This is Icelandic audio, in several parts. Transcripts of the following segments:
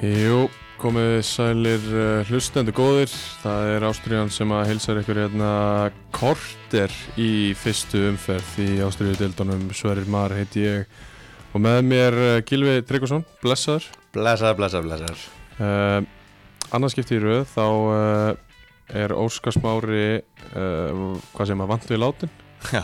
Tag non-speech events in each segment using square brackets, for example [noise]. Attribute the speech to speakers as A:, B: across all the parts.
A: Jú, komið þið sælir uh, hlustendu góðir. Það er Ástriðan sem að hilsar ykkur hérna korter í fyrstu umferð í Ástriðu dildunum. Sverir Mar heiti ég og með mér uh, Gilvi Tryggvason, blessaður.
B: Blessaður, blessaður, blessaður.
A: Uh, Annarskipti í röð þá uh, er Óskars Mári, uh, hvað sem að vant við látin.
B: Já,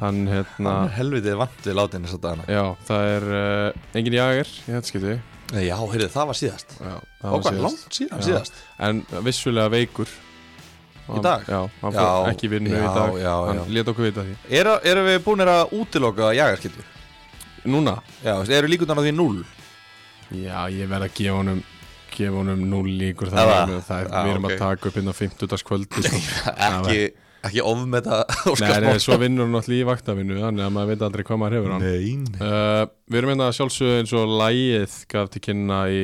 A: Hann hérna,
B: hann er helvitið vant við látin þess að dana.
A: já, það er uh, engin jager í þetta skipti.
B: Já, heyrðu, það var síðast.
A: Já, það var
B: Okkar
A: síðast.
B: langt síðan
A: Já.
B: síðast.
A: en vissulega veikur Hann-
B: dag?
A: Já, hann
B: Já,
A: fór ekki í vinnu í
B: já,
A: dag
B: já,
A: Hann
B: já.
A: lét okkur vita því
B: Eru er við búinir að útiloka jagarskyldu?
A: Núna?
B: Já, veistu, eru líkundan á því [laughs] 0?
A: Já, ég verð að gefa honum gefa honum núl líkur
B: Það
A: það,
B: var-
A: það, það er,
B: Já,
A: við erum
B: ok.
A: að taka upp inn á 50. [laughs] kvöldi
B: ekki, ekki ofmeta
A: Nei,
B: Óskars
A: nei, svo vinnur hann allir í vaktavinu þannig að maður veit aldrei hvað maður hefur hann
B: Nei.
A: Uh, við erum hérna sjálfsögðu eins og lægið gaf til kynna í,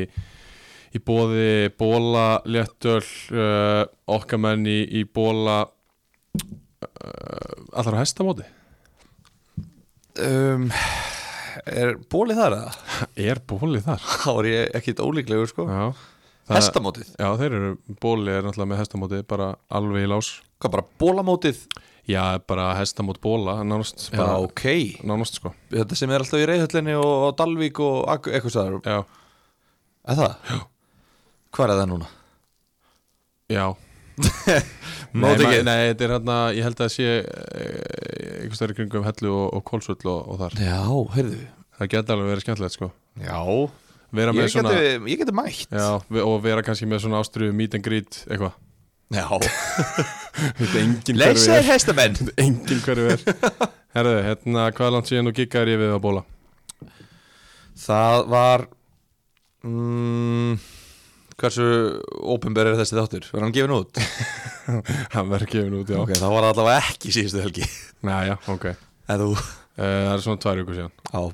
A: í bóði bóla léttöl uh, okkar menn í, í bóla uh, allar á hestamóti
B: Um, er bólið þar eða? [laughs]
A: er bóli þar?
B: Þá er ég ekkit ólíklegur, sko.
A: Já, það,
B: Hestamótið.
A: já þeir eru bóli er náttúrulega með hestamóti bara alveg í lás
B: Hvað bara, bólamótið?
A: já bara hestamót bóla nánast,
B: Já,
A: bara,
B: ok.
A: nánast sko
B: Þetta sem er alltaf í reyðhöllinni og á Dalvík og Ak- eitthvað staðar.
A: já,
B: Er það? Já. Hvað er það núna?
A: já Nei,
B: Móti
A: ma-
B: ekki?
A: nei, þetta er hérna, ég held að það sé eh, einhvers stærri kringum hellu og, og kólsvöll og, og þar
B: Já, heyrðu.
A: Það geta alveg verið skemmtilegt sko
B: Já,
A: vera
B: ég
A: með
B: geti,
A: svona
B: ég geti mætt
A: já, ve- og vera kannski með svona ástriðu meet and greet [laughs] eitthvað Þetta er engin
B: Leysaður
A: hverfi er
B: hestamenn
A: engin hverfi er [laughs] herðu, hérna, hvað langt síðan og giggar ég við að bóla
B: Það var mm, Hversu Ópenbör er þessi þáttur? Var hann gefin út?
A: hann verður gefin út, já,
B: ok, það var allavega ekki síðustu helgi
A: Næja, ok.
B: En þú
A: Eh, það er svona tvær vikur síðan
B: Já,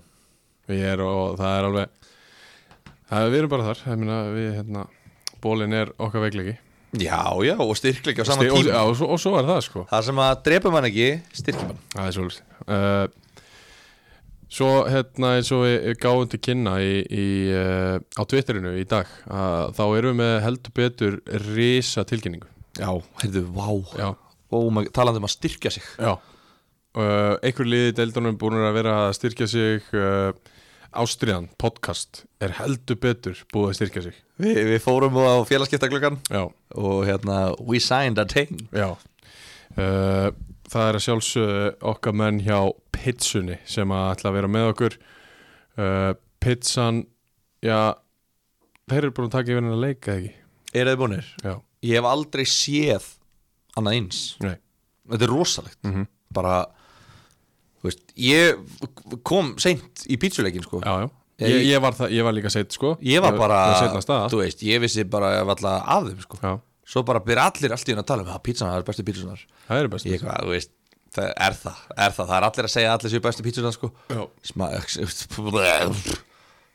A: við erum og það er alveg það, við erum bara þar, ég meina við hérna, bólin er okkar veikleiki
B: já, já og styrkleiki á sama
A: Ste- og,
B: tíma
A: já, og, svo, og svo er það sko
B: Það sem að drepa mann ekki, styrkja mann
A: Það er svolítið uh, Svo hérna eins og við gáum til kynna í, í, uh, á Twitterinu í dag uh, þá erum við með heldur betur risa tilkynningu
B: Já, heyrðu, vá wow.
A: Já,
B: Talandi um að styrkja sig
A: já uh, Einhver liði deildunum búin að vera að styrkja sig uh, Ástriðan, podcast er heldur betur búið að styrkja sig
B: Vi, Við fórum á félagskiptaglökan
A: Já,
B: Og hérna, we signed a thing
A: já uh, Það er að sjálfsögðu okkar menn hjá Pitsunni sem að ætla að vera með okkur uh, Pitsan, já þeir eru búin að taka yfir hennar leik eða ekki
B: Er þið búinir?
A: Já,
B: Ég hef aldrei séð annað eins
A: nei,
B: þetta er rosalegt
A: Mhm.
B: bara þú veist, ég kom seint í pítsuleikin sko.
A: já, já
B: Já,
A: Ég,
B: ég-
A: ég, var, það, ég var líka seitt sko
B: ég var
A: Ég
B: bara
A: var seinna stað
B: þú veist, ég vissi bara alltaf af þeim sko.
A: Já,
B: svo bara byrja allir allt í hún að tala um það pítsunar er bestu pítsunar
A: það eru best
B: ég hvað, þú veist, það er það er það, það er allir að segja að allir séu bestu pítsunar sko.
A: Já.
B: Sma, [laughs]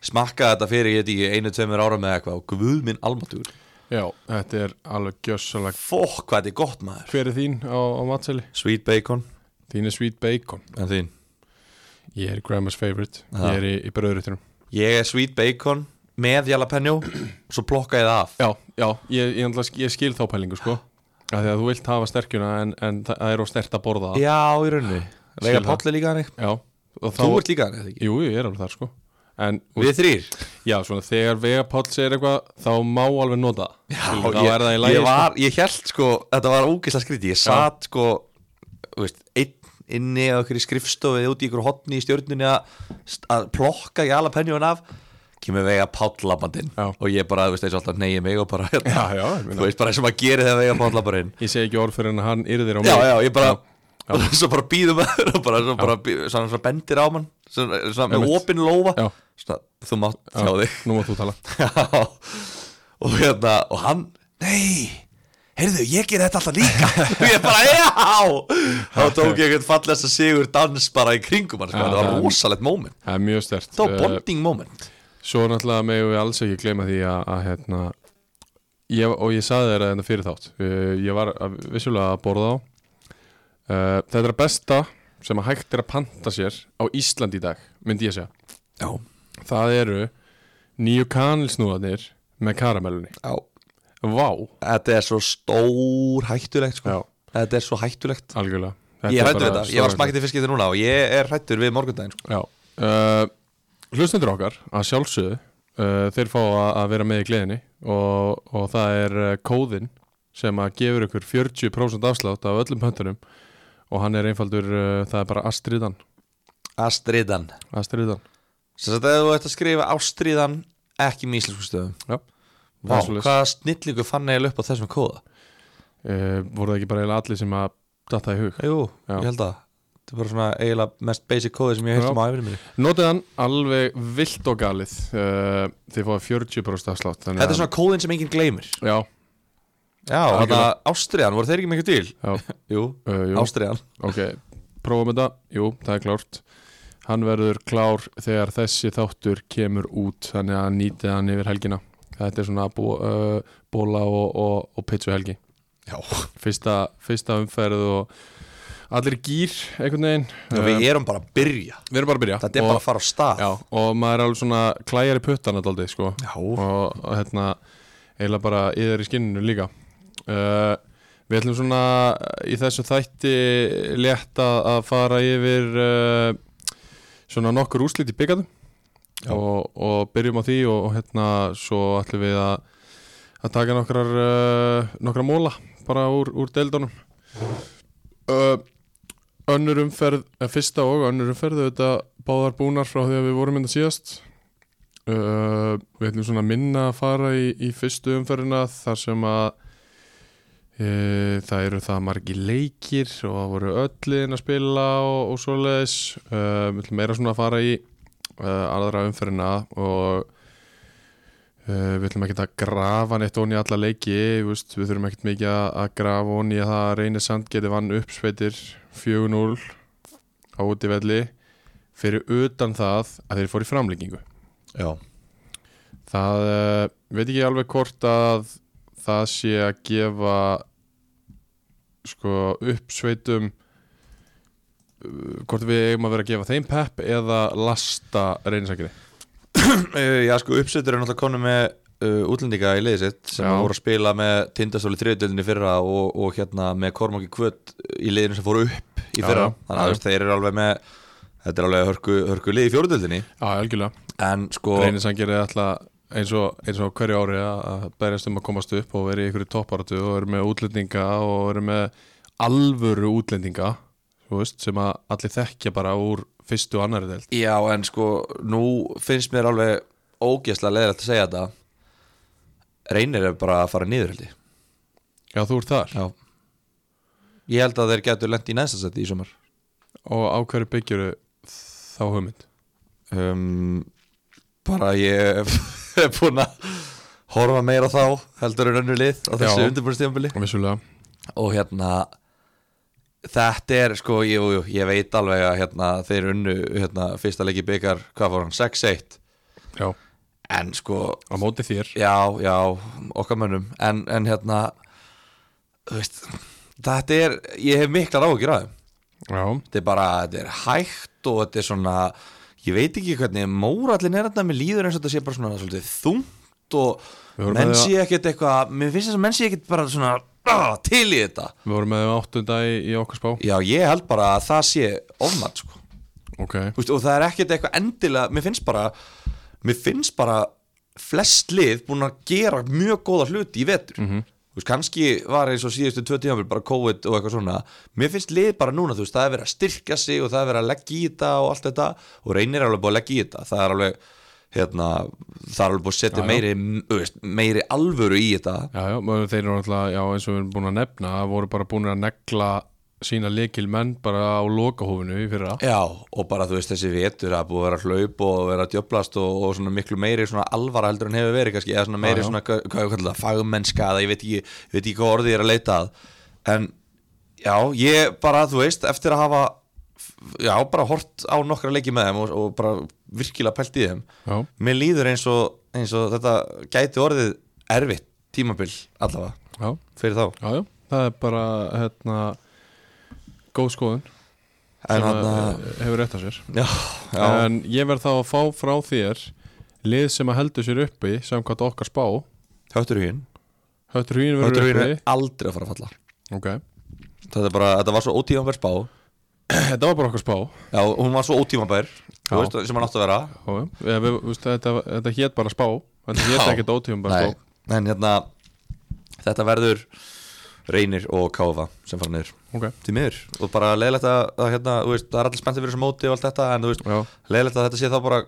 B: smakka þetta fyrir ég veit ekki einu, tveimur ára með eitthvað og guð minn almatúr
A: Já, þetta er alveg gjössalega
B: fokk hvað þetta er gott maður
A: Hver er þín á, á matseli?
B: sweet bacon
A: Þín er sweet bacon
B: en þín
A: Ég er grandma's favorite
B: Já.
A: Ég er í, í bröðurutinum
B: Ég er sweet bacon með jalapeno [clears throat] Svo plokka ég það af
A: Já, já, ég, ég, ég, ég skil þá pælingu sko að Því að þú vilt hafa sterkjuna en, en það það er of stert að borða það
B: Já, í rauninni Veigar
A: Skil það.
B: Páll er líka þannig
A: Já, og þá
B: Þú ert líka þannig, eða ekki?
A: Jú, jú, ég er alveg þar sko En,
B: Við þrýr
A: já, svona þegar Vegapáll segir eitthvað þá má alveg nota það. Skilur, þá
B: ég,
A: er það í lagi
B: ég, var, ég held sko, þetta var ógislega skríti Ég satt sko, þú veist, einn inni á ykkur í skrifstofu eða úti í ykkur hotni í stjórnunni að, að plokka jalapenjón af kemur vega pálllabandinn
A: Já.
B: og ég bara, þú veist, eins og alltaf neyja mig og bara, hérna,
A: sko. Já, já, ég meina.
B: þú veist, bara eins og maður gerir þegar vega pálllabarinn
A: Ég segi ekki orð fyrir en hann yrðir á mig
B: já, já, ég bara [laughs] svo bara býðum að og bara, svo bara býð, svona, svona bendir á mann svona, svona með
A: Einmitt.
B: opinn lófa
A: Já.
B: svona, þú mátt hjá þig [laughs]
A: Nú má þú tala
B: Já. og hérna og hann, nei heyrðu, ég ger þetta alltaf [laughs] líka og ég bara, já þá tók ég eitthvað fallast að sigur dans bara í kringum hann, sko.
A: Já,
B: þetta
A: það-
B: var rosalegt moment
A: Það er mjög Eh, stert
B: það var bonding moment
A: Svo náttúrulega megum við alls ekki gleyma því að, að hérna ég, og ég saði þér að þetta fyrir þátt Eh, ég var að- vissulega að borða á uh, Þetta er að besta sem að hægt er að panta sér á Ísland í dag myndi ég segja
B: já,
A: Það eru nýju kanilsnúðanir með karamellunni
B: Já,
A: Vá,
B: þetta er svo stór hættulegt sko.
A: Já.
B: Þetta er svo hættulegt
A: algjörlega
B: Ég er hrættur
A: bara
B: við þetta, ég var
A: stórhættulegt.
B: smakkandi fiskið þetta núna og ég er hrættur við morgundaginn sko.
A: Já uh, Hlustendur okkar að sjálfsögðu uh, þeir fá að, að vera með í gleðinni og, og það er uh, kóðinn sem að gefur ykkur 40% afslátt af öllum pöntunum og hann er einfaldur, uh, það er bara Astridan
B: Astriðan
A: Astridan,
B: Sem sagt að þú ætti að skrifa ástriðan ekki með íslensku stöðum
A: já
B: Vá,
A: Það er svoleiðis.
B: hvaða snillingu fann ég upp á þessum kóða?
A: Uh, voru það ekki bara eiginlega allir sem að datta í hug
B: Jú,
A: Já.
B: ég held að Þetta er bara svona eiginlega mest basic kóði sem ég held
A: Já.
B: um á æfinni minni
A: Notið hann alveg vilt og galið uh, Þið fáið 40% afslátt þannig
B: Þetta
A: að-
B: er svona kóðin sem enginn gleymir
A: Já,
B: Já, þetta
A: Algjörlega.
B: ástriðan, voru þeir ekki mikið til?
A: já,
B: [laughs] Jú,
A: uh, jú
B: ástriðan
A: Ok, prófum þetta, jú, það er klárt Hann verður klár þegar þessi þáttur kemur út þannig að nýtið hann yfir helgina Þetta er svona bó, uh, bóla og, og, og pitchu helgi
B: Já,
A: Fyrsta, fyrsta umferð og allir gýr einhvern veginn
B: við
A: Eh,
B: erum bara að byrja
A: við erum bara að byrja
B: Þetta er
A: og,
B: bara að fara á stað
A: já, og maður er alveg svona klæjar í puttana daldið sko
B: Já.
A: og og hérna eiginlega bara yður í skinninu líka uh, Við ætlum svona í þessu þætti létt að, að fara yfir uh, svona nokkur úrslit í byggatum
B: Já.
A: og, og byrjum á því og, og hérna svo ætlum við að, að taka nokkrar, uh, nokkra móla bara úr, úr deildunum uh, Önnur umferð, eh, fyrsta og önnur umferð auðvitað báðar búnar frá því að við vorum enda síðast uh, Við ætlum svona minna að fara í, í fyrstu umferðina þar sem að uh, það eru það margi leikir og það voru öllin að spila og, og svoleiðis uh, Við ætlum meira svona að fara í uh, aðra umferðina og Uh, við ætlum ekkert að grafa neitt onni í alla leiki, þú veist, við þurfum ekkert mikið að að grafa onni í að það reynir sand geti vann uppsveitir 4-0 á útivelli fyrir utan það að þeir fóru í framlengingu.
B: Já.
A: Það uh, veit ekki alveg hvort að það sé að gefa sko uppsveitum uh, hvort við eigum að vera að gefa þeim pepp eða lasta reynisakri.
B: Uh, já, sko, uppsveitur er náttúrulega konu með uh, útlendinga í liðið sitt sem
A: Já.
B: voru að spila með tindastóli þriðutöldinni fyrra og, og hérna með Kormáki Kvöt í liðinu sem fóru upp í
A: Já,
B: fyrra
A: já. Já.
B: þannig að þú veist, þeir eru alveg með þetta er alveg hörku, hörku lið í fjóruðöldinni
A: Já, algjörlega.
B: en sko,
A: reynisangir er alltaf eins og, eins og hverju ári að að berjast um að komast upp og vera í einhverju topparatu og vera með útlendinga og vera með alvöru útlendinga þú veist, sem að allir þekkja bara úr fyrstu og annari deild
B: já, en sko nú finnst mér alveg ógeðslega leðilegt að segja þetta reynir er bara að fara niður held ég
A: Já, þú ert þar
B: já. ég held að þeir getur lent í næsta seti í sumar
A: og á hverju byggjuru þá hugmynd
B: um, bara ég [laughs] er búin að horfa meira á þá heldur en önnu lið á þessu
A: Já.
B: undirbúinstjámbili
A: Vissulega,
B: og hérna þetta er sko, jú, jú, ég veit alveg að hérna, þeir unnu hérna, fyrsta leiki byggar, hvað fór hann, 6-1
A: já, á
B: en sko,
A: móti þér
B: já, já okkar mönnum, en, en hérna þú veist þetta er, ég hef miklar áhugjur á þeim
A: Já,
B: þetta er bara, þetta er hægt og þetta er svona, ég veit ekki hvernig mórallin er þetta, mér líður eins og þetta sé bara svona svolítið þungt og
A: Við vorum
B: menn
A: að-
B: sé ekkert eitthvað, mér finnst þess að menn sé ekkert bara svona ah, til í þetta
A: við vorum með þeim áttunda í, í okkar spá
B: Já, ég held bara að það sé ofmat sko.
A: Ok,
B: Þú veist, og það er ekkert eitthvað endilega, mér finnst bara mér finnst bara flest lið búin að gera mjög góða hluti í vetur
A: Mhm.
B: mm -hmm. veist, kannski var eins og síðustu tvö tíðanfél bara COVID og eitthvað svona mér finnst lið bara núna, þú veist, það er verið að styrkja sig og það er verið að leggja í þetta og allt þetta og reynir er alveg búið að leggja í þetta það er alveg, hérna, það er alveg búið að setja
A: Já, já.
B: meiri, þú veist, meiri alvöru í þetta
A: já, já, maður- þeir eru náttúrulega, já, eins og við erum búin að nefna voru bara búin að negla sína leikil menn bara á lokahófinu í fyrra
B: Já, og bara þú veist þessi vetur að búið að vera hlaup og vera að djöblast og, og svona miklu meiri svona alvara heldur en hefur verið kannski, eða svona meiri
A: Já, já.
B: svona, hvað hvað ég kalla það, fagmennska eða ég veit ekki, ég veit ekki hvað orðið ég er að leita að en já, ég bara þú veist, eftir að hafa já, bara hort á nokkra leiki með þeim og, og bara virkilega pælt í þeim
A: Já,
B: mér líður eins og, eins og þetta gæti orðið erfitt tímabil allavega,
A: já
B: fyrir þá
A: Já, já, það er bara hérna góð skoðun
B: en
A: sem
B: hann
A: að, eh, hefur rétt á sér
B: já, já,
A: en ég verð þá að fá frá þér lið sem að heldur sér uppi samkvæmt okkar spá
B: Hötturhugin
A: Höttur hugin verður
B: Hötturhugin
A: uppi
B: er aldrei að fara að falla
A: Ok, [clears throat]
B: Þetta, er bara, þetta var svo ótímanbær spá
A: þetta var bara okkar spá
B: Já, hún var svo ótímanbær
A: Já.
B: Þú veist sem hann átti að vera
A: Já, við, við, veist, þetta, þetta hét bara spá Þetta hét
B: Já.
A: ekkert ótífum bara
B: Nei,
A: spá
B: en hérna Þetta verður Reynir og Káfa sem fara niður
A: Ok,
B: Því miður Og bara leiðilegt að, að hérna, þú veist, það er allir spenntið fyrir þessu móti og allt þetta En þú veist,
A: já,
B: leiðilegt að þetta sé þá bara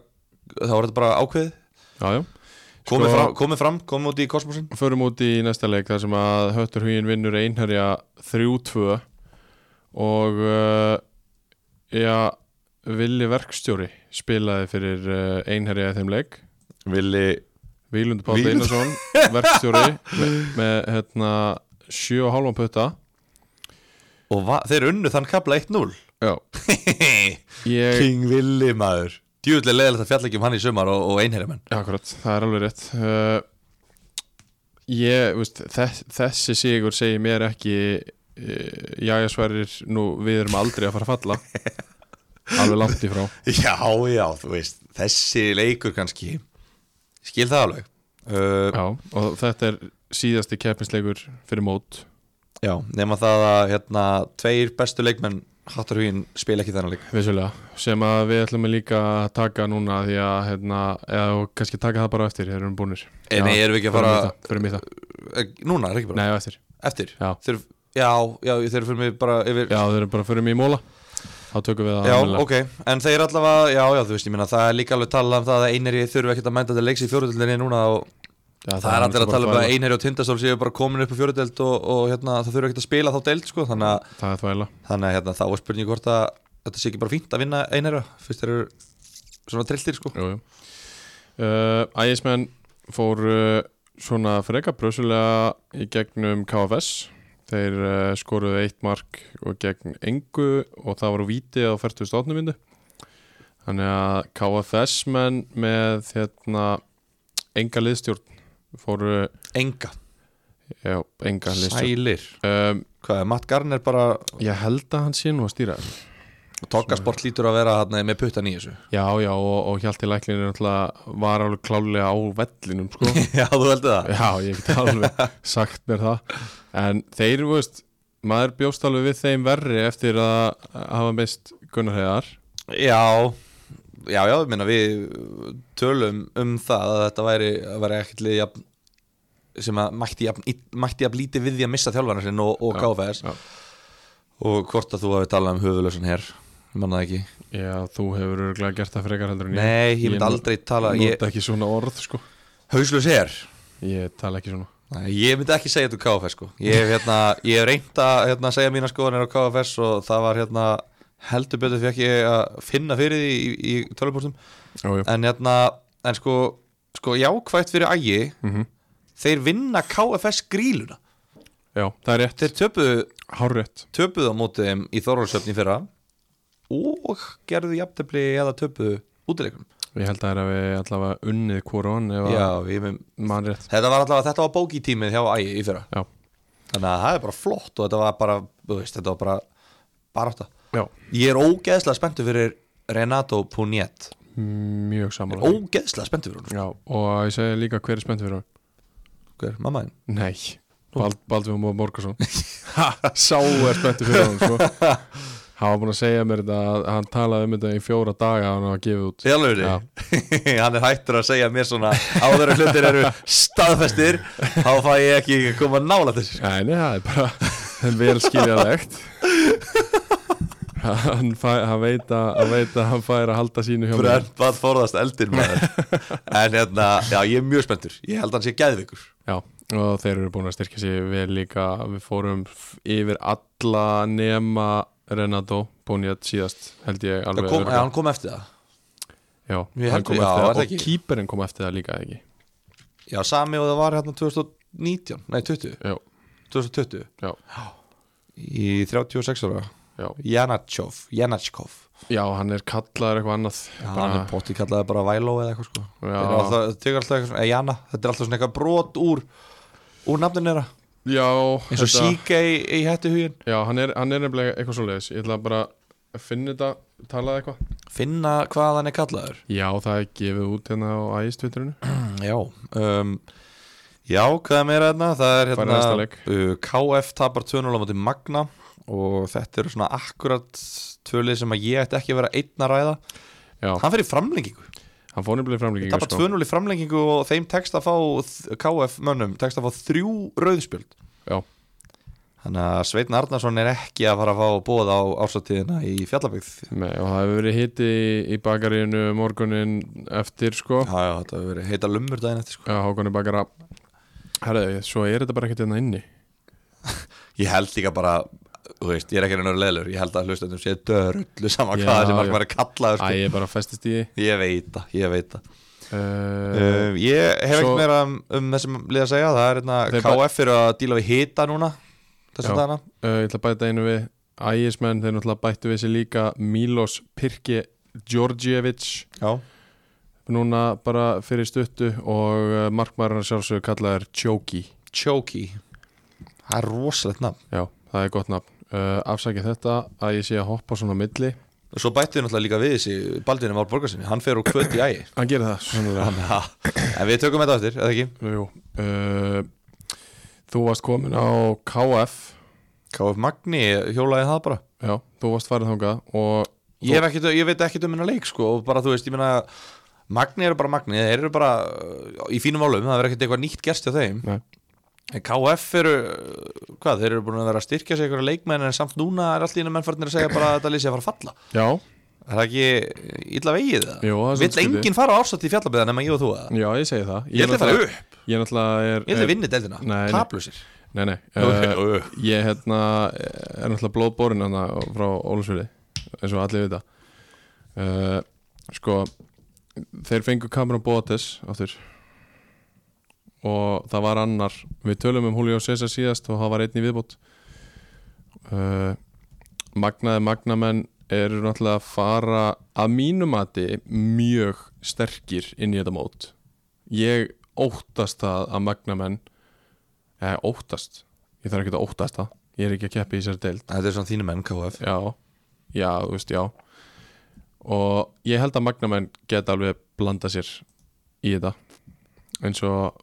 B: Þá er þetta bara ákveð
A: já, já
B: Komið
A: Sko-
B: fram, komið fram, komið út í kosmosin
A: Förum út í næsta leik þar sem að Höttur Hugin vinnur einherja 3-2 og uh, já, Vili Verkstjóri spilaði fyrir uh, einherja í þeim leik
B: Vili
A: Vílund Páll
B: Víglund-
A: Einarsson, verkstjóri með, með hérna 7,5 putta
B: Og va- þeir unnu þann kapla
A: [laughs]
B: 1-0
A: já. Ég,
B: King Willi maður Djúvilega leiðilegt að fjalla ekki um hann í sumar og, og einherjumenn
A: Já, akkurat, það er alveg rétt uh, Ég, veist, þess, þessi sigur segir mér ekki uh, Jæja sverir, nú við erum aldrei að fara að falla
B: [laughs]
A: Alveg langt í frá
B: Já, já, þú veist Þessi leikur kannski Skil það alveg uh,
A: Já, og þetta er síðasti keppnisleikur fyrir mót
B: Já, nema það að hérna, tveir bestu leikmenn Hattarhugin spila ekki þennan leik
A: Vissulega, sem að við ætlum að líka að taka núna því að, hérna, eða kannski taka það bara á eftir, þeir eru búnir
B: Eh, nei, erum við ekki að fara-
A: Fyrir mig það,
B: Eh, Núna, er ekki bara
A: nei, á eftir
B: Eftir
A: Já.
B: Þeir, já, já, þeir fyrir mig bara yfir
A: Já, þeir eru bara fyrir mig í móla Þá tökum við það
B: Já,
A: almennilega.
B: ok, en þeir allavega, já, já, þú veist, ég minna, það er líka alveg talað um það að einherji þurfi ekkert að mænda til leiks í fjóruðöldinni núna og
A: Já,
B: það er allir
A: náttúrulega
B: að tala um
A: bara
B: að einherji og tindastól séu bara komin upp á fjóruðöld og, og hérna, það þurfi ekkert að spila þá deild, sko, þannig að
A: Það er þvæla
B: Þannig að hérna, þá er spurning hvort að þetta sé ekki bara fínt að vinna einherja Fyrst þeir eru svona trilltir sko
A: Jú, jú. Uh, Ægismenn fór uh, svona freka brösulega í gegnum KFS þeir uh, skoruðu eitt mark og gegn engu og það var úr víti á 48. myndu þannig að KFS menn með hérna enga liðstjórn fóru,
B: Enga,
A: já, enga liðstjórn
B: sælir
A: um,
B: Hvað er, Matt Garner bara
A: ég held að hann sé nú að stýra þessu
B: Tokkasport lítur að vera hérna, með puttan í þessu
A: já, já, og, og Hjalti Læklin er náttúrulega var alveg klálega á vellinum [laughs] sko
B: [laughs] Já, þú heldur það
A: Já, ég get alveg sagt mér það En þeir, þú veist, maður bjóst alveg við þeim verri eftir að hafa meist Gunnar Heiðar
B: Já, já, já, ég meina við tölum um það að þetta væri, að væri ekkert liðið jafn sem að mætti jafn, mætti jafn lítið við því að missa þjálfarnar sinn og, og
A: Já,
B: KFS
A: já.
B: og hvort að þú hafi talað um höfulösan hér, ég manna það ekki
A: Já, þú hefur örgulega gert það frekar heldur en ég
B: Nei, ég myndi
A: nú-
B: aldrei tala
A: Nota
B: ég,
A: ekki svona orð, sko
B: Hauslös hér,
A: Ég tala ekki svona
B: Nei, ég myndi ekki segja þetta um KFS sko Ég hef, hérna, ég hef reynt að hérna, segja mína skoðanir á KFS og það var hérna heldur betur fyrir ekki að finna fyrir því í, í tölvupúrstum
A: Jú, jú,
B: en, hérna, en sko, sko jákvætt fyrir ægi
A: Mhm.
B: þeir vinna KFS gríluna
A: já, það er rétt
B: Þeir töpuðu,
A: Hárrétt
B: töpuðu á móti þeim í Þorvaldsöfni fyrra og gerðu jafntefli eða töpuðu útileikum
A: Ég held að það er að við allavega unnið hvoran ef að
B: Já, ég með
A: mann rétt
B: Þetta var allavega, þetta var bókitímið hjá ægi í fyrra
A: Já,
B: Þannig að það er bara flott og þetta var bara, þú veist, þetta var bara bara átta.
A: já,
B: Ég er ógeðslega spenntu fyrir Renato Puniet
A: mjög samanlega
B: Ógeðslega spenntu fyrir hún
A: Já, og ég segi líka hver er spennt fyrir hann
B: Hver, mamma þín?
A: Nei, Bald, Baldvin Móa
B: [laughs]
A: Morgarsson Sá er spenntu fyrir hann sko. Hann var búin að segja mér þetta að hann talaði um þetta í fjóra daga að hann var gefið út
B: Í alvöru?
A: Já.
B: [laughs] Hann er hættur að segja mér svona áður að hlutir eru staðfestir þá fæ ég ekki að koma nála þessu sko.
A: Nei, nei, það er bara [laughs] vel skiljalegt hann, fæ, hann, veit að, hann veit að hann fær að halda sínu hjá mér
B: Brent bað forðast eldin maður En hérna, já ég er mjög spenntur Ég held að hann sé geðveikur
A: Já, og þeir eru búin að styrkja sig vel líka Við fórum f- yfir alla nema Renato Bóniat síðast held ég
B: Það
A: alveg
B: kom,
A: örugglega.
B: ja, Hann kom eftir það
A: Já,
B: Ég
A: hann
B: held-
A: kom
B: já,
A: eftir
B: var
A: það
B: það
A: og
B: ekki?
A: kýperinn kom eftir það líka eða ekki
B: Já, sami og það var hérna 2019 Nei, 20,
A: Já,
B: 2020
A: já,
B: Í 36 ára
A: já
B: Janachov Janachkov
A: Já, hann er kallaður eitthvað annað
B: Já,
A: Bara-
B: hann er potti kallaði bara Væló eða eitthvað sko
A: Já.
B: Þeir eru alltaf, þeir tekur alltaf eitthvað svona, eh, Jana, þetta er alltaf svona eitthvað brot úr úr nafninu þeirra
A: Já,
B: eins og
A: þetta-
B: síka í, í hættu hugin
A: Já, hann er, hann er nefnilega eitthvað svo leiðis Ég ætla bara að finna þetta, talaði eitthvað
B: finna hvað hann er kallaður
A: Já, það er gefið út hérna á ægistvitrunu
B: Já um, Já, hvað er meira hérna? Það er
A: Farið næsta
B: hérna
A: leik.
B: uh, KF tapar 2-0 á móti Magna og þetta eru svona akkurat tvölið sem að ég ætti ekki að vera einn að ræða
A: Já,
B: Hann fyrir framlengingu
A: hann fór nefnilega í sko. framlíkingu
B: Tapar 2-0 í framlengingu og þeim tekst að fá KF mönnum, tekst að fá þrjú rauðspjöld
A: Já,
B: Þannig að Sveitn Arnarsson er ekki að fara að fá bóð á ársatíðina í Fjallabyggð
A: Nei, og það hefur verið hiti í, í bakaríinu morgunin eftir sko
B: Já, já, þetta hefur verið heita lumur daginn eftir sko
A: Já, hákonni bakara Herðu, svo er þetta bara ekkert hérna inni
B: Ég held líka bara, þú veist, ég er ekki einhvern veginn leðlur Ég held að hlustendum sé dörrullu sama
A: Já,
B: hvað þessi
A: já.
B: markmaður er
A: Æ,
B: kallaður sko.
A: ég er bara festist í
B: Ég veit það, ég veit það
A: uh,
B: um, Ég hef
A: svo-
B: ekkert meira um, um þessum lið að segja Það er hérna,
A: Þeir bara-
B: KF eru að díla við hita núna Þessum
A: Já.
B: dagana
A: uh, Ég ætla að bæta einu við Ægismenn, þeir náttúrulega bættu við sér líka Milos Pirki Georgievich
B: Já,
A: núna bara fyrir stuttu og uh, markmaðurinn sjálfsögur kallaður Choki
B: Choki Það er rosalegt nafn
A: Já, það er gott nafn uh, Afsakið þetta að ég sé að hoppa svona á milli
B: Og svo bættu við náttúrulega líka við þessi Baldinu Már Borgarsinni, hann fer úr kvöld í ægi
A: Hann gerir það, sannlega
B: Þannig að en við tökum þetta eftir, eða ekki
A: Jú, uh, Þú varst komin á KF
B: KF Magni, hjólaði það bara
A: Já, þú varst farið þangað og
B: ég, hef ekkit, ég veit ekki um minna leik sko, og bara þú veist, ég meina Magni eru bara Magni, þeir eru bara uh, í fínum álum, það verður ekkert eitthvað nýtt gerst hjá þeim
A: Nei.
B: en KF eru uh, hvað, þeir eru búin að vera að styrkja sig einhverja leikmenn en samt núna er allir innum mennfarnir að segja bara að þetta lýsi að fara að falla
A: Já,
B: er það ekki illa vegið það?
A: Jú, það er
B: Vill
A: svolítið skrítið.
B: enginn fara á ástætt í fjallabæða nema ég og þú að
A: já, ég segi það
B: Ég ætla að fara
A: náttúrulega-
B: upp,
A: Ég náttúrulega er
B: ég ætla að vinna deildina,
A: Nei, nei.
B: tablusir
A: Nei, nei
B: Ok,
A: uh,
B: uh,
A: Ég hérna er náttúrulega blóðborin hana frá Ólusfjörði eins og allir vita uh, Sko þeir fengu Cameron Boates áttur og það var annar við tölum um Julio César síðast og það var einn í viðbót uh, Magnaði Magnamenn eru náttúrulega að fara að mínumati mjög sterkir inn í þetta mót ég óttast það að Magnamenn eða Eh, óttast ég þarf ekki að óttast það, ég er ekki að keppi í sér deild
B: [laughs] þetta er svona þínu menn KF
A: Já, já, þú veist, já Og ég held að Magnamenn geta alveg blanda sér í þetta eins og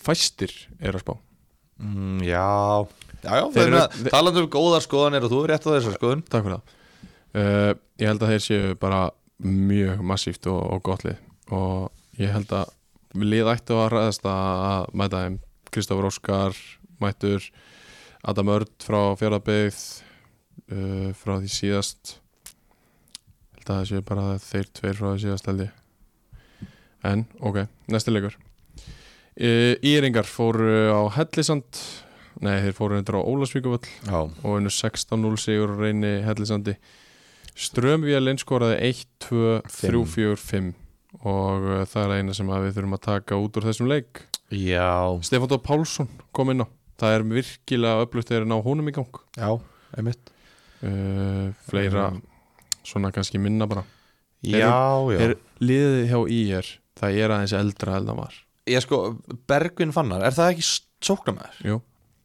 A: fæstir er að spá
B: mm, já, já, já,
A: Þeir eru-
B: þeir... talandi um góðar skoðanir og þú er rétt á þessu skoðun
A: Takk fyrir það uh, Ég held að þeir séu bara mjög massíft og, og gott lið og ég held að lið ættu að ræðast að mæta þeim Kristofur Óskar, mættur Adam Örd frá Fjörðabyggð uh, frá því síðast held að það séu bara þeir tveir frá því síðast held ég en ok, næsti leikur uh, Íringar fóru á Hellisand nei, þeir fóru reyndar á Ólasvíkuvöll
B: já,
A: og einu 16-0 sigur á reyni hellisandi Strömvíalinn skoraði 1, 2, 3, 4, 5 og uh, það er eina sem að við þurfum að taka út úr þessum leik
B: já.
A: Stefán Dór Pálsson kom inn á það er virkilega upplutt þegar ná honum í gang
B: Já, einmitt
A: uh, fleira
B: Mm.
A: svona kannski minna bara
B: Já, já
A: er liðið hjá IR það er aðeins eldra en það var
B: Ég sko, Bergvin Fannar, er það ekki s- sóknamaður?
A: Jú.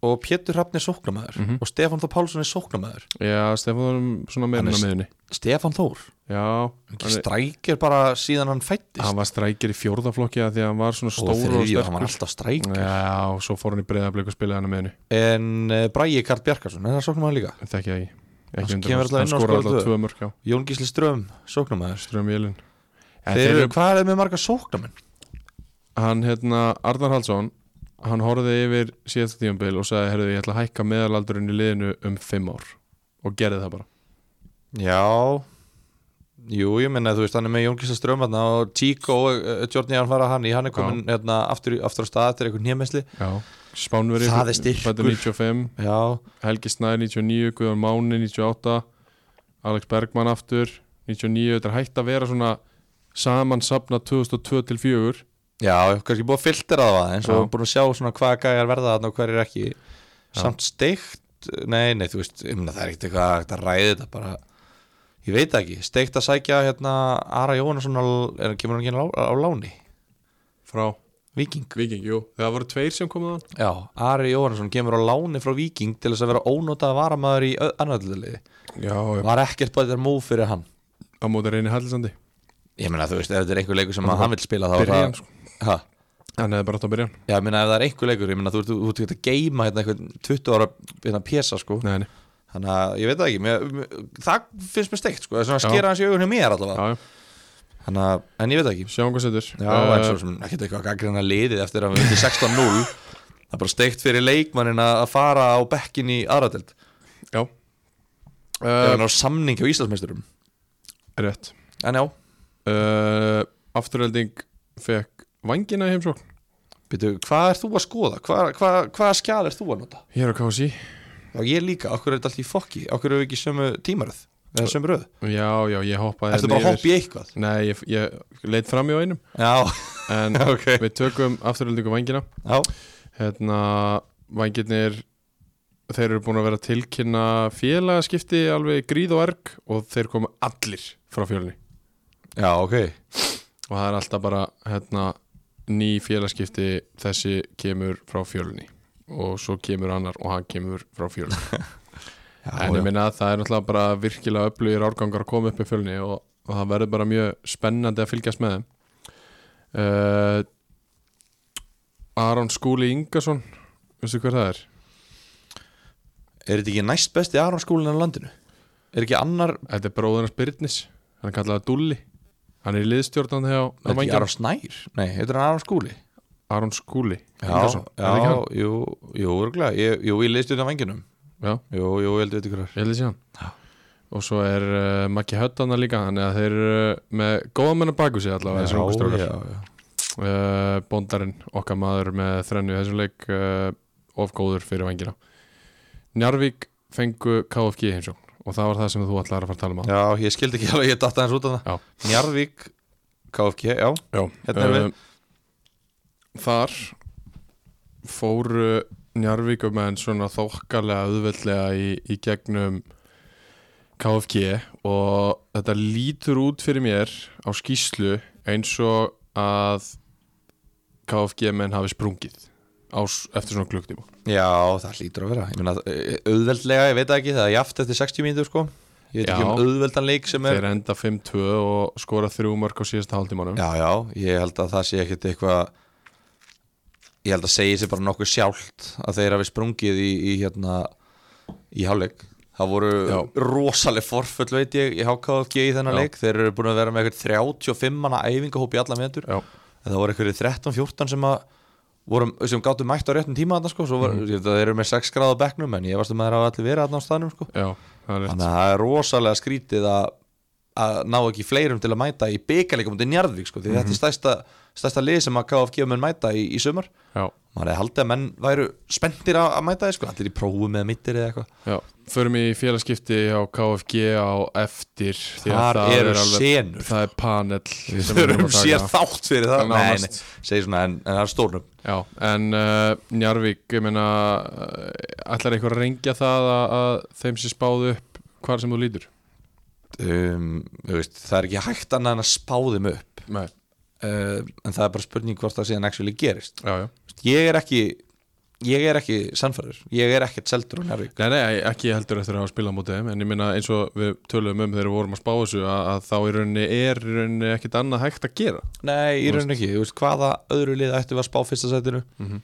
B: Og Pétur Hrafn er sóknamaður
A: Mhm.
B: Og Stefán Þór Pálsson er sóknamaður
A: Já, Stefán Dór svona meira
B: Hann er
A: með miðunni
B: Stefán Þór
A: Já,
B: Ekki
A: hann, er-
B: strækir bara síðan hann fættist
A: hann var strækir í fjórðaflokki af því að hann var svona
B: Og
A: stór og
B: þriðju, hann var
A: sterkur
B: alltaf stræk
A: Já, og svo fór hann í breyðarblik og spilaði hann með henni
B: En uh, Bræi Karl Bjarkarsson, er það sóknamaður líka?
A: En þekki það ekki,
B: Hann
A: ekki undir
B: kemur
A: hans. Hann
B: alltaf inn á
A: skorar
B: skorar
A: alltaf
B: tvö.
A: tvö mörg á
B: Jón Gísli Ström, sóknamaður
A: Ström Jélin
B: Þeir eru, hvað er með marga sóknamenn?
A: Hann hérna, Arnar Halsson Hann horfði yfir síðasta tíumbil og sagði Herðu, ég ætla að hækka meðalaldurinn í liðinu um fimm ár Og gerði það bara
B: Já Jú, ég minna, þú veist, hann er með Jón Gísla Ström þarna og Tíko, uh, Jorni Jan Farah hann, hann er komin hérna, aftur, aftur á stað eftir einhvern nýjamensli
A: Já, Spánveri
B: Það er styrkur.
A: fæddur 95,
B: Já,
A: Helgi Snær 99, Guðan Máni 98 Alex Bergmann aftur 99, þetta er hægt að vera svona Saman safna 2002 til 4
B: Já, kannski búið að filtera það aðeins
A: Já.
B: og búin að sjá svona hvaða gæjar verða þarna og hver er ekki samt steikt, nei, nei, þú veist ég meina, það er ekkert eitthvað hægt að ræði þetta bara ég veit það ekki, steikt að sækja hérna Ara Jóhannesson á, er, kemur hann ekki inn á, á láni,
A: Frá
B: Víking
A: Viking, jú, það voru tveir sem komuð hann
B: Já, Ari Jóhannesson kemur á láni frá Víking til þess að vera ónotað varamæður í annaðliðið
A: Já,
B: var ekkert bara þetta móf fyrir hann
A: á móti reyni Hallinsandi
B: Ég meina þú veist, ef þetta er einhver leikur sem að hann vil spila þá er
A: Byrja
B: það
A: hann sko
B: ha,
A: Hann hefði bara átt að byrja hann
B: Já, ég meina ef það er einhver leikur, ég meina þú ert þú ert ekki að geima hérna einhvern 20 ára hérna pésa sko
A: Nei, nei,
B: Þannig að ég veit það ekki, mér, mér, það finnst mér steikt sko, það er svona að
A: Já.
B: skera hans í augunni mér allavega
A: já, já,
B: Þannig að, en ég veit það ekki
A: sjáum hvað setur Eh,
B: Já, en svo sem ekki eitthvað að gangrina liðið eftir að við erum 16-0 Það er bara steikt fyrir leikmannin að að fara á bekkin í aðradelt
A: Já
B: Ef
A: uh,
B: hann á samning hjá Íslandsmeisturum
A: Rétt
B: En já,
A: uh, Afturölding fekk vangina í heimsókn
B: býtu, hvað er þú að skoða? Hvað, hvað, hvaða skjál er þú að nota?
A: Hér á KSI
B: Já, ég líka, okkur er þetta allt í fokki Okkur eru við ekki sömu tímaröð Eða sömu röð
A: Já, já, ég hoppaði hérna
B: Ertu bara að
A: niður.
B: hoppa í eitthvað?
A: Nei, ég, ég leitt fram í einum
B: Já, [laughs]
A: En
B: ok
A: við tökum afturöldingu vangina
B: Já,
A: Hérna, vangirnir Þeir eru búin að vera að tilkynna félagaskipti alveg gríð og erg og þeir komu allir frá fjölni
B: já ok
A: og það er alltaf bara hérna, ný félagaskipti þessi kemur frá fjölni og svo kemur annar og hann kemur frá
B: [laughs]
A: fjölni
B: já,
A: en
B: já.
A: ég minna að það er náttúrulega bara virkilega öflugir árgangar að koma upp í fjölni og, og það verður bara mjög spennandi að fylgjast með þeim uh, Aron Skúli Ingason veistu hver það er?
B: Er þetta ekki næst besti Aronskólinn á landinu? Er ekki annar
A: Þetta er bróðunars Byrnis hann er kallaða Dulli hann er í liðstjórnandi hjá
B: Er þetta ekki
A: Vængjum.
B: Aron Snær? Nei, heitir hann Aron Skúli?
A: Aron Skúli
B: Já,
A: Ingason Er það ekki
B: já,
A: hann?
B: jú, jú, örgulega Jú, jú, ég leist þetta á vengjunum
A: já
B: Jú, jú, ég held þetta ykkur
A: Ég held ég sé hann
B: Já.
A: Og svo er uh, Maggi Höttana líka Þannig að þeir eru uh, með góða menn að baku sig allavega Þessar ungu strókar
B: já,
A: uh, Bóndarinn, okkar maður með þrennu í þessum leik uh, Of góður fyrir vengina Njarvík fengu KFG heimsjón Og það var það sem þú ætlaði að fara að tala um að
B: já, ég skildi ekki alveg, ég datta hans út af
A: Já.
B: það Njarðvík, KFG, já
A: Já, eh,
B: Hérna erum við.
A: Þar fóru Njarvíkumenn svona þokkalega auðveldlega í, í gegnum KFG og þetta lítur út fyrir mér á skýslu eins og að KFG menn hafi sprungið á, s- eftir svona klukktíma
B: Já, það hlýtur að vera Ég meina, eh, auðveldlega, ég veit það ekki, það er jaft eftir 60 mínútur, sko Ég veit ekki
A: Já.
B: um auðveldan leik sem er
A: Þeir enda 5-2 og skora þrjú mörg á síðasta hálftímanum
B: Já, já, ég held að það sé ekkit eitthvað Ég held að segja sér bara nokkuð sjálft að þeir hafi sprungið í, í hérna í hálfleik Það voru
A: Já.
B: rosaleg forföll veit ég í HKG í þennan
A: Já.
B: leik Þeir eru búin að vera með eitthvað 35 manna æfingahóp í alla metur
A: Já.
B: En það voru eitthvað 13-14 sem að vorum, sem gáttu mætt á réttum tíma þarna sko Svo
A: Mhm.
B: var, ég held að þeir eru með 6 gráða á bekknum en ég varst um að þeir hafa allir verið þarna á staðnum sko
A: Já, það er rétt
B: Þannig að það er rosalega skrítið að, að ná ekki fleirum til að mæta í byggarleikum til Njarðvík sko, því þetta
A: Mhm.
B: er stærsta, stærsta lið sem að KFG mun mæta í, í sumar
A: Já,
B: maður hefði haldið að menn væru spenntir að, að mæta því sko, allir í prófu með mittir eða eitthvað
A: já Förum í félagskipti á KFG á eftir því að
B: þar
A: það er
B: eru
A: alveg-
B: senur
A: Það er panel
B: [laughs] við
A: sem við erum
B: þurfum
A: að
B: sér
A: taka.
B: þátt fyrir það nei,
A: Nánast.
B: nei, segi svona, en, en það er stórnum
A: Já, en uh, Njarvík, ég meina uh, ætlar einhver að rengja það að, að þeim sem spáðu upp hvar sem þú lítur?
B: um, þú veist, það er ekki hægt annað en að spá þeim upp
A: Nei,
B: uh, en það er bara spurning hvort það síðan actually gerist
A: já, já
B: Þú veist, ég er ekki ég er ekki sannfæður, ég er ekkert seldur á Njarðvík
A: Nei, nei, ekki heldur eftir að hafa spilað á móti þeim en ég meina eins og við töluðum um þegar við vorum að spá þessu að, að þá í rauninni er í rauninni ekkit annað hægt að gera
B: Nei, í
A: Þú
B: rauninni ekki, þú veist, hvaða öðru lið ættum við að spá fyrsta sætinu
A: Mhm.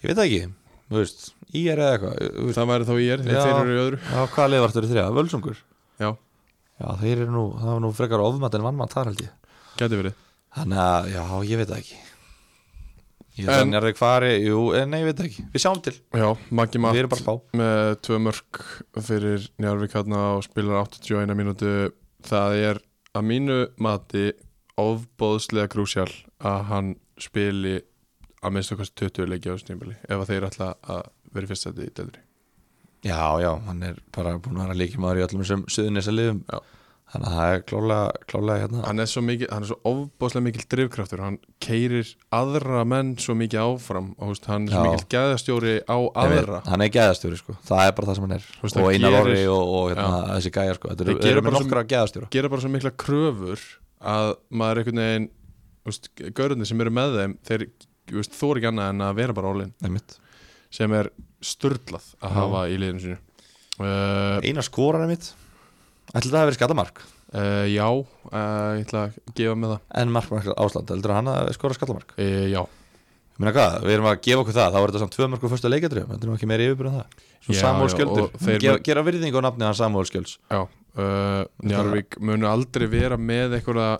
B: Ég veit það ekki, þú veist, í er eða eitthvað eh, þú veist,
A: Það væri þá í er,
B: Já.
A: þeir eru í öðru
B: Já, hvaða lið vartur í þriða, Völsungur
A: Já,
B: Já, þeir eru nú, það var nú frekar ofmat en vannmat þar held ég
A: gæti verið
B: Þannig að, já, ég veit það ekki Ég veit
A: En-
B: en... að Njarðvík fari, jú, en nei, ég veit það ekki Við sjáum til,
A: Já, Maggi
B: við
A: Matt
B: erum bara að spá
A: með tvö mörg fyrir Njarvík hérna og spilar 81 mínútu það er að mínu mati ofbóðslega krúsjál að hann spili að minnstu kosti 20 leiki á þessu tímbili ef að þeir ætla að vera í fyrst seti í deildri
B: Já, já, hann er bara búin að vera líkimaður í öllum sem suðunessa liðum
A: Já.
B: Þannig að það er klálega, klálega hérna
A: hann er svo, mikil, hann er svo ofbóðslega mikil drifkraftur hann keirir aðra menn svo mikið áfram og húst, hann er svo
B: Já.
A: mikil gæðastjóri á
B: Ég veit,
A: aðra
B: hann er gæðastjóri sko, það er bara það sem hann er
A: Þú veist,
B: og
A: það
B: Einar
A: gerir-
B: Orri og, og hérna, þessi gæjar sko þetta
A: Þeir
B: eru,
A: gera
B: eru með
A: bara svo-
B: nokkra gæðastjóra
A: gera bara svo mikla kröfur að maður einhvern veginn húst, görðin sem eru með þeim þeir þú er ekki annað en að vera bara ólinn
B: einmitt.
A: sem er störlað að
B: Já.
A: hafa í liðinu sínu uh,
B: Einar skorar einmitt ætli það að vera skallamark
A: Uh, já, uh, ég ætla að gefa með það
B: En markmark Ásland, heldur hann að skora skallamark?
A: uh, Já,
B: Ég meina hvað, við erum að gefa okkur það, þá er þetta samt tvö mörg og fyrsta leikadröfum, heldur hann ekki meira yfirbúin en það Svo
A: Já,
B: Samúl
A: já,
B: Skjöldur,
A: og þeir-
B: gera, gera virðingu á nafni hann Samúl Skjölds
A: já uh, Njarvík munu aldrei vera með einhverja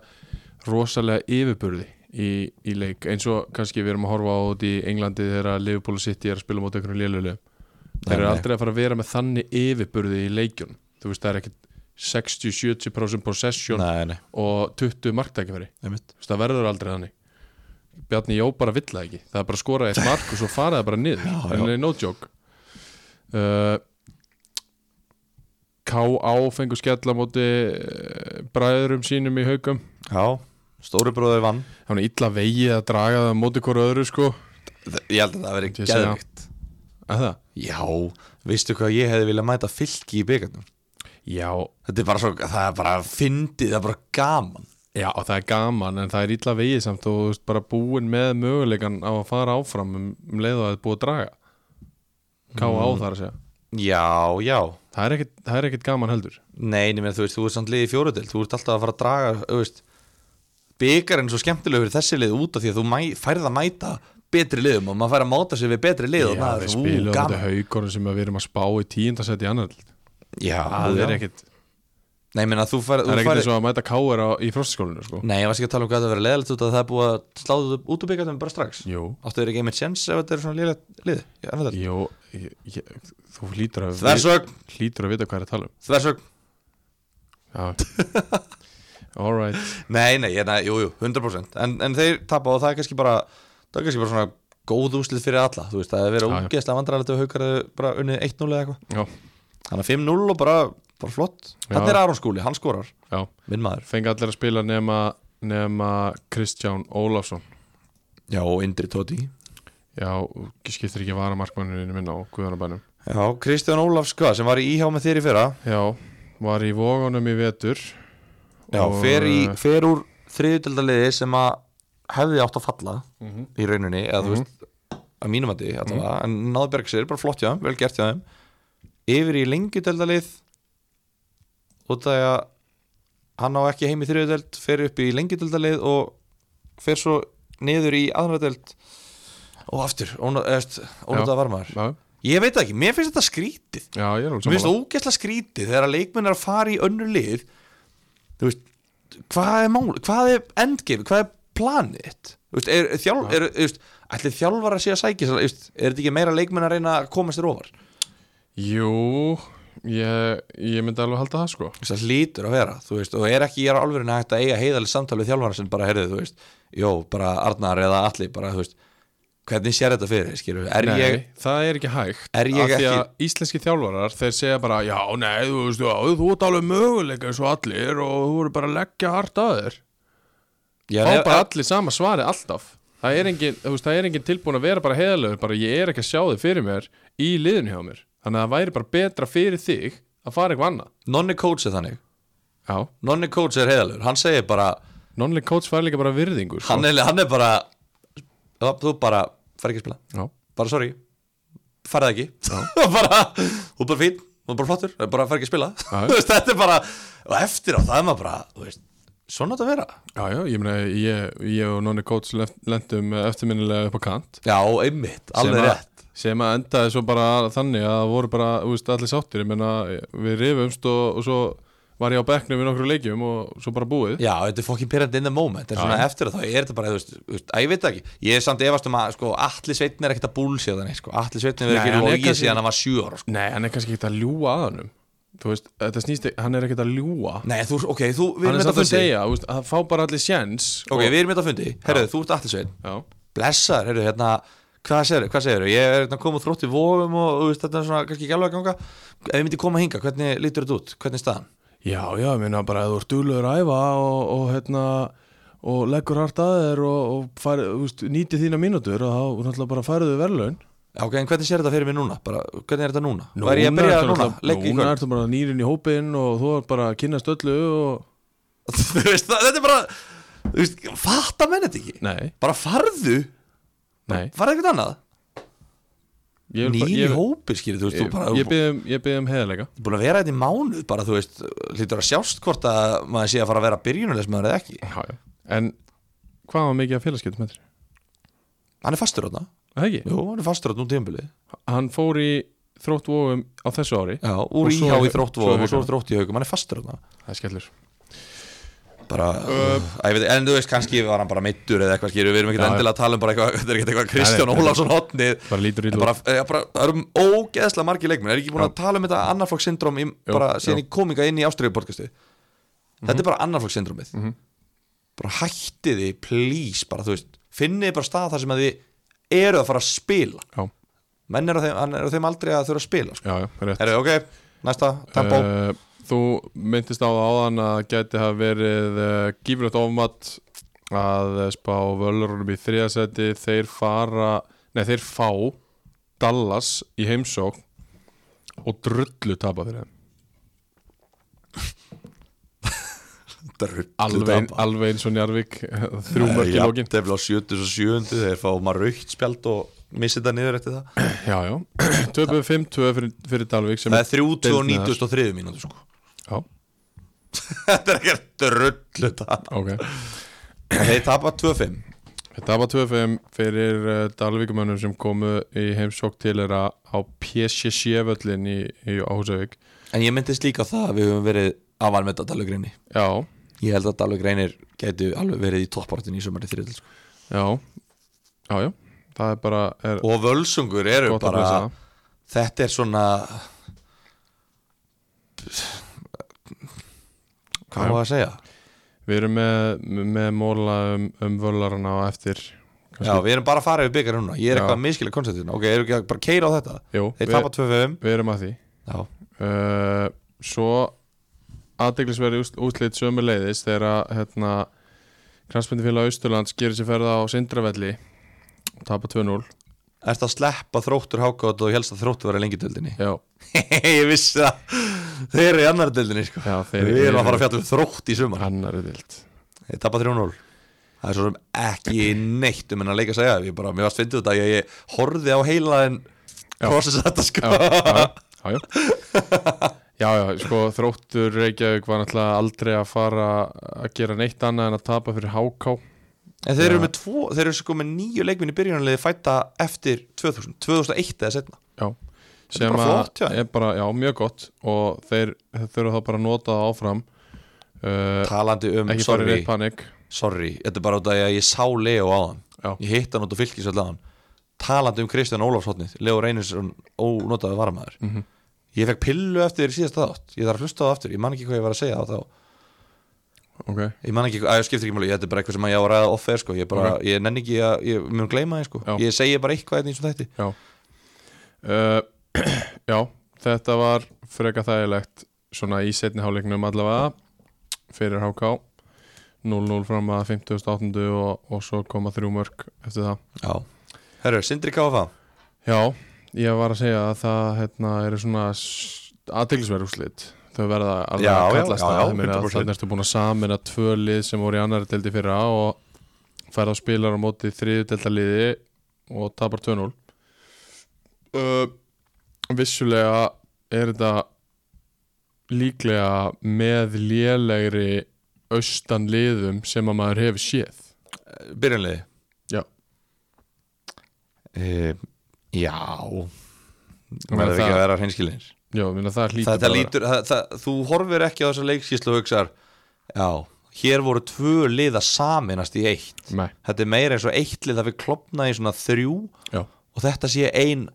A: rosalega yfirburði í, í leik eins og kannski við erum að horfa á út í Englandi þegar Liverpool City er að spila mót einhvern lélulegum Þeir eru
B: nei.
A: aldrei að fara að vera með þannig yfirburði í leikjun Þú veist, það er ekkit 60-70% possession
B: Nei, nei,
A: og 20 marktækifæri
B: einmitt
A: Þú veist, það verður aldrei þannig Bjarni Jó bara vill það ekki það er bara að skora eitt mark og svo fara það bara niður
B: [laughs] Já, já.
A: en það er no joke uh, K.A. fengur skella á móti uh, bræðurum sínum í haugum
B: Já, stóri bróður vann
A: hann er illa vegið að draga það á móti hverju öðru sko
B: Ég held að það veri
A: Ég sé það.
B: geðvikt
A: að það?
B: Já, veistu hvað ég hefði viljað mæta fylki í byggarnum?
A: Já,
B: Þetta er bara svo, það er bara fyndið, það er bara gaman
A: já, og það er gaman en það er illa vegið samt og þú veist bara búin með möguleikan á að fara áfram um, um leið og að það er búið að draga K.A.
B: Mm.
A: þar að segja
B: Já, já
A: það er ekkit, það er ekkit gaman heldur
B: Nei, nema, þú veist, þú ert samt liðið fjóruðild Þú ert alltaf að fara að draga, þú veist Byggarinn er svo skemmtilegur fyrir þessi lið út af því að þú mæ, færð að mæta betri liðum og maður fær að máta sig við betri lið og
A: Já,
B: maður
A: við
B: er svo, ú,
A: spilum þetta
B: gaman
A: haugur sem við erum að spá í tíundasett í annar
B: Já,
A: það
B: já.
A: er ekkit
B: Nei, ég meina, þú færð
A: það er
B: þú
A: ekkit
B: færð-
A: eins og að mæta káir í frostaskólinu sko.
B: Nei, ég var ekki að tala um hvað það verið leðalegt út að það er búið að sláðu upp út úr byggarnum bara strax
A: jú,
B: Áttu þeir ekki einmitt sjens ef þetta er svona liðlegt lið Já, en þetta-
A: jú ég, ég, þú hlýtur að, við,
B: Þversögn,
A: hlýtur að vita hvað er að tala
B: þversögn
A: um já
B: [laughs]
A: alright
B: Nei, nei, hérna, jú, jú, 100% En, en þeir tapa og það er kannski bara Það er kannski bara svona góð úslið fyrir alla Þú veist, það er verið
A: Já, já.
B: ógeðslega vandrarlegt ef haukar hefðu bara unnið 1-0 eða eitthvað
A: já,
B: Þannig að 5-0 og bara, bara flott
A: Já.
B: Þannig er Aron Skúli, hann skorar,
A: já,
B: minn maður
A: fengi allir að spila nema nema Kristján Ólafsson
B: Já, og Indri Tóti
A: já, ég skiptir ekki vara markmanninu minna á Guðanabænum
B: Já, Kristján Ólafs, hvað, sem var í íhjá með þér í fyrra
A: já, var í vóganum í vetur
B: Já,
A: Og-
B: fer, í, fer úr þriðutildaliði sem að hefði átt að falla
A: Mhm.
B: í rauninni eða þú veist, að mínum að því mm -hmm. en náðu berg sér, bara flott hjá þeim, vel gert hjá þeim yfir í lengjutildalið út af því að hann á ekki heim í þriðutild fer upp í lengjutildalið og fer svo niður í aðnarutild og aftur, ónútað varmaður
A: já,
B: ég veit það ekki, mér finnst þetta skrítið
A: já, ég er alveg
B: Mér finnst
A: sammála.
B: það ógæsla skrítið þegar að leikmenn er að fara í önnur lið Þú veist, hvað er mál, hvað er endgame, hvað er planið Þú veist, er, er, þjál,
A: Já.
B: er, þú veist, ætli þjálfar að sé að sækja þessa- þú veist, Er þetta ekki meira leikmenn að reyna að komast þér ofar
A: Jú, ég, ég myndi alveg halda það sko
B: Þú veist, Það lítur að vera, þú veist, og er ekki ég er alveg að hægt að eiga heiðaleg samtal við þjálfara sem bara heyrðu, þú veist Jó, bara Arnar eða Atli, bara, þú veist Hvernig sér þetta fyrir, skilur, er
A: nei,
B: ég
A: Það er ekki hægt
B: Er ég
A: af því að
B: ekki-
A: Íslenski þjálfarar, þeir segja bara Já, nei, þú veist, já, þú ert alveg möguleika eins og allir og þú eru bara að leggja hart að þér
B: Já,
A: Fá
B: ef-
A: bara allir sama svari alltaf Það er engin, þú veist, það er engin tilbúin að vera bara heðalegur bara ég er ekki að sjá þig fyrir mér í liðinu hjá mér Þannig að það væri bara betra fyrir þig að fara eitthvað annað
B: Nonni Coates er þannig
A: Já,
B: Nonni Coates er heiðalegur, hann segir bara
A: non-league coach fær líka bara virðingu sko.
B: hann er, hann er bara Já, þú bara fær ekki að spila
A: Já,
B: bara sorry, færði ekki [laughs] og bara, þú er bara fín þú er bara flottur, þú bara fær ekki að spila
A: Já.
B: [laughs] Þú veist, þetta er bara, og eftir á það er maður bara þú veist, svona átt að vera
A: já, já ég meina ég, ég og non-league coach lent- lentum eftirminnilega upp á kant
B: já, einmitt,
A: sem
B: alveg
A: að-
B: rétt
A: sem að endaði svo bara þannig að það voru bara þú veist, allir sáttir ég menna við rifumst og, og svo var ég á bekknum í nokkru leikjum og svo bara búið
B: já, þetta er fokkin pyrrandi in the moment en
A: Já.
B: svona eftir á það er þetta bara, þú veist, þú veist að ég veit það ekki, ég er samt efast um að sko, allir sveitin er ekkert að búlsja þannig sko. allir sveitin er
A: Nei, hann
B: ekki
A: er
B: logið
A: kannski-
B: síðan hann var sjö ára sko.
A: nei, hann er kannski ekkert að ljúa að honum þú veist, þetta snýst ekki, hann er ekkert að ljúa
B: nei, þú, ok, þú, við
A: hann
B: erum
A: er samt
B: þetta að
A: að
B: fundi
A: segja, þú veist, að það fá bara allir sjens
B: ok, við erum þetta að fundi, herðu, þú ert allir sveit
A: já,
B: blessaður, heyrðu, hérna hvað segirðu, hvað segirðu, ég er hérna komið þrótt í vóum og þú veist, þetta er svona kannski ekki alveg að ganga ef ég myndi koma hinga, hvernig lítur þetta út, hvernig er staðan
A: já, já, ég meina bara að þú ert duglegur að æfa og, og hérna og leggur hart að þér og, og fær, þú veist, nýti þína mínútur og þá náttúrulega bara færðu verðlaun
B: Já, ok, en hvernig sér þetta fyrir mig núna, bara, hvernig er þetta núna
A: Núna
B: hvað er ég að byrja
A: ertu
B: núna,
A: náttúrulega-
B: leik í
A: Núna
B: kvöld
A: ertu bara nýrin í hópin og þú er bara að kynnast öllu og...
B: [laughs] Þú veist, það- þetta er bara, þú veist, fatta menn þetta ekki
A: Nei,
B: bara farðu,
A: nei
B: farðu eitthvað annað
A: Ég vil bara-
B: nýjum
A: ég-
B: í hópi skilur þú veist, þú bara,
A: Ég- Ég byrði um, ég bið um heðalega
B: þú er búin að vera þetta í mánuð bara, þú veist, hlýtur að sjást hvort að maður sé að fara að vera byrjunulegs maður eða ekki
A: En hvað var mikið að félagskiptum þetta?
B: hann er fastur átna,
A: Það ekki?
B: jú, hann er fastur um átna úr tíðanbili
A: Hann fór í þróttvóum á þessu ári
B: já,
A: Og
B: úr
A: svo-
B: íhá í
A: svo-
B: þróttvóðum og svo úr þrótt sko. í haugum, hann er fastur átna
A: Það er skellur
B: bara, að, ég veit, en þú veist, kannski var hann bara meittur eða eitthvað skilur, við erum ekkert
A: Já, já.
B: endilega að tala um bara eitthvað, [laughs] þetta er ekkert eitthvað Kristján
A: Nei, nei,
B: Ólafsson hotnið
A: Bara lítur í
B: En bara, eh, bara, það eru ógeðslega margir leikmenn er ekki búin
A: Já.
B: að tala um þetta annarflokkssyndrom í-
A: Jú,
B: bara síðan
A: jú.
B: ég kom kominga inn í ástriðu podcasti
A: Mhm.
B: þetta er bara annarflokkssyndromið bara hættið þið, please bara, þú veist, finnið bara stað þar sem að þið eru að fara að spila
A: Já,
B: menn eru á þeim, hann er á þeim aldrei að þurfa að spila sko.
A: já, já, rétt
B: Heru, ok, næsta, tempo
A: Eh, Þú myndist á það áðan að gæti hafa verið uh, gífurlegt ofmatt að eh, spá völlurunum í þriðasæti þeir fara, nei þeir fá Dallas í heimsókn og drullu tapa fyrir þeim
B: Drullu
A: alveg,
B: tapa.
A: alveg eins og Njarvík þrjú mörk í
B: Eh,
A: lókin
B: jafntefli á 77 þeir fá maður raukt spjald og missi þetta niður eftir það
A: Já, já, [clears throat] 2-5-2 fyrir, fyrir Dalvík sem
B: það er 30 og
A: deildin er-
B: 93 mínútu sko. [laughs]
A: Já,
B: þetta er ekkert drullu tap
A: ok
B: þeir tapa 2-5
A: Þetta var 2-5 fyrir uh, Dalvíkumönnum sem komu í heimsókn til þeirra á PSG völlin í, í Áhusavík
B: En ég myndist líka á það að við höfum verið afan með Dalugreini
A: Já,
B: Ég held að Dalugreinir gætu alveg verið í toppartin í sömari þriðil sko.
A: já, já, já Það er bara er
B: Og völsungur eru
A: gott að
B: bara
A: lesa
B: Þetta er svona Hvað var að segja?
A: Við erum með, með móla um, um völarana á eftir
B: Já, við erum bara að fara yfir byggar núna Ég er
A: Já.
B: eitthvað að miskilega konceptina Ok, erum ekki að bara keira á þetta?
A: Jú,
B: Þeir
A: við,
B: tapa 2-5
A: við erum að því
B: Já,
A: uh, Svo aðdeglisverði útlit sömu leiðis þegar að, hérna Kransmyndifélag Austurlands gerir sér ferða á Sindravelli og tapa 2-0
B: Ertu að sleppa þróttur hákátt og helst að þróttur vera lengi dildinni?
A: [laughs] Já,
B: ég vissi það Þeir eru í annar dildinni sko.
A: já þeir
B: Við erum að fara að fjalla um þrótt í sömar
A: Annar dild
B: Ég tappa 3-0 Það er svo sem ekki neitt um hennar leik að segja Ég bara, mér varst fyndið út að ég, ég horfði á heila en
A: Já.
B: process þetta sko
A: já, já, já, já. já, já, sko þróttur Reykjavík var náttúrulega aldrei að fara að gera neitt annað en að tapa fyrir HK
B: En þeir eru
A: Já.
B: með tvo, þeir eru sko með nýju leikminni byrjunarlega fætta eftir 2000, 2001 eða setna
A: já,
B: Þetta er bara
A: að-
B: flott hjá þeim.
A: er bara, já, mjög gott og þeir þeir þurfa þá bara að nota það áfram uh,
B: Talandi um,
A: ekki fara í
B: sorry,
A: neitt panik
B: sorry Þetta er bara út af því að ég sá Leo á hann
A: Já.
B: Ég hitt hann út á fylgisöld á hann Talandi um Kristján Ólafshotnið Leo Reynisson ónotaði varmaður
A: Mhm.
B: Ég fekk pillu eftir síðast aðátt Ég þarf að hlusta á það aftur, ég man ekki hvað ég var að segja á þá
A: ok,
B: Ég man ekki, að ég skiptir ekki máli, þetta er bara eitthvað sem ég á að ræða off-air sko, ég bara, ég nenni ekki að, ég mun gleyma það sko,
A: Já.
B: ég segi bara eitthvað hérna einn eins og þetta
A: já uh, [clears throat] já, þetta var freka þægilegt svona í setni hálfleiknum allavega fyrir HK 0-0 fram að 58. og, og svo koma þrjú mörg eftir það
B: Já. Herru, Sindri KFA,
A: Já, ég var að segja að það hérna, eru svona aðteglisverð úrslit þau verða alveg
B: Já,
A: að
B: já,
A: kallast
B: já,
A: það
B: já,
A: Ég meina,
B: 100%.
A: þannig ertu búin að samina tvö lið sem voru í annari deldi fyrra og færð á spilar á móti þriðu delta liði og tapar 2-0 uh, Vissulega er þetta líklega með lélegri austan liðum sem að maður hefur séð
B: byrjanlegi.
A: Já.
B: E, já.
A: meina, Eh,
B: Það verður ekki
A: það-
B: að vera hreinskilinir.
A: Já, ég meina, það hlýtur
B: Þetta
A: bara-
B: lítur, það, það, þú horfir ekki á þessa leikskíslu og hugsar, já, hér voru tvö lið að saminast í eitt.
A: Nei,
B: Þetta er meira eins og eitt lið að við klopna í svona þrjú
A: já,
B: og þetta sé ein,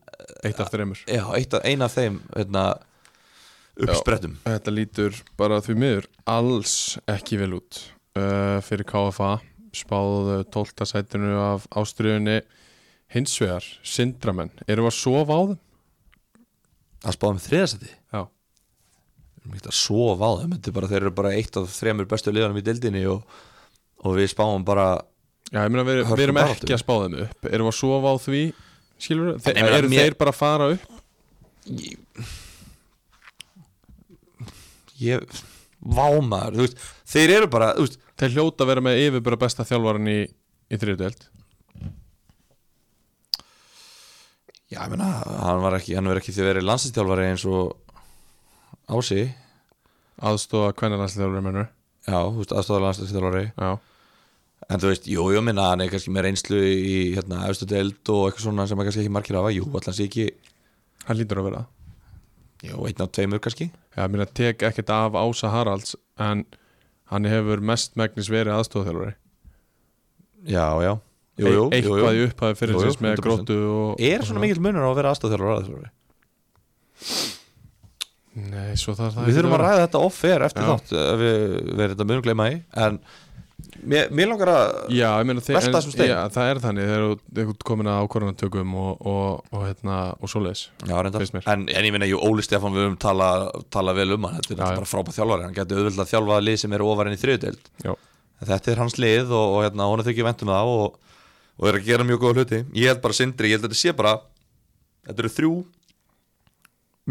A: eitt af þreymur
B: já, eitt, af- ein af þeim, hérna, uppsprettum.
A: Þetta lítur bara því miður alls ekki vel út uh, fyrir KFA spáðu 12. sætinu af ástriðunni hins vegar, syndramenn, erum við að sofa á þeim?
B: að spáðum þriðarsæti
A: Já,
B: Við getum að sofa á þeim, þetta er bara, þeir eru bara eitt af þremur bestu liðanum í deildinni og, og við spáum bara
A: Já ég meina við, við
B: Hörku
A: erum
B: baráttu.
A: ekki að spá þeim upp erum við að sofa á því, skilur við? Þe
B: Ég meina,
A: eru
B: mér-
A: þeir bara að fara upp?
B: ég, vámaður, þú veist þeir eru bara, þú veist,
A: Þeir hljóta að vera með yfir bara besta þjálfaran í, í þriðdelt
B: Já, ég meina, hann var ekki, hann verið ekki því að verið landslistjálfari eins og Ási,
A: aðstofa hvernig landsliðarverður mennur
B: já, þú veist, aðstofar landslistjálfari
A: já,
B: En þú veist, jú, ég minna, hann er kannski með reynslu í, hérna, efstu deild og eitthvað svona sem er kannski ekki margir hafa, jú, allan sé ekki,
A: hann lítur að vera það.
B: jú, einn af tveimur kannski
A: já, mér að tek ekkert af Ása Haralds en hann hefur mest megnis verið aðstofþjálfari
B: Já, já, jú, jú, jú,
A: eitthvað
B: jú.
A: í upphæði
B: Jú,
A: fyrir
B: jú,
A: sinns með
B: 100%.
A: gróttu og,
B: Er svona mikill munur á að vera aðstofþjálfari og aðstofþjálfari?
A: nei, svo þarf það
B: Við þurfum að
A: vera.
B: ræða þetta off-air eftir
A: Já.
B: þátt ef við verðum þetta munum gleyma í en mér, mér langar að
A: Já, ég meina þið,
B: Velta þessum steini.
A: já, það er þannig þegar þú- þegar þú ert komin að ákvarðanatökum og, og, og, hérna, og svoleiðis
B: Já, reyndar
A: Finnst mér.
B: en, en ég minna, jú, Óli Stefán við höfum tala, tala vel um hann þetta
A: Já,
B: er
A: já.
B: náttúrulega bara frábæð þjálfari, hann getur auðvitað að þjálfa lið sem eru ofar enn í þriðudeld
A: Já.
B: Þetta er hans lið og, og hérna, hún er þykir ventum það og, og er að gera mjög góða hluti Ég held bara sindri, ég held að þetta sé bara þetta eru þrjú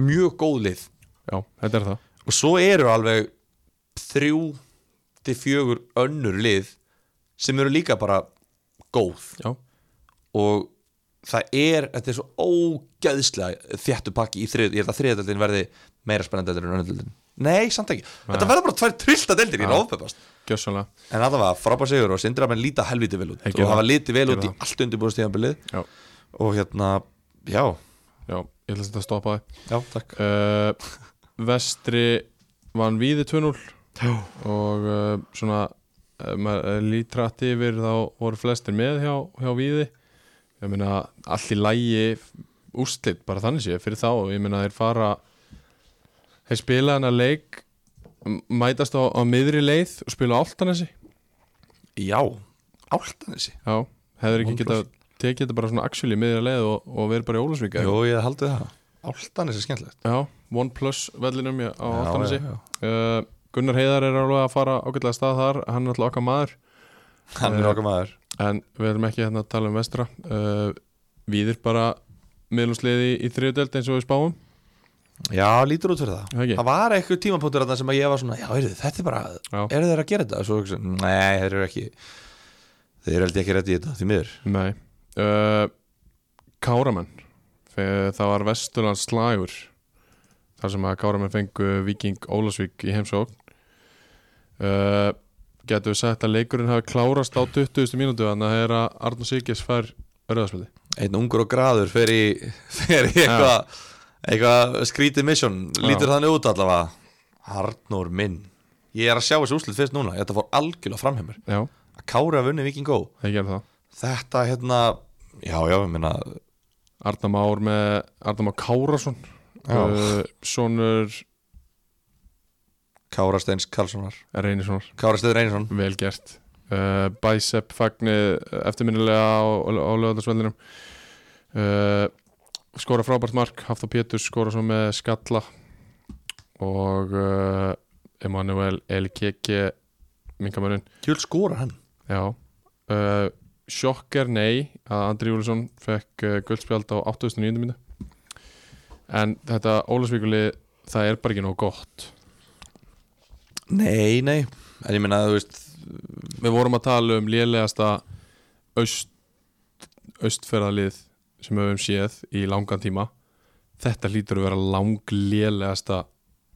B: mjög góð lið
A: Já, þetta er það
B: og svo eru alveg þrjú til fjögur önnur lið sem eru líka bara góð
A: Já,
B: og það er, þetta er svo ógæðslega þjættu pakki í þrið, ég held að þriðadeldin verði meira spennandi heldur en önnudeldin Nei, samt ekki, þetta verða bara tvær trillta deldir, ég er
A: Ja.
B: ofpeppast
A: gjössalega
B: En það var frábær sigur og sindri að menn líta helviti vel út
A: Þeir
B: og
A: gera
B: hafa
A: það.
B: litið vel
A: Gera
B: út í
A: það.
B: allt undirbúðstíðanbilið
A: Já,
B: og hérna, já,
A: já, ég ætla að þetta stoppa þig
B: já, takk
A: uh, Vestri vann Víði 2-0
B: Já,
A: og uh, svona ef maður lítrætt yfir þá voru flestir með hjá, hjá Víði ég meina allt í lægi úrslit bara þannig sé fyrir þá ég meina þeir fara þeir spila hana leik m- mætast á, á miðri leið og spila áltanesi
B: já áltanessi
A: já, hefur ekki
B: 100%.
A: geta tekið þetta bara svona axil í miðri leið og, og verið bara í Ólusvíka
B: Jó, ég haldið það, áltanessi er skemmtilegt
A: já, one plus vellinum já, á
B: Já,
A: áltanesi
B: já, já.
A: uh, Gunnar Heiðar er alveg að fara ágætlega af stað þar hann er alltaf okkar maður
B: Hann er okkar maður
A: En við erum ekki hérna að tala um vestra uh, Við erum bara miðlumsliði í þriðdelt eins og við spáum
B: Já, lítur út fyrir það
A: Það ekki?
B: Það var eitthvað tímapunktur þarna sem að ég var svona Já, heyrðu, þetta er bara,
A: Já.
B: eru þeir að gera þetta? Svo, hugsa ég, nei, þeir eru ekki Þeir eru held ég ekki rétt í þetta, því miður
A: Nei uh, Káramenn Þegar Það var vesturlands slagur Þar sem að Káramenn fengu Viking Ólafsvík í heimsókn uh, Getum við sagt að leikurinn hafi klárast á 20. mínútu Þannig að það er að Arnur Sigges fær Örðarspöldi
B: Einn ungur og graður fer í, [laughs] fer í eitthvað eitthvað skrítið mission Lítur þannig út allavega Arnór minn Ég er að sjá þessi úslit fyrst núna Þetta fór algjörlega framheimur
A: Já,
B: Að kára vunni Vikingó
A: það gerir það
B: Þetta hérna, já, já, ég meina
A: Arnar Már með Arnar Már Kárasson
B: Já.
A: uh, Sónur
B: Kára Steins Karlssonar
A: Reynissonar
B: Kára Steins Reynisson
A: Vel gert uh, Bicep fagnið eftirminnilega á, á lögðarsvellinum uh, Skora frábært mark Hafþór Pétur skora svo með skalla og uh, Emanuel Elkeke mingamörun
B: Kjöld skóra hann
A: Já uh, Sjokker nei að Andri Júlusson fekk uh, guldspjald á 8.900 mínu en þetta Ólasvíkuli það er bara ekki nóg gott
B: Nei, nei, en ég meina, þú veist
A: Við vorum að tala um lélegasta aust, austferðalið sem við höfum séð í langan tíma Þetta hlýtur að vera lang lélegasta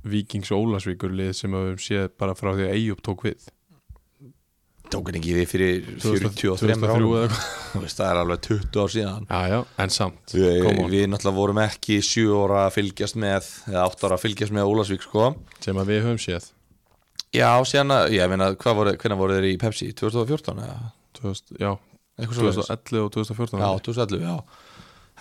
A: Víkings og Ólasvíkur lið sem við höfum séð bara frá því að Eyjup tók við
B: tók hann ekki við fyrir 43
A: 2003
B: árum
A: eða eitthvað
B: Þú veist, það er alveg 20 ár síðan
A: Já, já, en samt
B: við,
A: Come on.
B: við náttúrulega vorum ekki 7 ára að fylgjast með eða 8 ára að fylgjast með Ólasvík sko
A: sem að við höfum séð
B: já, síðan að, ég meina, hvað voru, hvernig voru þeir í Pepsi 2014 eða
A: 2000, Já,
B: eitthvað svo
A: 2011 og 2014
B: já, 2011, já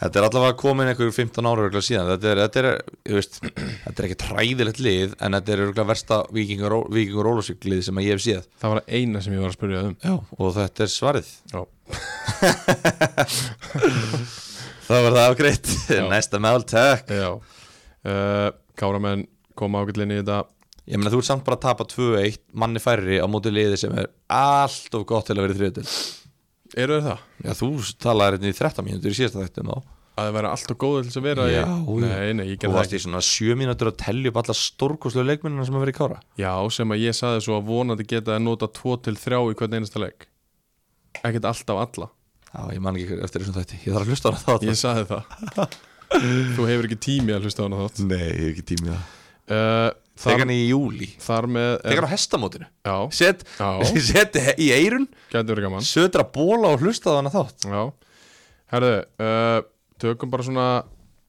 B: þetta er allavega komin einhver 15 ára örugglega síðan þetta er, þetta er, ég veist þetta er ekki træðilegt lið, en þetta er örugglega versta vikingur, vikingur Ólasvík lið sem að ég hef séð
A: Það var eina sem ég var að spyrja um
B: já, og þetta er svarið
A: Já,
B: það var það afgreitt,
A: Já.
B: [laughs] næsta mál, takk
A: já. Uh, Káramenn koma ágætlinni í þetta
B: Ég meina þú ert samt bara að tapa 2-1 manni færri á móti liði sem er allt of gott til að vera þriðutil
A: Eru þeir það?
B: Já þú talaði hérna í 13 mínútur í síðasta þættum þá
A: að það væri alltaf góður til þess að vera
B: Já,
A: í...
B: já.
A: Nei, nei, ég
B: og
A: gerði það
B: varst
A: ekki
B: í svona 7 mínútur að tellja upp alla stórkoslu leikmennina sem að vera í kára
A: Já, sem að ég saði svo að vonandi geta að nota 2 til 3 í hvern einasta leik Ekkert alltaf alla
B: Já, ég man ekki hver- eftir þessum þætti Ég þarf að hlusta á hana þátt
A: Ég sagði það
B: [laughs]
A: Þú hefur ekki tími að hlusta á hana þátt
B: Nei, ég hef ekki tími í það
A: uh, þar,
B: Þegar hann í júli
A: þar með er,
B: Þegar á hestamótinu
A: Já,
B: Sett
A: Já.
B: [laughs] set í eirun
A: gæti verið gaman
B: Södra bóla og hlusta á hana þátt
A: Já, herðu uh, Tökum bara svona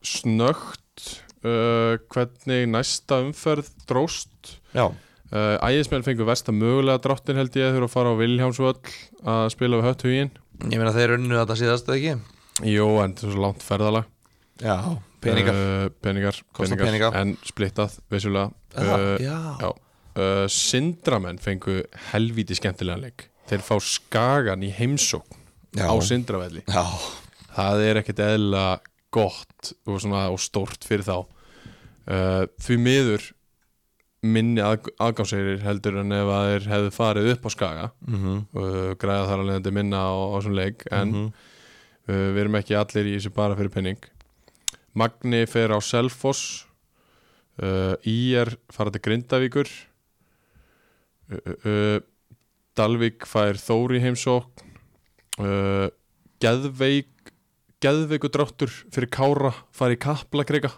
A: snögt uh, Hvernig næsta umferð dróst
B: Já
A: uh, Ægismenn fengur versta mögulega dráttin held ég Þurfa að fara á Vilhjámsvöll að spila við hötthugin
B: Ég meina þeir unnu þetta síðast eða ekki
A: Jó, en þetta er svo langt ferðalag
B: Já, Eh, peningar
A: uh, peningar,
B: Kostar
A: peningar,
B: peninga.
A: En splittað, vissulega
B: uh,
A: uh,
B: Já,
A: Já uh, Sindramenn fengu helvíti skemmtilega leik Þeir fá skagan í heimsókn
B: já,
A: á Sindravelli
B: já.
A: Það er ekkert eðla gott og, svona, og stórt fyrir þá uh, Því miður minni að, aðgámseirir heldur en ef að þeir hefðu farið upp á skaga
B: Mm -hmm.
A: uh, græða þar alveg þetta minna á, á svona leik en
B: Mhm.
A: uh, við erum ekki allir í þessu bara fyrir penning Magni fer á Selfoss uh, IR fara til Grindavíkur uh, uh, uh, Dalvik fær Þóri heimsókn uh, Geðveik Geðveiku dráttur fyrir Kára fara í Kaplakreika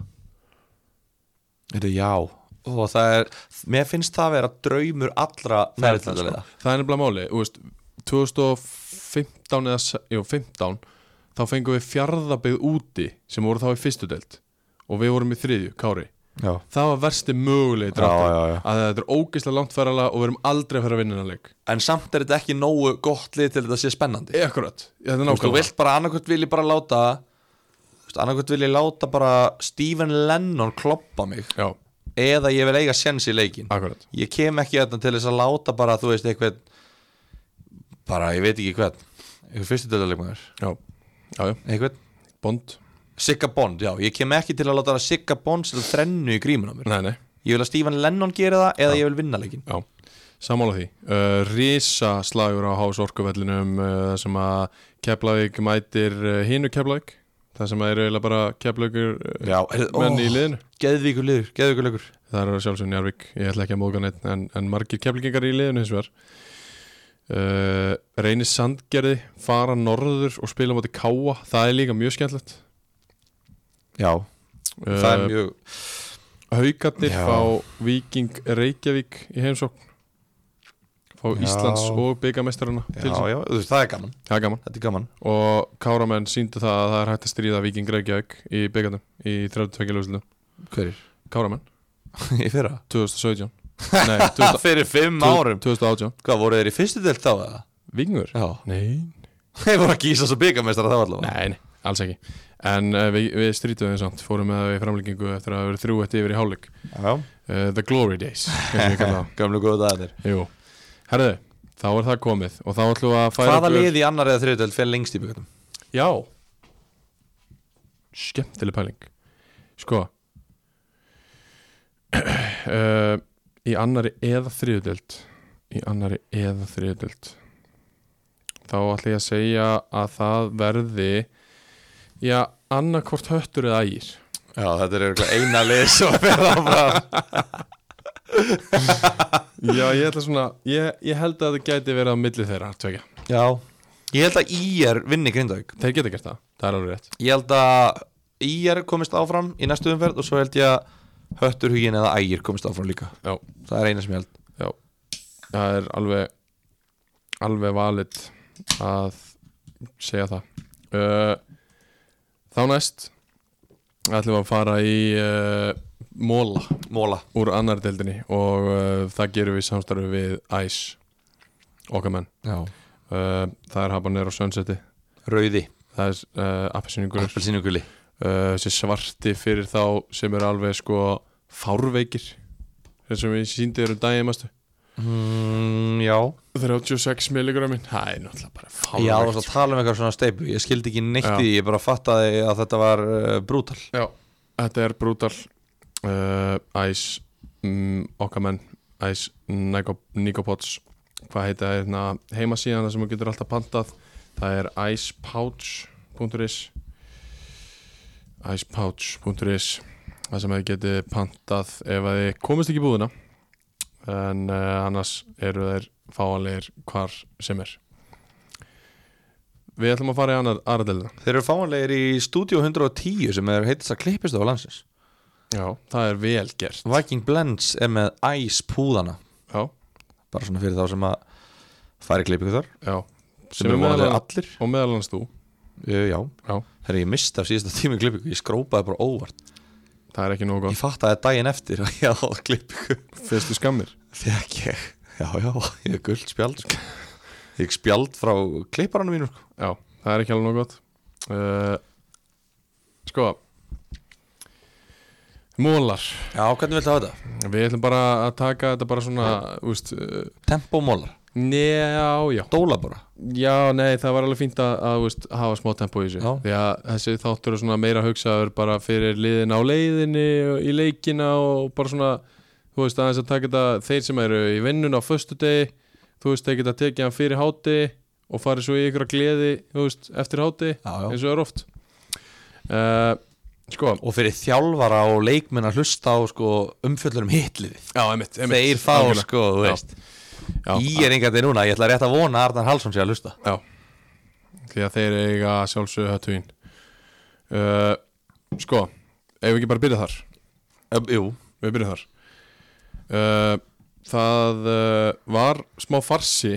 B: Þetta já Og það er, mér finnst það að vera draumur allra ferðlega
A: það er nefnilega máli þú veist, 2015 eða se- jú, 15 þá fengum við fjardabegð úti sem voru þá í fyrstu deild og við vorum í þriðju, Kári
B: sko. Já,
A: það var versti mögulegi
B: já,
A: dráttur
B: já, já
A: að þetta er ógeðslega langt ferðala og við erum aldrei að fara að vinna hennar leik
B: En samt er þetta ekki nógu gott lið til þetta sé spennandi
A: Akkurat, þetta er
B: Þú veist, Þú
A: nákvæmlega
B: vilt bara, annarkvæmt vil ég bara láta þú veist, Annarkvæmt vil ég láta bara Stephen Lennon kloppa mig
A: Já,
B: Eða ég vil eiga sens í leikin
A: akkurat
B: Ég kem ekki þetta til þess að láta bara Þú veist, eitthvað Bara, ég veit ekki hvern Eitthvað fyrstu döldarleikmaður
A: Já, já, já,
B: Eitthvað
A: bond
B: Sigga Bond, já, ég kem ekki til að láta Sigga Bond setja þrennu í grímun á mér
A: Nei, nei,
B: Ég vil að Stephen Lennon gera það eða ég vil vinna leikin
A: já Sammála því uh, Risa slagur á Hás Orkuvellinum uh, sem að Keflavík mætir uh, hinu Keflavík Það sem að eru eiginlega bara Keflavíkur uh,
B: Já, er, ó,
A: menn í liðinu
B: geðvíkur liður, geðvíkur leikur
A: það eru sjálfsögum Njarvík, ég ætla ekki að móka neitt en, en margir keflingar í liðinu hins vegar uh, reynir sandgerði fara norður og spila á móti káa, það er líka mjög skemmtilegt
B: Já, það er
A: uh,
B: mjög
A: haukatir
B: Já.
A: fá Viking Reykjavík í heimsókn fá
B: Já.
A: Íslands og byggamestaruna
B: Já,
A: til sín,
B: já, þú veist, það er gaman,
A: það er gaman
B: þetta er gaman
A: og káramenn síndu það að það er hægt að stríða Viking Reykjavík í byggandum í 32 ljóðslu
B: Hverir?
A: káramenn,
B: [laughs] í fyrra
A: 2017
B: [laughs]
A: nei, 2000,
B: Fyrir fimm
A: 2018
B: Hvað, voru þeir í fyrstu delt þá eða?
A: Vikingur?
B: Já
A: nei
B: Þeir voru að gísa svo byggamestara þá allavega
A: Nei, nei, alls ekki En uh, við, við strítum þeim samt, fórum með það í framlengingu eftir að hafa verið þrjú eftir yfir í hálfleik
B: Já,
A: uh, The Glory Days eins og ég kalla
B: gamlu góðu dagarnir
A: það. Jú, herðu, þá er það komið og þá ætlum við að færa
B: Hvaða lið í annar eða þriðdelt fyrir lengst í byggandum?
A: Já Skemmtileg pæling Sko [clears throat] uh, Í annari eða þriðudeld Í annari eða þriðudeld Þá ætla ég að segja að það verði Já, annarkvort höttur eða ægir
B: Já, þetta er örugglega eina lið sem að vera áfram
A: Já, ég ætla svona ég, ég held að það gæti verið á milli þeirra tvekja.
B: [laughs] Já Ég held að IR vinni Grindavík
A: Þeir geta gert það, það er alveg rétt
B: Ég held að IR komist áfram í næstu umferð og svo held ég að Höttur hugin eða ægir komist áfram líka
A: Já.
B: Það er eina sem ég held
A: Það er alveg alveg valid að segja það uh, Þá næst ætlum við að fara í uh, móla
B: Móla
A: úr annar deildinni og uh, það gerum við í samstarfi við Æs okkar menn
B: Já.
A: uh, Það er habanir á Sunseti
B: Rauði
A: það er uh, appelsínugurur
B: Appelsínuguli
A: uh, þessi svarti fyrir þá sem eru alveg sko fárveikir þessum við síndi þér um daginn mastu
B: mm, Já
A: 36 milligrammin, það er náttúrulega bara
B: Ég
A: fárveikt
B: áðast að tala um eitthvað svona steipu Ég skildi ekki neitt
A: Já.
B: í, því, ég bara fattaði að þetta var uh, brútal
A: Já, þetta er brútal uh, Æs mm, okkar menn, Æs Nico- Nicopods, hvað heita það hérna, heimasíðan þar sem þú getur alltaf pantað það er icepouch.is icepouch.is það sem þið getið pantað ef að þið komist ekki í búðina en uh, annars eru þeir fáanlegir hvar sem er Við ætlum að fara í annar aðradelina
B: Þeir eru fáanlegir í Studio 110 sem er heitast að klippistofa landsins
A: Já, það er vel gert
B: Viking Blends er með Ice púðana
A: Já,
B: bara svona fyrir þá sem að fara í klippingu þar
A: já
B: sem eru vonandi
A: meðal-
B: allir
A: Og meðalans þú
B: uh, Já,
A: Já,
B: þegar ég mista af síðasta tími klippingu ég skrópaði bara óvart
A: það er ekki nógu
B: Ég
A: gott
B: fattaði daginn eftir að ég á klippingu
A: Fyrstu skammir
B: Þegar ég, já já, ég er guld spjald sko. Ég er spjald frá klipparanum mínum sko.
A: Já, það er ekki alveg nóg gott uh, Sko Mólar
B: Já, hvernig vil það hafa þetta?
A: Við ætlum bara að taka þetta bara svona úst, uh,
B: Tempómólar,
A: Já, já
B: dóla bara
A: Já, nei, það var alveg fínt að, að veist, hafa smá tempo í þessu
B: Já.
A: Því að þessi þáttur er svona meira hugsaður bara fyrir liðin á leiðinni og í leikina og bara svona þú veist, aðeins að taka þetta þeir sem eru í vinnun á föstudegi þú veist, þeir geta tekið hann fyrir háti og farið svo í ykkur að gleði þú veist, eftir háti,
B: Já, já.
A: eins og er oft uh, Sko
B: Og fyrir þjálfara og leikmenn að hlusta á sko, umfjöllur um hitliðið
A: Já, einmitt,
B: Þeir fá
A: Algjörlega.
B: sko, þú
A: Já.
B: veist
A: Já,
B: Í er einhvern veginn núna, ég ætla rétt að vona að Arnar Hallsson sé að hlusta
A: Já Því að þeir eiga sjálfsögðu höttuðin uh, Sko Ef við ekki bara byrja þar
B: um, Jú,
A: Við byrjum þar uh, Það uh, var smá farsi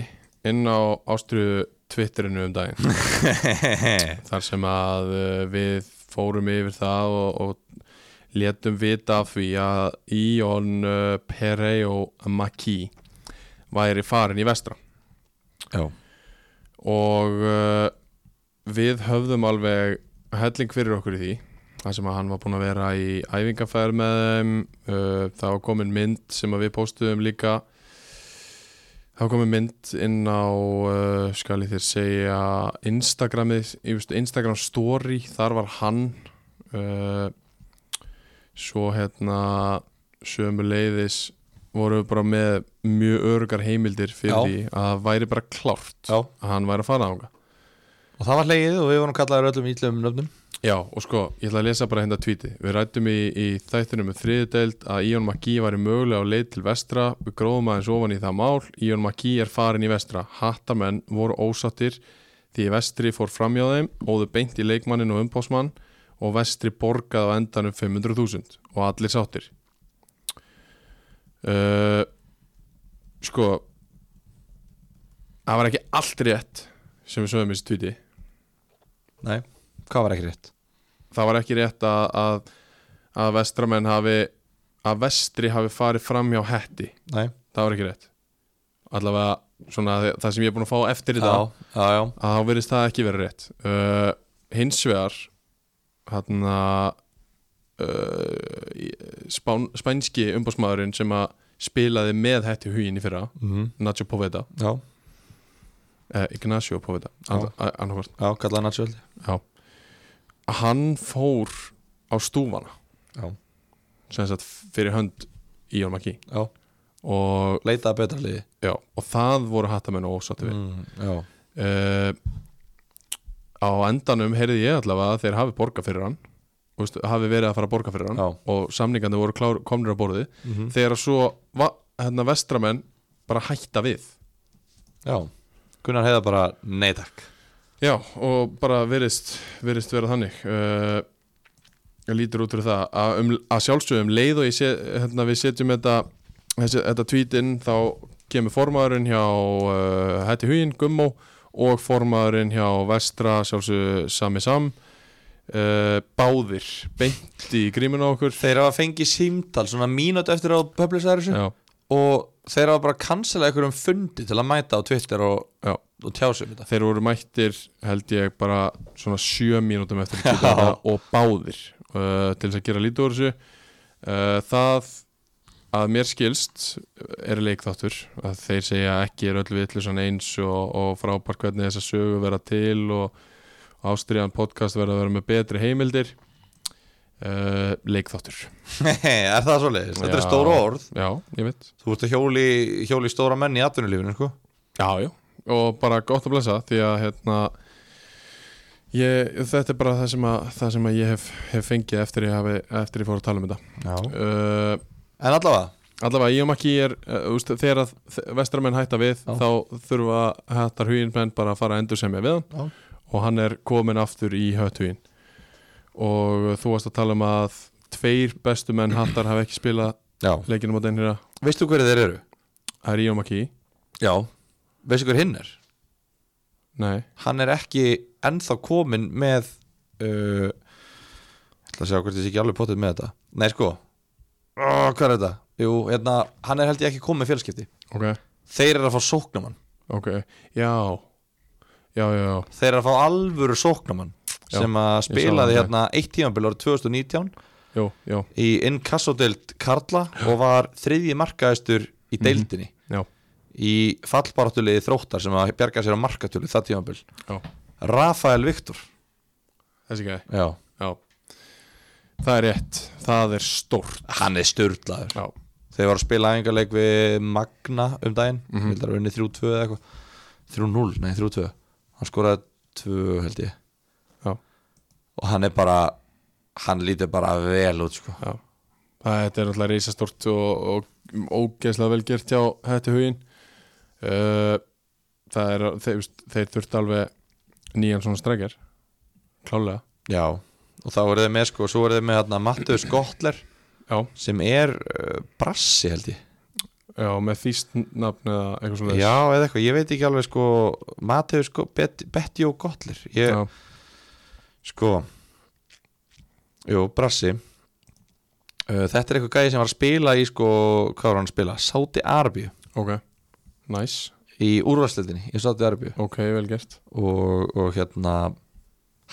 A: inn á ástriðu Twitterinu um daginn Þar sem að uh, við fórum yfir það og, og létum vita af því að Ion uh, Pereo Maki væri farin í vestra
B: já,
A: og uh, við höfðum alveg helling fyrir okkur í því þar sem að hann var búinn að vera í æfingafæður með þeim uh, það var komin mynd sem að við postuðum líka það var komin mynd inn á uh, skal ég þér segja Instagramið, ég veist, Instagram story þar var hann uh, svo hérna sömu leiðis voru við bara með mjög örugar heimildir fyrir
B: Já.
A: því að það væri bara klárt
B: já
A: að hann væri að fara ánga
B: Og það var hlegið og við vorum kallaður öllum um ítlum nöfnum
A: Já, og sko, ég ætla að lesa bara hérna tvíti Við rættum í, í þættunum með þriðudeld að Ion Magí væri mögulega á leið til vestra Við gróðum aðeins ofan í það mál Ion Magí er farin í vestra Hattamenn voru ósattir því vestri fór framjá þeim óðu beint í leikmannin og umbásmann og vestri borgaði á endanum 500.000 og allir sáttir uh, Sko Það var ekki allt rétt sem við sögum í þessu tvíti
B: Nei, hvað var ekki rétt?
A: það var ekki rétt að, að, að vestramenn hafi að vestri hafi farið fram hjá hetti
B: Nei,
A: það var ekki rétt allavega svona það sem ég er búin að fá eftir þetta
B: já, já, já
A: að þá verðist það ekki vera rétt uh, hins vegar hérna uh, í- spán, spænski umbásmaðurinn sem að spilaði með hetti hugin í fyrra
B: mm.
A: Nacho Poveda,
B: Já,
A: eh, Ignacio Poveda
B: Já.
A: annarkvort,
B: já, kallaði Natsjöld
A: hann fór á stúfana
B: Já.
A: sem sagt fyrir hönd í Jólmaki
B: Já,
A: og,
B: leitaði að betra liði
A: já, og það voru hattamenn og ósáttu við
B: mm, Já,
A: mm. á endanum heyrði ég allavega að þeir hafi borga fyrir hann þú veist, hafi verið að fara að borga fyrir hann
B: já
A: og samningandi voru klár, komnir á borðið
B: Mm. Mhm.
A: þegar að svo va, hérna, vestramenn bara hætta við
B: Já, Gunnar heiða bara nei takk
A: já og bara virðist, virðist vera þannig uh, lítur út fyrir það að, um, að sjálfsögum leið og ég sé, hérna, við setjum þetta, þessi, þetta tweet inn þá kemur formaðurinn hjá uh, Hætti Huginn, Gummó og formaðurinn hjá Vestra sjálfsögum Sami Sam uh, báðir beint í gríminu á okkur
B: Þeir hafa fengið símtal svona mínúti eftir að publisa þessu
A: já,
B: og þeir hafa bara cancelað einhverjum fundi til að mæta á Twitter og,
A: Já.
B: og tjá sig um þetta
A: þeir voru mættir held ég bara svona sjö mínútum eftir að geta þetta og báðir uh, til þess að gera lítið úr þessu uh, það að mér skilst er leikþáttur að þeir segja ekki er öll vitlusan eins og, og frábær hvernig þessa sögu vera til og ástriðan podcast verða að vera með betri heimildir uh, leikþáttur
B: [laughs] er það svoleiðis? Þetta er
A: Já.
B: stóra orð
A: já, ég veit
B: Þú ert að hjóli, hjóli stóra menn í atvinnulífinu sko.
A: Já, já, og bara gott að blessa því að hérna ég, þetta er bara það sem að, það sem að ég hef, hef fengið eftir ég, hafi, eftir ég fór að tala um þetta
B: En
A: uh,
B: allavega,
A: Allavega, ég og Maki er uh, úst, þegar að þ- vestramenn hætta við
B: Já.
A: þá þurfa hættar huginn menn bara að fara að endur semja við hann
B: Já.
A: og hann er komin aftur í höttugin og þú varst að tala um að tveir bestu menn hattar hafa ekki spilað
B: Já,
A: leikinu á dænira
B: veistu hverju þeir eru?
A: Það er Ríó Maki
B: Já, veistu hverju hinn er?
A: Nei,
B: Hann er ekki ennþá komin með uh, ætla að sjá hvort ég sé ekki alveg potið með þetta Nei, sko oh, Hvað er þetta? Jú, hérna, hann er held ég ekki komin með félskipti
A: ok,
B: Þeir eru að fá sóknamann
A: ok, já Já, já, já,
B: Þeir eru að fá alvöru sóknamann
A: Já,
B: sem að
A: sá
B: spilaði
A: það. um
B: hérna eitt tímanbíl árið 2019
A: já, já,
B: í innkassodeild Karla og var þriðji markaðistur í
A: Mhm.
B: deildinni
A: já,
B: í fallbaratuliði þróttar sem að bjarga sér á markatölu það tímanbíl
A: já.
B: Rafael Viktor
A: Þessi gæði,
B: Já.
A: já Það er rétt, það er stórt
B: hann er störtlaður
A: Já,
B: þeir var að spila æfingarleik við Magna um daginn,
A: Mhm.
B: mm -hmm. vildar að unni 3-2 eða eitthvað 3-0, nei 3-2 hann skoraði 2 held ég
A: já,
B: og hann er bara, hann lítur bara vel út sko
A: já Það þetta er náttúrulega reisastort og, og ógeðslega vel gert hjá hættu hugin uh, Það er, þeir, þeir þurft alveg nýjan svona strækjar Klálega
B: Já, og þá voru þið með sko, svo voru þið með hérna Matthews Gottler
A: Já,
B: sem er uh, brassi held ég
A: já, með þýst nafn eða eitthvað svona
B: Já, eða eitthvað, ég veit ekki alveg sko Matthews Go- Bet- Betty og Gottler ég,
A: já,
B: sko Jú, brassi uh, Þetta er eitthvað gæði sem var að spila í sko, hvað var hann að spila? Sáti Arbíu
A: ok, nice
B: í úrvarsleitinni, í Sáti Arbíu
A: Ok, vel gert
B: og, og hérna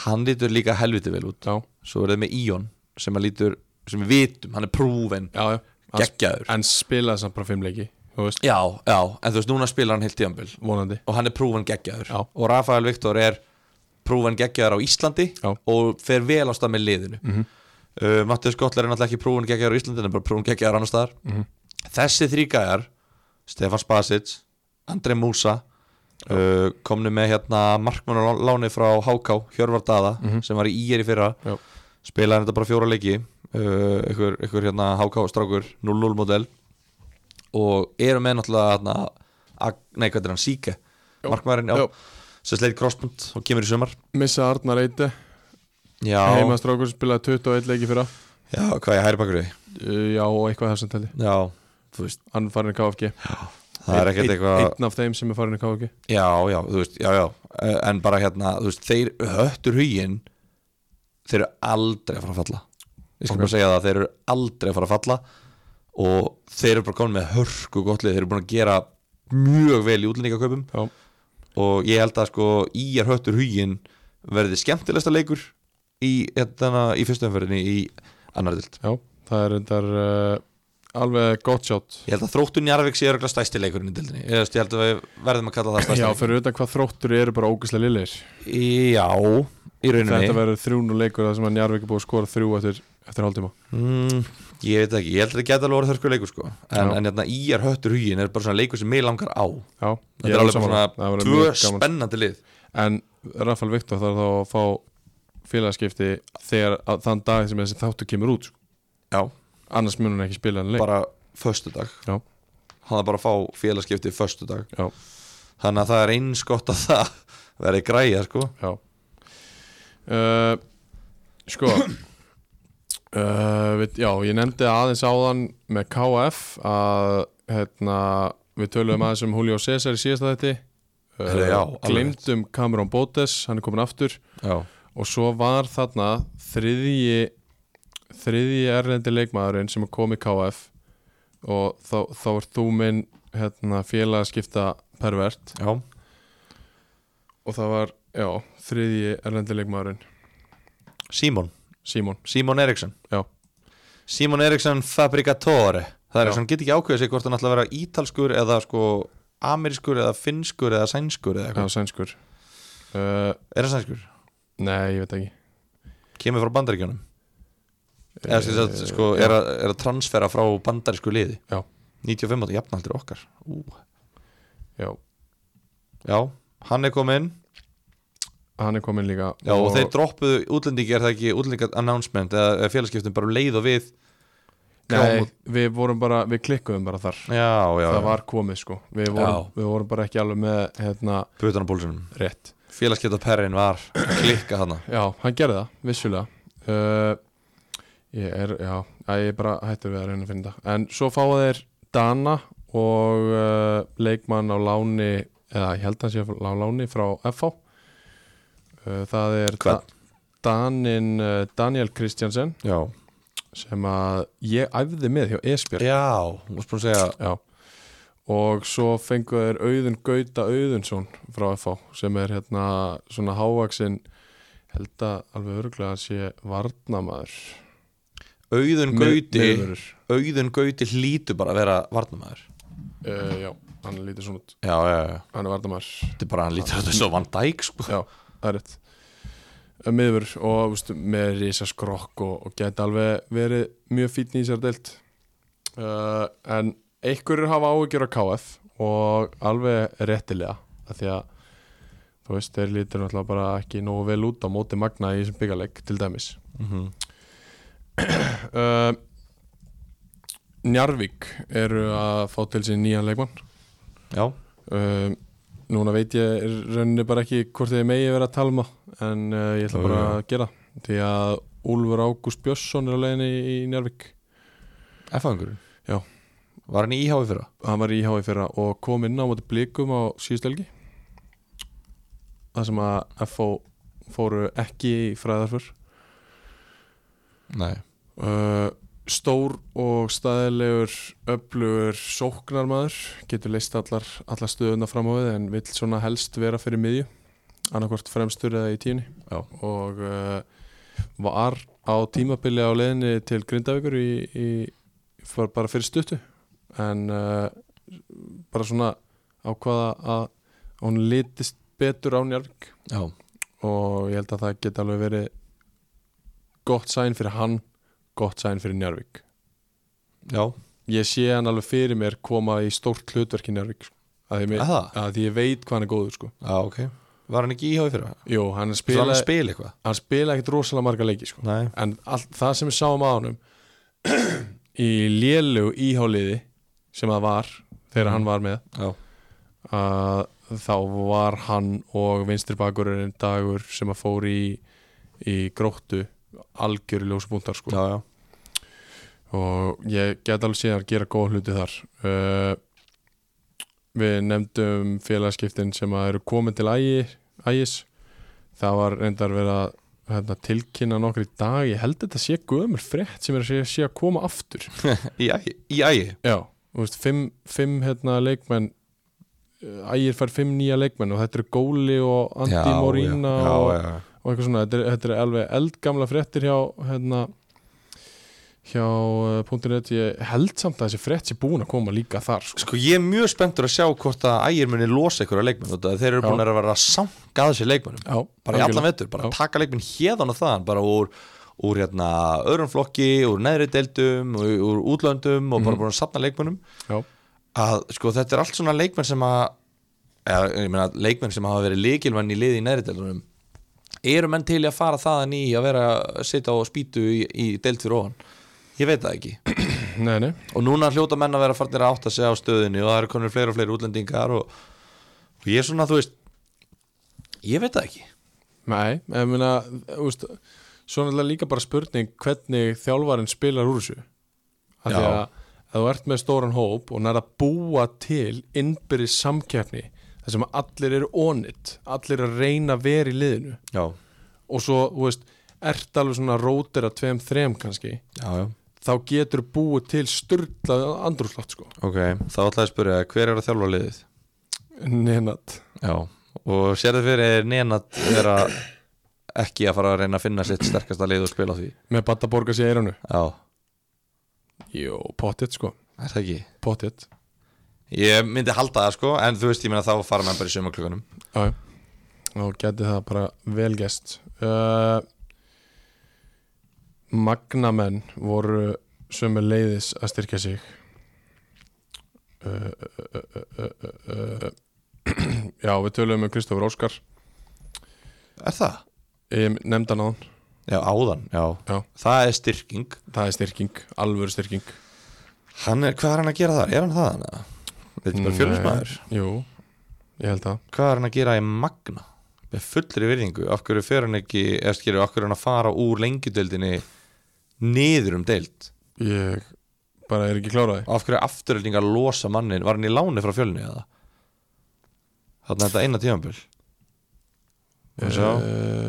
B: hann lítur líka helviti vel út
A: Já,
B: svo voru þið með Íon sem að lítur, sem við vitum, hann er prúven
A: já, já En sp-
B: geggjaður
A: En spilaði samt bara fimm leiki, þú veist,
B: Já, já, en þú veist, núna spilar hann heilt tíðanbíl
A: vonandi
B: og hann er prúvan geggjaður
A: Já.
B: og Rafael Viktor er prúvan geggjaður á Íslandi
A: Já. Mhm.
B: og fer vel á stað með liðinu mm -hmm. uh, Mattias Gottler er náttúrulega ekki prúvan geggjaður á Íslandi en er bara prúvan geggjaður annar staðar -hmm. þessi þrýgæjar Stefan Spasic, Andrei Músa uh, komnu með hérna markmannuláni frá HK Hjörvar Daða sem var í IR í fyrra
A: Mhm. Já,
B: spilaði þetta bara fjóra leiki uh, ykkur, ykkur hérna HK strákur 0-0 model og eru með náttúrulega hérna, Ag- nei hvað er hann, Sike
A: Jó.
B: markmaðurinn,
A: Jó.
B: já, sem sleit crossbund og kemur í sumar
A: missa Arnar Eite
B: já,
A: Heimastrákur spilaði 21 leiki fyrir
B: já hvað ég hæri bakur því
A: Já, og eitthvað þessum tali
B: já, þú veist,
A: Hann er farin í KFG
B: það er ekkert
A: Einn-
B: eitthvað
A: Einn af þeim sem er farin í KFG
B: já, já, þú veist, já, já eh, en bara hérna, þú veist, þeir höttur hugin þeir eru aldrei að fara að falla ég skal
A: Ok.
B: bara segja það, þeir eru aldrei að fara að falla og þeir eru bara komin með hörku gott lið, þeir eru búin að gera mjög vel í útlendingaköpum
A: Já,
B: og ég held að sko íjar höttur hugin verði skemmtilegsta leikur í, hérna, í fyrstu umferðinni í annar dild
A: já, það er endar uh, alveg gott sjátt
B: ég held að þróttun Njarvík sé örgulega stæsti leikurinn í dildinni ég veist, ég held að við verðum að kalla það stæsti
A: Já, fyrir utan hvað þróttur eru bara ógæslega lillir
B: já, í rauninni
A: Þetta verður þrjún og leikur það sem að Njarvík er búið að skora þrjú eftir, eftir hálftíma
B: mm, ég veit það ekki, ég held að það geta alveg orðið þörku leikur sko en,
A: Já.
B: en hérna, íjar höttur hugin er bara svona leikur sem mig langar á
A: Já,
B: þetta er alveg bara svona tvö spennandi lið
A: En Rafal Viktor þarf þá að fá félagaskipti þegar að, þann dag sem þessi þáttu kemur út sko.
B: já,
A: annars mun hann ekki spila hann leik
B: bara föstudag
A: Já.
B: hann er bara að fá félagskipti föstudag
A: Já,
B: þannig að það er eins gott að það verði græja sko
A: já uh, Sko uh, við, Já, ég nefndi aðeins áðan með KF að hérna, við töluðum aðeins um Julio César í síðasta þetta
B: Herra, já, alveg
A: Gleimdum Cameron Botes, hann er komin aftur
B: já,
A: og svo var þarna þriðji þriðji erlendi leikmaðurinn sem er komið KF og þá, þá er þú minn hérna, félagaskipta pervert
B: já.
A: og það var, já, þriðji erlendi leikmaðurinn
B: Simon,
A: Simon,
B: Simon Eriksson
A: já,
B: Simon Eriksson Fabricatore það er
A: Já.
B: eins og hann get ekki ákveðið sig hvort hann ætla að vera ítalskur eða sko amerískur eða finnskur eða sænskur eða
A: já,
B: eitthvað
A: sænskur uh,
B: er það sænskur?
A: Nei, ég veit ekki
B: kemur frá bandaríkjónum eða sem sagt, sko, er, að, er að transfera frá bandarísku liði
A: Já.
B: 95 átta jafnaldur okkar Ú.
A: Já,
B: já, hann er kominn
A: hann er komin líka
B: já, og, þeir droppuðu útlendingi er það ekki útlendinga announcement eða, eða félagskiptum bara um leið og við
A: Nei, við vorum bara, við klikkuðum bara þar
B: já, já,
A: Það
B: já,
A: var komið, sko Við vorum, við vorum bara ekki alveg með, hérna,
B: putan á pólsunum
A: rétt
B: Félagsgeta Perrin var að klikka hana
A: Já, hann gerði það, vissulega uh, Ég er, já æ, Ég er bara hættur við að reyna að finna það En svo fáa þeir Dana og uh, leikmann á láni eða ég held að hann sé á láni frá FH uh, Það er
B: Hvern?
A: Danin uh, Daniel Kristjansen
B: Já
A: sem að ég æfði með hjá Esbjörn
B: Já, þú veist búin að segja
A: Já Og svo fengu þeir Auðun Gauta Auðunsson frá FH sem er hérna svona hávaksinn held að alveg örgulega að sé varnamaður
B: Auðun
A: Mið-
B: Gauti
A: miðvörður.
B: Auðun Gauti hlýtur bara að vera varnamæður
A: Eh, Já, hann er lítið svona út
B: Já, já, já
A: Hann er varnamaður
B: Þetta er bara hann lítur að þessu Van Dijk sko
A: Já, það er rétt Miður og veistu, með risa skrokk og, og geta alveg verið mjög fítn í sér deilt uh, En einhverjur hafa áhyggjur á KF og alveg réttilega af því að þú veist, þeir lítur náttúrulega bara ekki nógu vel út á móti magna í þessum byggaleg til dæmis
B: Mhm.
A: uh, Njarvík eru að fá til sín nýjan leikmann
B: Já,
A: Um, núna veit ég í rauninni bara ekki hvort þið megi vera að tala um það en uh, ég ætla
B: Já,
A: bara
B: já.
A: að gera það. því að Úlfur Ágúst Björnsson er á leiðinni í, í Njárvík
B: F-angurinn
A: Já.
B: Var hann í íháði fyrra?
A: hann var í HF fyrra og kom inn á móti blikum á síðustu helgi það sem að FO fóru ekki í fræðarfur
B: Nei
A: uh, stór og staðilegur öflugur sóknarmaður getur leist allar, allar stöðuna fram á við en vill svona helst vera fyrir miðju annarkvort fremstur eða í tíunni
B: Já.
A: og uh, var á tímabili á leiðinni til Grindavíkur í, í, var bara fyrir stuttu en uh, bara svona ákvaða að hún litist betur á Njarvík
B: Já
A: og ég held að það geti alveg verið gott sæn fyrir hann gott sæn fyrir Njárvík
B: Já
A: ég sé hann alveg fyrir mér koma í stórt hlutverk í Njárvík sko. að, því mér-
B: Er það?
A: að því ég veit hvað hann er góður sko.
B: Já, ok Var hann ekki í íháði fyrra?
A: Jú, hann
B: Spila... Var
A: spila,
B: hann að spila eitthvað?
A: hann spila ekkit rosalega marga leiki sko.
B: Nei
A: en allt, það sem við sáum á honum [clears throat] í lélu íháliði sem það var þegar
B: Mm.
A: hann var með
B: Já
A: að þá var hann og vinstribakurinn dagur sem að fór í, í gróttu algjöru ljósbúntar sko.
B: Já, já
A: og ég get alveg síðan að gera góð hluti þar uh, við nefndum félagskiptin sem að eru komin til ægi, ægis það var reyndar verið að hérna, tilkynna nokkur í dag ég held þetta sé gömur frétt sem er að sé, sé að koma aftur
B: Í ægi Í ægi
A: já, þú veist, fimm, fimm hérna, leikmenn eh, ægir fær fimm nýja leikmenn og þetta eru Góli og Andi
B: Já,
A: Morína
B: já.
A: og,
B: Já, já, já
A: og eitthvað svona, þetta er, þetta er alveg eldgamla fréttir hjá hérna, hjá uh, .net ég held samt að þessi frétt sé búin að koma líka þar sko.
B: Sko ég er mjög spenntur að sjá hvort að ægir muni losa ykkur á leikmenn Þegar þeir eru
A: Já.
B: búin að vera að sanga að sér leikmennum
A: já,
B: bara í allan vettur, bara
A: Já.
B: taka leikminn hérðan og þaðan, bara úr, úr hérna, öðrum flokki, úr neðri deildum úr, úr útlöndum og bara búin að safna leikmennum
A: já,
B: að sko þetta er allt svona leikmenn sem að eða, ég meina, leikmenn sem hafa verið leikilmenn í liði í neðri deildunum eru menn til í að fara þaðan í að vera að sitja og spýtu í, í deild fyrir ofan ég veit það ekki
A: nei, nei,
B: og núna hljóta menn að vera farnir að átta sig á stöðinni og það eru konur fleiri og fleiri útlendingar og, og ég er svona, þú veist ég veit það ekki
A: nei ég meina, þú veist svo er náttúrulega líka bara spurning hvernig þjálfarinn spilar úr þessu af því
B: Já.
A: að að þú ert með stóran hóp og nær að búa til innbyrðis samkeppni þar sem allir eru onitt allir að reyna að vera í liðinu
B: já,
A: og svo, þú veist, ert alveg svona rótir að tveim, þrem kannski
B: já, já
A: þá getur búið til styrlað andrúslátt sko
B: Ok, þá ætlaði að spyrja hver er að þjálfa liðið?
A: Nenat
B: Já Og sér þið fyrir nenat vera ekki að fara að reyna að finna sitt sterkasta lið og spila á því
A: með Bataborgas í eiranu
B: Já,
A: Jó, pottet sko,
B: er það ekki?
A: pottet
B: Ég myndi halda það sko, en þú veist, ég meina þá fara menn bara í sömaklökunum
A: Já, já. og geti það bara vel gest uh, Magnamenn voru sömu leiðis að styrkja sig uh, uh, uh, uh, uh, [clears throat] uh, Já, við töluðum um Kristofur Óskar
B: Er það?
A: ég nefndi hann á hann,
B: Já, áðan, já,
A: Já.
B: Það er styrking
A: það er styrking alvöru styrking
B: Hann er, hvað er hann að gera þar? Er hann það hann? Þetta er bara
A: Nei.
B: fjölusmaður
A: Jú, Eh, ég held það
B: Hvað er hann að gera í Magna? með fullri virðingu af hverju fer hann ekki, eða skilur, af hverju er hann að fara úr lengjudeildinni niður um deild
A: Ég bara er ekki kláraði
B: af hverju afturöldingar losa mannin var hann í láni frá fjölni eða þannig að þetta eina tímanböl Má sjá.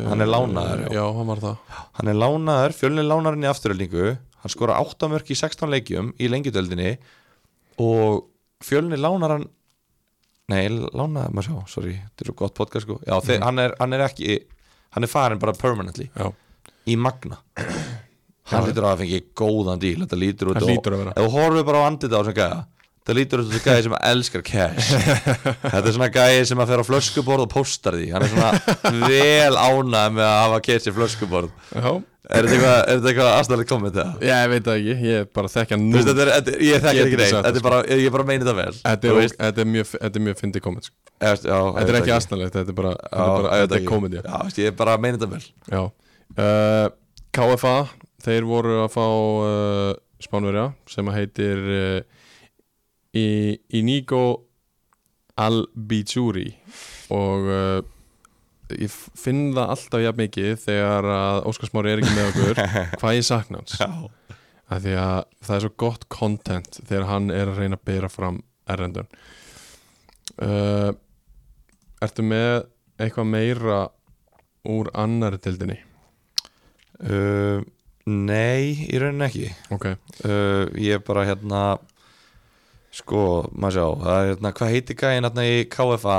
B: Hann er lánaður, já.
A: Eh, Já, hann var það
B: hann er lánaður, fjölni lánar hann í afturöldingu hann skora 8 mörk í 16 leikjum í lengjudeldinni og fjölni lánar hann nei, lánaður, maður sjá, sorry þetta er svo gott podcast sko, já, þeir, hann, er, hann er ekki hann er farin bara permanently
A: Já,
B: í Magna hann lítur að hafa fengið góðan díl þetta lítur út
A: Hann
B: og-
A: hlýtur að vera.
B: ef þú horfir bara á andið á þessum gæja það lítur út þessu gæja sem elskar [laughs] cash þetta er svona gæja sem að fer á flöskuborð og póstar því, hann er [laughs] svona vel ánað með að hafa cash í flöskuborð
A: já
B: er þetta eitthvað, er þetta eitthvað aðstæðlega komment eða?
A: Ég veit það ekki, ég bara þekkja
B: Þú
A: nú
B: veist, þetta er, þetta er, ég þekkir
A: Getur sagt
B: ekki neitt
A: það, sko.
B: þetta er bara, ég, ég bara meina þetta vel
A: Þetta
B: Þú
A: er,
B: veist,
A: þetta er mjög, þetta er mjög fyndið komment sko.
B: ég veist, já,
A: Þetta er
B: ég
A: ekki
B: veit
A: aðstæðanlegt, þetta er bara,
B: Já,
A: þetta er bara,
B: ég veit
A: þetta er
B: ekki.
A: komedi
B: Já, veist, ég bara meina þetta vel
A: Já uh, KFA, þeir voru að fá uh, Spánverja sem að heitir uh, I- Inigo Albizuri og uh, ég finn það alltaf jafn mikið þegar að Óskar Smári er ekki með
B: [laughs]
A: okkur hvað ég sakna hans
B: já,
A: af því að það er svo gott content þegar hann er að reyna að bera fram erendun uh, Ertu með eitthvað meira úr annari tildinni?
B: uh, nei, í rauninni ekki
A: Ok,
B: uh, ég er bara hérna sko, maður sjá það er hérna, hvað heitir gæinn hérna í KFA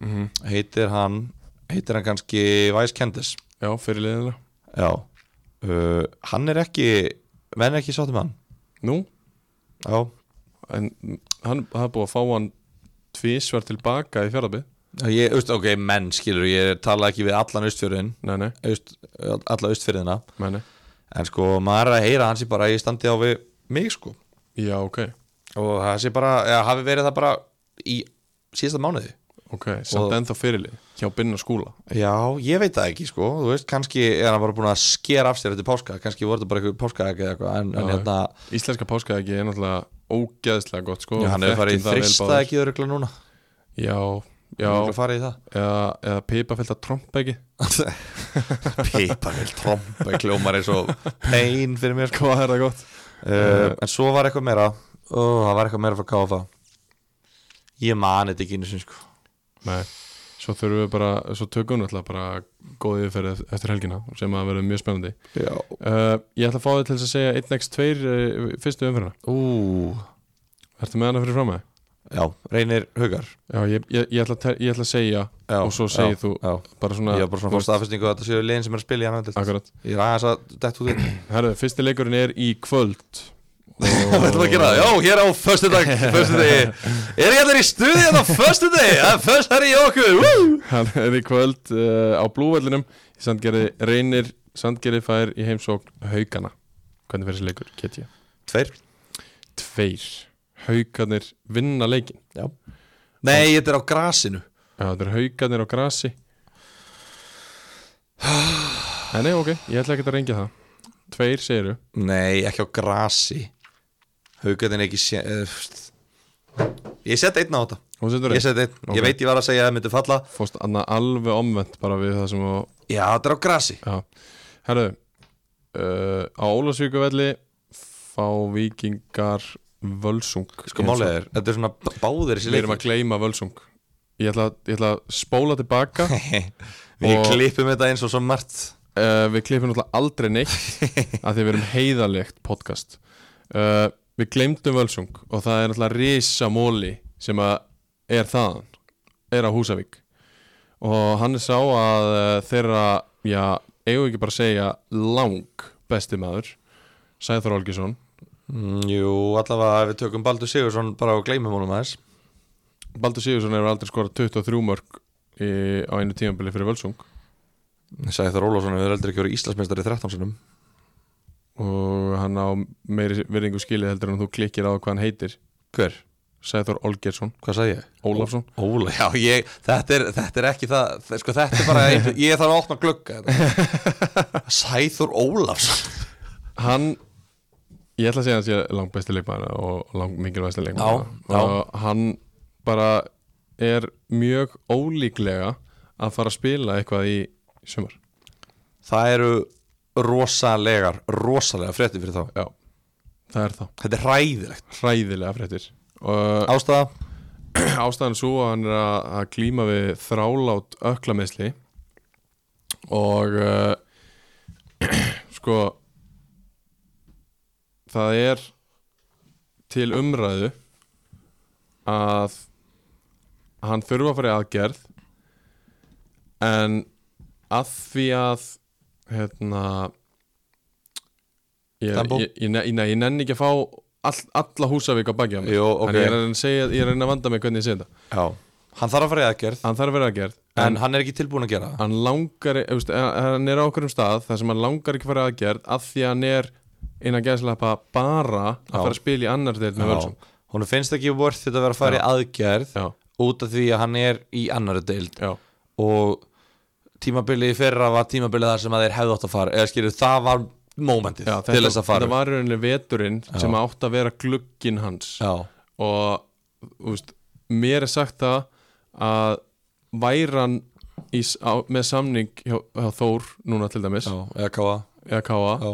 A: mm -hmm.
B: heitir hann heitir hann kannski Vice Candice
A: já, fyrir liðina
B: já, uh, hann er ekki menn er ekki sátt um hann
A: Nú,
B: já,
A: en hann það er búið að fá hann tvísver tilbaka í fjörðabbi
B: ég, veist, ok, menn skilur ég tala ekki við allan austfjörðin
A: Nei, nei,
B: Aust, alla austfjörðina
A: nei, nei
B: en sko, maður er að heyra að hann sé bara að ég standi á við mig sko
A: Já, ok,
B: og það sé bara, eða hafi verið það bara í síðasta mánuði
A: ok, samt
B: Og-
A: ennþá fyrirlið hjá Binna skúla
B: Já, ég veit það ekki sko Þú veist, kannski er hann bara búin að skera af sér eftir páska, kannski voru þetta bara eitthvað páskaæk eða eitthvað, en, en
A: Já,
B: hérna
A: Íslenska páskaæki er náttúrulega ógeðslega gott sko
B: já, hann hefur farið í
A: Þekkjum það vel
B: þrista
A: báðir.
B: ekki öruglega núna
A: Já, já,
B: Hann hefur örugglega farið í [laughs] það
A: eða, eða pipafylta trompæki
B: Piparvel, trompa, kljómar eins og pein fyrir mér sko.
A: hvað er það gott
B: uh, En svo var eitthvað meira Ó, það var eitthvað meira frá KFA Ég mani þetta ekki einu sinni sko
A: Nei. svo þurfum við bara, svo tökum við alltaf bara góðið fyrir eftir helgina sem að verður mjög spennandi
B: Já
A: uh, ég ætla að fá þið til þess að segja 1x2 uh, fyrstu umfyrina,
B: Ú,
A: ertu með hana fyrir fram með?
B: já, reynir hugar
A: Já, ég, ég, ég, ætla að te- ég ætla að segja
B: já,
A: og svo segir
B: já,
A: þú
B: já.
A: bara svona,
B: Ég var bara svona að fá staðfestingu að þetta séu legin sem er að spila í hann
A: akkurat
B: Ég er aðeins að dett út í [laughs]
A: Herðu, fyrsti leikurinn er í kvöld
B: Við ætlum að gera það, já, hér á förstu [laughs] dag, förstu degi Er ég allir í stuði hérna á förstu degi? Það er först herri í okkur, wú!
A: Hann er í kvöld uh, á blúvellinum í Sandgerði reynir Sandgerði fær í heimsókn haugana hvernig fyrir þessi leikur, get ég?
B: Tveir
A: Tveir haugarnir vinna leikin
B: Nei, þetta er á grasinu
A: Já, þetta er haugarnir á grasi Nei, nei, ok, ég ætla ekki að rengja það Tveir segiru
B: Nei, ekki á grasi Haukarnir ekki sé uh, Ég set einn á þetta
A: Hún setur
B: Ég
A: reynd
B: set einn,
A: Ok.
B: ég veit ég var að segja að það myndi falla
A: Fórst annað alveg omvend bara við það sem á
B: Já, þetta er á grasi
A: Já, herru uh, Á Ólasvíkuvelli fá vikingar völsung
B: Sko málið er, þetta er svona b- báðir þessi
A: Við erum
B: leikir
A: að gleyma völsung Ég ætla, að- ég ætla að spóla tilbaka
B: Við
A: og-
B: klippum þetta eins og svo margt
A: uh, Við klippum náttúrulega aldrei neitt að því við erum heiðalegt podcast uh, Við gleymdum Völsung og það er náttúrulega risamóli sem að er þaðan er á Húsavík og hann er sá að uh, þeirra já, eigum við ekki bara að segja lang besti maður Sæþór Olgjesson
B: Mm, Jú, allavega ef við tökum Baldur Sigursson bara og gleymum honum aðeins
A: Baldur Sigursson hefur aldrei skorað 23 mörg í, á einu tímabili fyrir Völsung
B: Sæður Ólafsson hefur aldrei ekki verið Íslandsmeistari 13 sinum
A: og hann á meiri virðingu skilið heldur en þú klikkir á hvað hann heitir
B: Hver?
A: Sæþór Olgjesson,
B: Hvað sagði ég?
A: Ólafsson
B: Óla, já, ég, þetta, er, þetta er ekki það þe- sko, þetta er [laughs] bara, ég, ég þarf að opna glugga hérna. Sæður Ólafsson
A: hann ég ætla að segja að hann sé langt besti leikmaður og langt mikilvægasti leikmaður
B: Já, já.
A: og hann bara er mjög ólíklega að fara að spila eitthvað í sumar
B: Það eru rosalegar, rosalega fréttir fyrir þá
A: Já, það er það
B: Þetta er hræðilegt
A: Hræðilega fréttir og
B: Ástæða,
A: [clears throat] ástæðan svo að hann er að, að klíma við þrálát öklameðsli og uh, [clears throat] sko það er til umræðu að hann þurfa að fara í aðgerð en að því að hérna ég,
B: Tempo?
A: ég, ég, ne- ég, nei, ég nenni ekki að fá all, alla húsavík á baki á mig
B: Jó, ok.
A: Þannig ég er að reyna að segja, ég er að reyna að vanda mig hvernig ég segja þetta
B: já Hann þarf að fara í aðgerð,
A: Hann þarf að vera að gerð
B: en,
A: En
B: hann er ekki tilbúin að gera það
A: hann langar, eh, veist, eh, hann er á okkur um stað þar sem hann langar ekki að fara að gerð Af því að hann er innan gæðslepa bara að
B: Já.
A: fara að spila í annar deild með völsum
B: Já, Honum finnst ekki worth þetta að vera að fara í aðgerð
A: Já,
B: út af því að hann er í annari deild
A: já,
B: og tímabilið í fyrra var tímabilið þar sem að þeir hefðu átt að fara eða skilur það var momentið
A: já
B: til þess að fara
A: Þetta var rauninni veturinn sem átt að vera glugginn hans
B: Já,
A: og þú veist, mér er sagt það að væran í, s- á, með samning hjá, hjá Þór núna til dæmis,
B: já, eða káa
A: eða Káa
B: Já.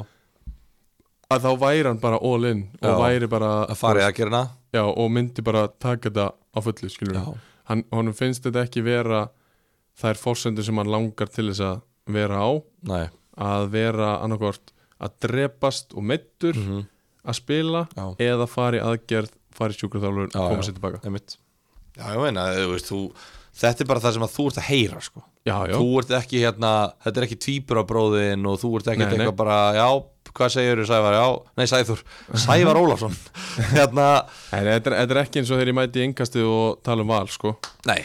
A: að þá væri hann bara all in og
B: Já.
A: væri bara
B: að fara í aðgerðina
A: já, og myndi bara taka þetta á fullu skilur
B: Já.
A: hann, honum finnst þetta ekki vera þær fórsendur sem hann langar til þess að vera á
B: Nei,
A: að vera annarkvort að drepast og meittur
B: Mhm.
A: að spila
B: Já.
A: eða fara í aðgerð fara í sjúkraþálfur og
B: Já,
A: koma
B: já.
A: sér tilbaka
B: einmitt Já, ég meina, þú veist, þú, þetta er bara það sem að þú ert að heyra sko
A: já, já,
B: þú ert ekki hérna, þetta er ekki tvíburabróðin og þú ert ekki
A: Nei, nei.
B: eitthvað bara, já, hvað segirðu Sævar, já, nei Sæður,
A: [laughs]
B: Sævar Ólafsson, hérna,
A: En þetta, er- þetta er ekki eins og þegar ég mæti í yngastið og tala um val sko
B: nei,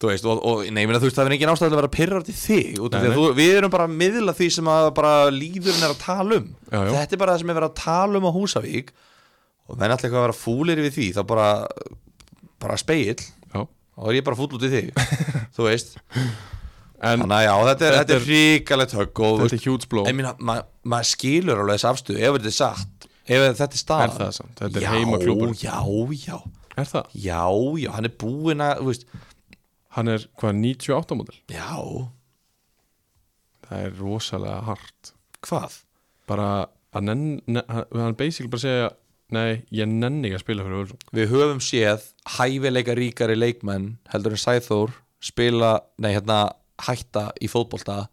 B: þú veist, og, og nei, ég meina, þú veist, það er engin ástæðilega að vera pyrrandi þig, út af
A: Nei,
B: því að
A: nei.
B: þú, við erum bara að miðla því sem að bara líðurinn er að tala um,
A: Já, já.
B: þetta er bara það sem er verið að tala um á Húsavík og menn allir eitthvað að vera fúlir við því, þá bara, bara speill,
A: já.
B: þá er ég bara fúll út í þig,
A: [laughs]
B: þú veist,
A: en
B: þannig að já, þetta er,
A: Þetta
B: þetta
A: er-
B: er hrikalegt högg og þú
A: þetta er huge blow
B: Ég meina, ma- maður skilur alveg þessi afstöðu ef þetta er satt, ef þetta er
A: er
B: staðan
A: það samt, þetta er
B: Já,
A: heimaklúbur
B: Já, já,
A: er það,
B: já, já, hann er búinn að, þú veist
A: hann er hvað 98 mótil
B: Já,
A: það er rosalega hart
B: hvað?
A: bara að nenn, ne, hann hann basically bara segja nei, ég nenni ekki að spila fyrir Völsung
B: Við höfum séð hæfileika ríkari leikmenn heldur en Sæþór spila, nei hérna hætta í fótbolta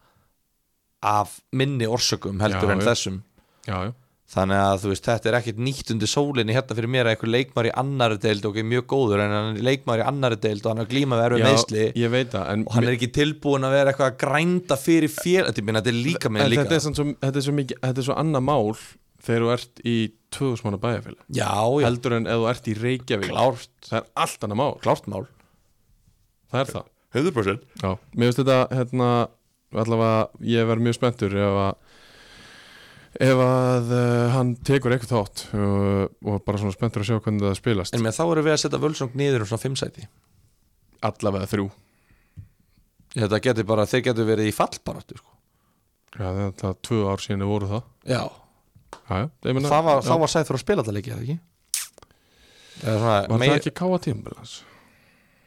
B: af minni orsökum heldur
A: Já,
B: en
A: já.
B: þessum
A: já, já,
B: Þannig að þú veist, þetta er ekkert nýtt undir sólinni hérna fyrir mér að einhver leikmar í annari deild og ok, mjög góður en hann er leikmar í annari deild og hann er glíma verið meðsli
A: ég veit það en,
B: og hann er ekki tilbúin að vera eitthvað að grænda fyrir fél þetta, minna, þetta er líka
A: en
B: með líka
A: þetta er, samt svo, þetta, er svo mikið, þetta er svo annað mál þegar þú ert í 2000 manna bæjarfélag
B: já, já,
A: heldur en ef þú ert í Reykjavík
B: Klárt.
A: það er allt annað mál,
B: klárt mál
A: það er það
B: 100%
A: já, mér finnst þetta hérna, allavega ég verð mjög spenntur ef að ef að uh, hann tekur eitthvað þátt uh, og bara svona spenntur að sjá hvernig það spilast
B: en með þá erum við að setja völsung niður um svona 5 sæti
A: allavega þrjú
B: þetta getur bara, þeir getur verið í fallbaráttu sko.
A: Já, það er það tvö ár síðan þið voru það
B: já,
A: Já, já, ég meina
B: það var,
A: já,
B: þá var sæður að spila þetta leikið, eða ekki eða svona,
A: Var það
B: meir,
A: ekki káa tímbilans?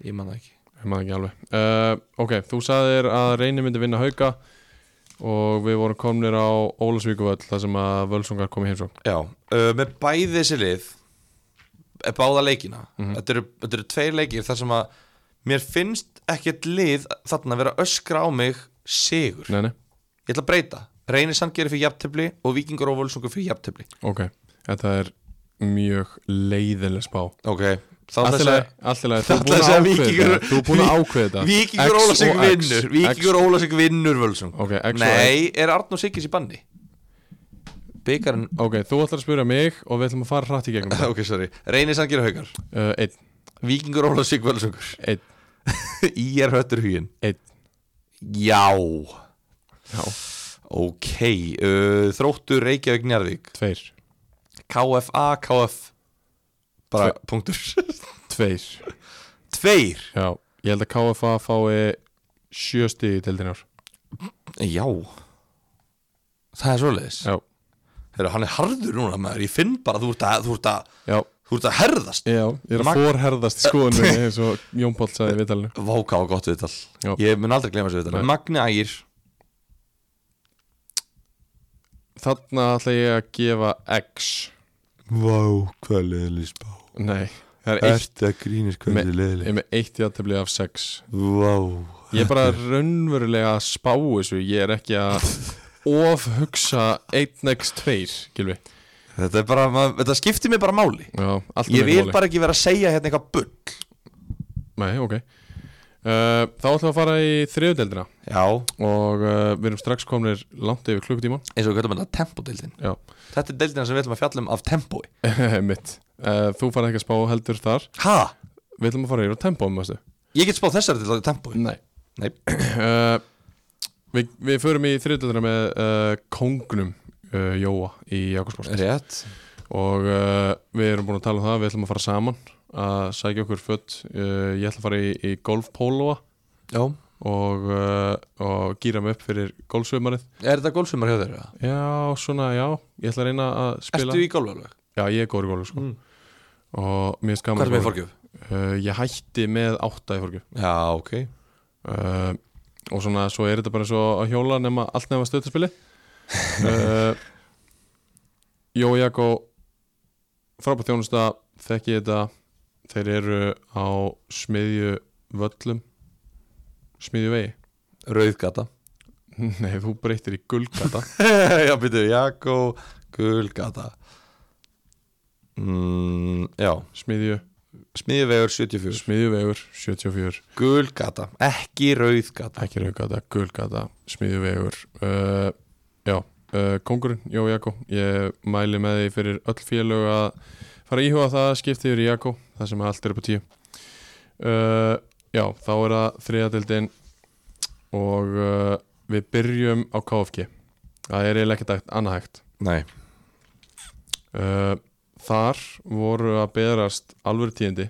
B: ég man það ekki
A: Ég maður ekki alveg uh, Ok, þú sagðir að Reyni myndi vinna hauka og við vorum komnir á Ólasvíkuvöll þar sem að Völsungar kom í heimsókn
B: já, uh, með bæði þessi lið eh, báða leikina þetta, eru, þetta eru tveir leikir þar sem að mér finnst ekkert lið þarna að vera að öskra á mig sigur
A: Nei, nei,
B: Ég ætla að breyta Reynir Sandgeri fyrir jafntefli og Víkingur og Völsungur fyrir jafntefli
A: ok Þetta er mjög leiðileg spá
B: Ok Þá
A: Allt í
B: þess
A: lagi,
B: að
A: allt í lagi, þú
B: Það
A: er
B: ætla
A: búin
B: að
A: að ákveða þetta
B: segja Víkingur-
A: Þú er búin að ákveða þetta X og X.
B: Víkingur Ólasík
A: X-
B: vinnur Víkingur Ólasík vinnur Völsung
A: Ok, X og X
B: Nei, er Arnur Siggis í banni? Byggarinn
A: [laughs] Ok, þú ætlar að spyrja mig og við ætlum að fara hratt í gegnum
B: [laughs]
A: það.
B: Ok, sorry Reynir Sandgeri Haukar
A: uh, Einn,
B: Víkingur Ólasík Völsungur
A: [laughs] einn,
B: Í er höttur hugin
A: einn
B: Já
A: Já,
B: Ok uh, Þróttur Reykjavík Njarðvík
A: tveir,
B: KFA KF Bara punktur
A: tveir
B: Tveir
A: Já, ég held að KFA fái sjö stig í deildinni í ár
B: Já Það er svoleiðis
A: Já,
B: Heru, Hann er harður núna maður, ég finn bara að þú ert að, þú ert að,
A: já,
B: Þú ert að herðast
A: Já, ég er að
B: Mag-
A: forherðast í skoðunni [laughs] eins og Jón Páll sagði í viðtalinu
B: Váká gott viðtal
A: Já.
B: Ég mun aldrei glemma þessu viðtal
A: Nei.
B: Magni Ægir
A: Þarna ætla ég að gefa X
B: Vá, hvað leðileg spá
A: Nei, það er eitt
B: Ertu að grínast
A: hvað Me-
B: er
A: Ég er með eitt í aðtefli af 6
B: Vá
A: Ég er bara raunverulega að spá þessu Ég er ekki
B: [laughs]
A: að ofhugsa 1x2 Gilvi
B: Þetta, er bara, maður, þetta skiptir mér bara máli
A: Já, allt
B: Ég
A: um
B: vil
A: einhver máli.
B: bara ekki vera að segja hérna eitthvað bull
A: Nei, ok uh, Þá ætlum við að fara í þriðudeldina
B: Já,
A: og uh, við erum strax komnir langt yfir klukkutíman
B: eins og við kallum þetta tempodeildin
A: Já,
B: Þetta er deildina sem við ætlum að fjalla um af tempói
A: [laughs] mitt uh, Þú farið ekki að spá heldur þar
B: Ha?
A: Við ætlum að fara yfir á tempóum, veistu
B: Ég get spáð þessari til að tempói
A: Nei [clears throat]
B: Nei
A: uh, við, við förum í þriðudeldina með uh, kongnum uh, Jóa í Jakobsbóst
B: Rétt
A: og uh, við erum búin að tala um það við ætlum að fara saman að sækja okkur fött uh, ég ætla að fara í, í golfpólóa
B: Já
A: og, uh, og gýra mig upp fyrir golfsveimarið
B: Er þetta golfsumar hjá þér? eða?
A: já, svona, já, ég ætla að reyna að spila
B: Ertu í golf alveg?
A: já, ég er góður í golf sko.
B: Mm.
A: og mér er
B: Hvað
A: skaman
B: er með fórgjöf?
A: uh, ég hætti með átta í fórgjöf
B: Já, ok
A: uh, og svona, svo er þetta bara svo að hjóla nema allt nema stöðtaspili uh, Jó Jakko frábært þjónusta, þekki ég þetta þeir eru á smiðju völlum smiðju vegi
B: Rauðgata
A: [laughs] Nei, þú breytir í gulgata
B: [laughs] Já, byrju, Jakko Gulgata mm, Já
A: smiðju,
B: Smiðivegur 74
A: smiðjuvegur 74,
B: Gulgata, ekki rauðgata
A: ekki raugata, gulgata smiðjuvegur uh, Já, uh, kongurinn, Jó Jakko ég mæli með því fyrir öll félög að fara að íhuga það skipti yfir í Jakko, það sem allt er upp á tíu uh, Já, þá er það þriðadeldin og uh, við byrjum á KFG það er eiginlega ekkert hægt- annað hægt
B: Nei
A: Uh, þar voru að berast alvöru tíðindi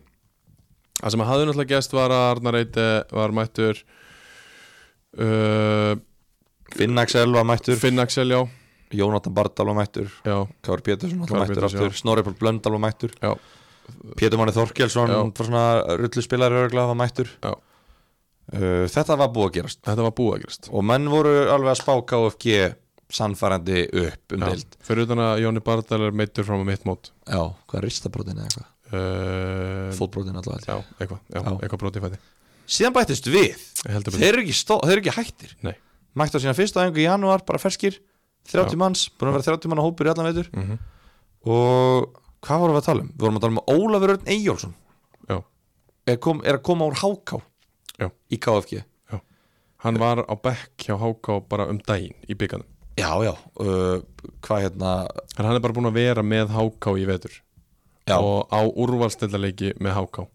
A: það sem að hafði náttúrulega gæst var að Arnar Eite var mættur uh,
B: Finnaxel var mættur
A: Finn Axel já,
B: Jónatan Bardal var mættur
A: já
B: Kár Pétursson var
A: Kár
B: mættur
A: Pétursson,
B: aftur Snorri Pál Blöndal var mættur
A: Já.
B: Pétur Máni Þorkelsson
A: Já.
B: var svona rulluspilari örgla var mættur
A: Já.
B: Uh, Þetta var búið að gerast
A: þetta var búið að gerast
B: og menn voru alveg að spá KFG sannfærandi upp um deild
A: já, fyrir utan að Jóni Bardal er meittur frá mitt mót
B: Já, hvað er ristabrótin eða eitthvað?
A: uh,
B: Fótbrótin allavega held
A: já, eitthvað, já,
B: Já.
A: eitthvað brotið fæti
B: ég. Síðan bættist við
A: heldur
B: Þeir
A: betur,
B: eru ekki, stó, þeir eru ekki hættir
A: Nei.
B: Mættu á sína fyrsta aðingu í janúar, bara ferskir 30
A: Já.
B: manns, búin að vera 30 manna hópur í allan veitur
A: Mhm.
B: Og hvað vorum við að tala um? Við vorum að tala um að Ólafur Örn Eyjólfsson
A: Já.
B: er, kom, er að koma úr HK
A: Já.
B: Í KFG
A: hann var á bekk hjá Háká bara um daginn í bygganum,
B: Já, já, uh, hvað hérna
A: en hann er bara búin að vera með Háká í vetur
B: Já,
A: og á úrvalstildarleiki með Háká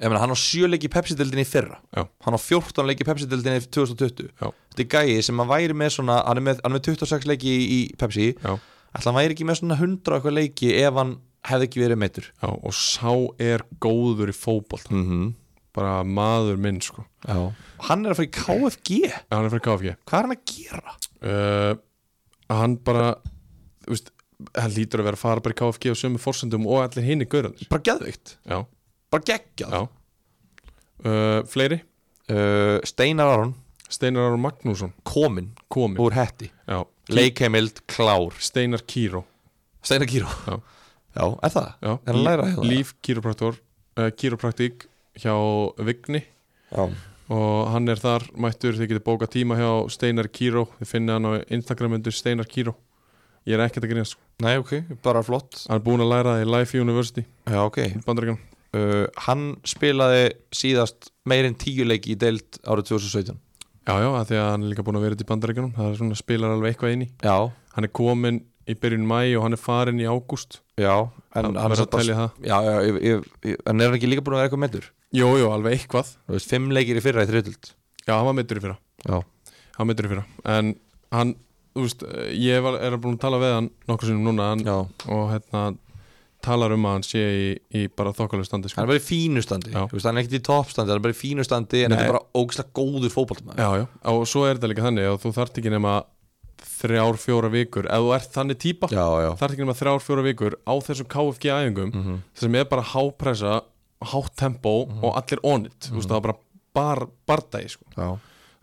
B: ég meina hann á sjöleiki Pepsi-deldinni í fyrra
A: Já.
B: Hann á 14 leiki Pepsi-deldinni í 2020
A: Já.
B: Þetta er gæi sem að væri með svona Hann er með, hann er með 26 leiki í, í Pepsi
A: Já.
B: Ætli hann væri ekki með svona 100 eitthvað leiki ef hann hefði ekki verið meittur
A: Já, og sá er góður í fótbolt
B: mm -hmm.
A: bara maður minn sko
B: Hann er að fara í KFG
A: En hann er fyrir KFG
B: Hvað er hann að gera?
A: uh, hann bara þú veist, hann lítur að vera að fara bara í KFG og sömu forsendum og allir hinn í gaurunir
B: Bara geðveikt,
A: já,
B: bara geggjað
A: já. Uh, fleiri,
B: uh, Steinar Aron
A: Steinar Aron Magnússon
B: komin
A: komi,
B: úr hetti
A: já,
B: Leikheimild klár
A: Steinar Kíró
B: Steinar Kíró
A: Já.
B: Já, er það?
A: já,
B: Er hann að læra hérna?
A: Líf Kíró uh, Kíró-praktík hjá Vigni
B: Já.
A: og hann er þar mættur, þið getið bókað tíma hjá Steinar Kíró, þið finna hann á Instagram undir Steinar Kíró ég er ekkert að grínast, sko.
B: Nei, ok, bara flott
A: hann er búin að læra það í Life University
B: Já, ok
A: í Bandaríkan
B: uh, Hann spilaði síðast meirinn tíu leiki í deild árið 2017
A: Já, já, að því að hann er líka búin að vera þetta í bandaríkjunum það er svona spilar alveg eitthvað inn í
B: Já,
A: hann er komin í byrjun mæ og hann er farin í ágúst
B: já
A: hann
B: En hann
A: verður
B: er
A: að telja það
B: Já, já, ég, ég, ég, en er hann ekki líka búin að vera eitthvað meittur?
A: Jú, jú, alveg eitthvað
B: Þú veist, fimm leikir í fyrra í þriðdöld
A: Já, hann var meittur í fyrra
B: Já
A: hann var meiddur í fyrra en hann, þú veist, eh, ég var, er búin að tala við hann nokkur sinnum núna hann,
B: Já
A: og hérna talar um að hann sé í, í bara þokkalegu standi
B: Hann
A: sko.
B: er bara í fínu standi
A: Já.
B: Þú veist, hann er ekkert í toppstandi Hann er bara í fínu standi En
A: Nei.
B: þetta er bara ógislega góður fótboltamaður
A: Já, já, og svo er þetta líka þannig og þú þarft ekki nema þrjár, fjóra vikur ef þú ert þannig típa
B: já, já,
A: þarf ekki nema þrjár, fjóra vikur á þessum KFG æfingum mm sem er bara hápressa, hátt tempo og allir on it, þú veist það er bara bar, bardagi sko,
B: já.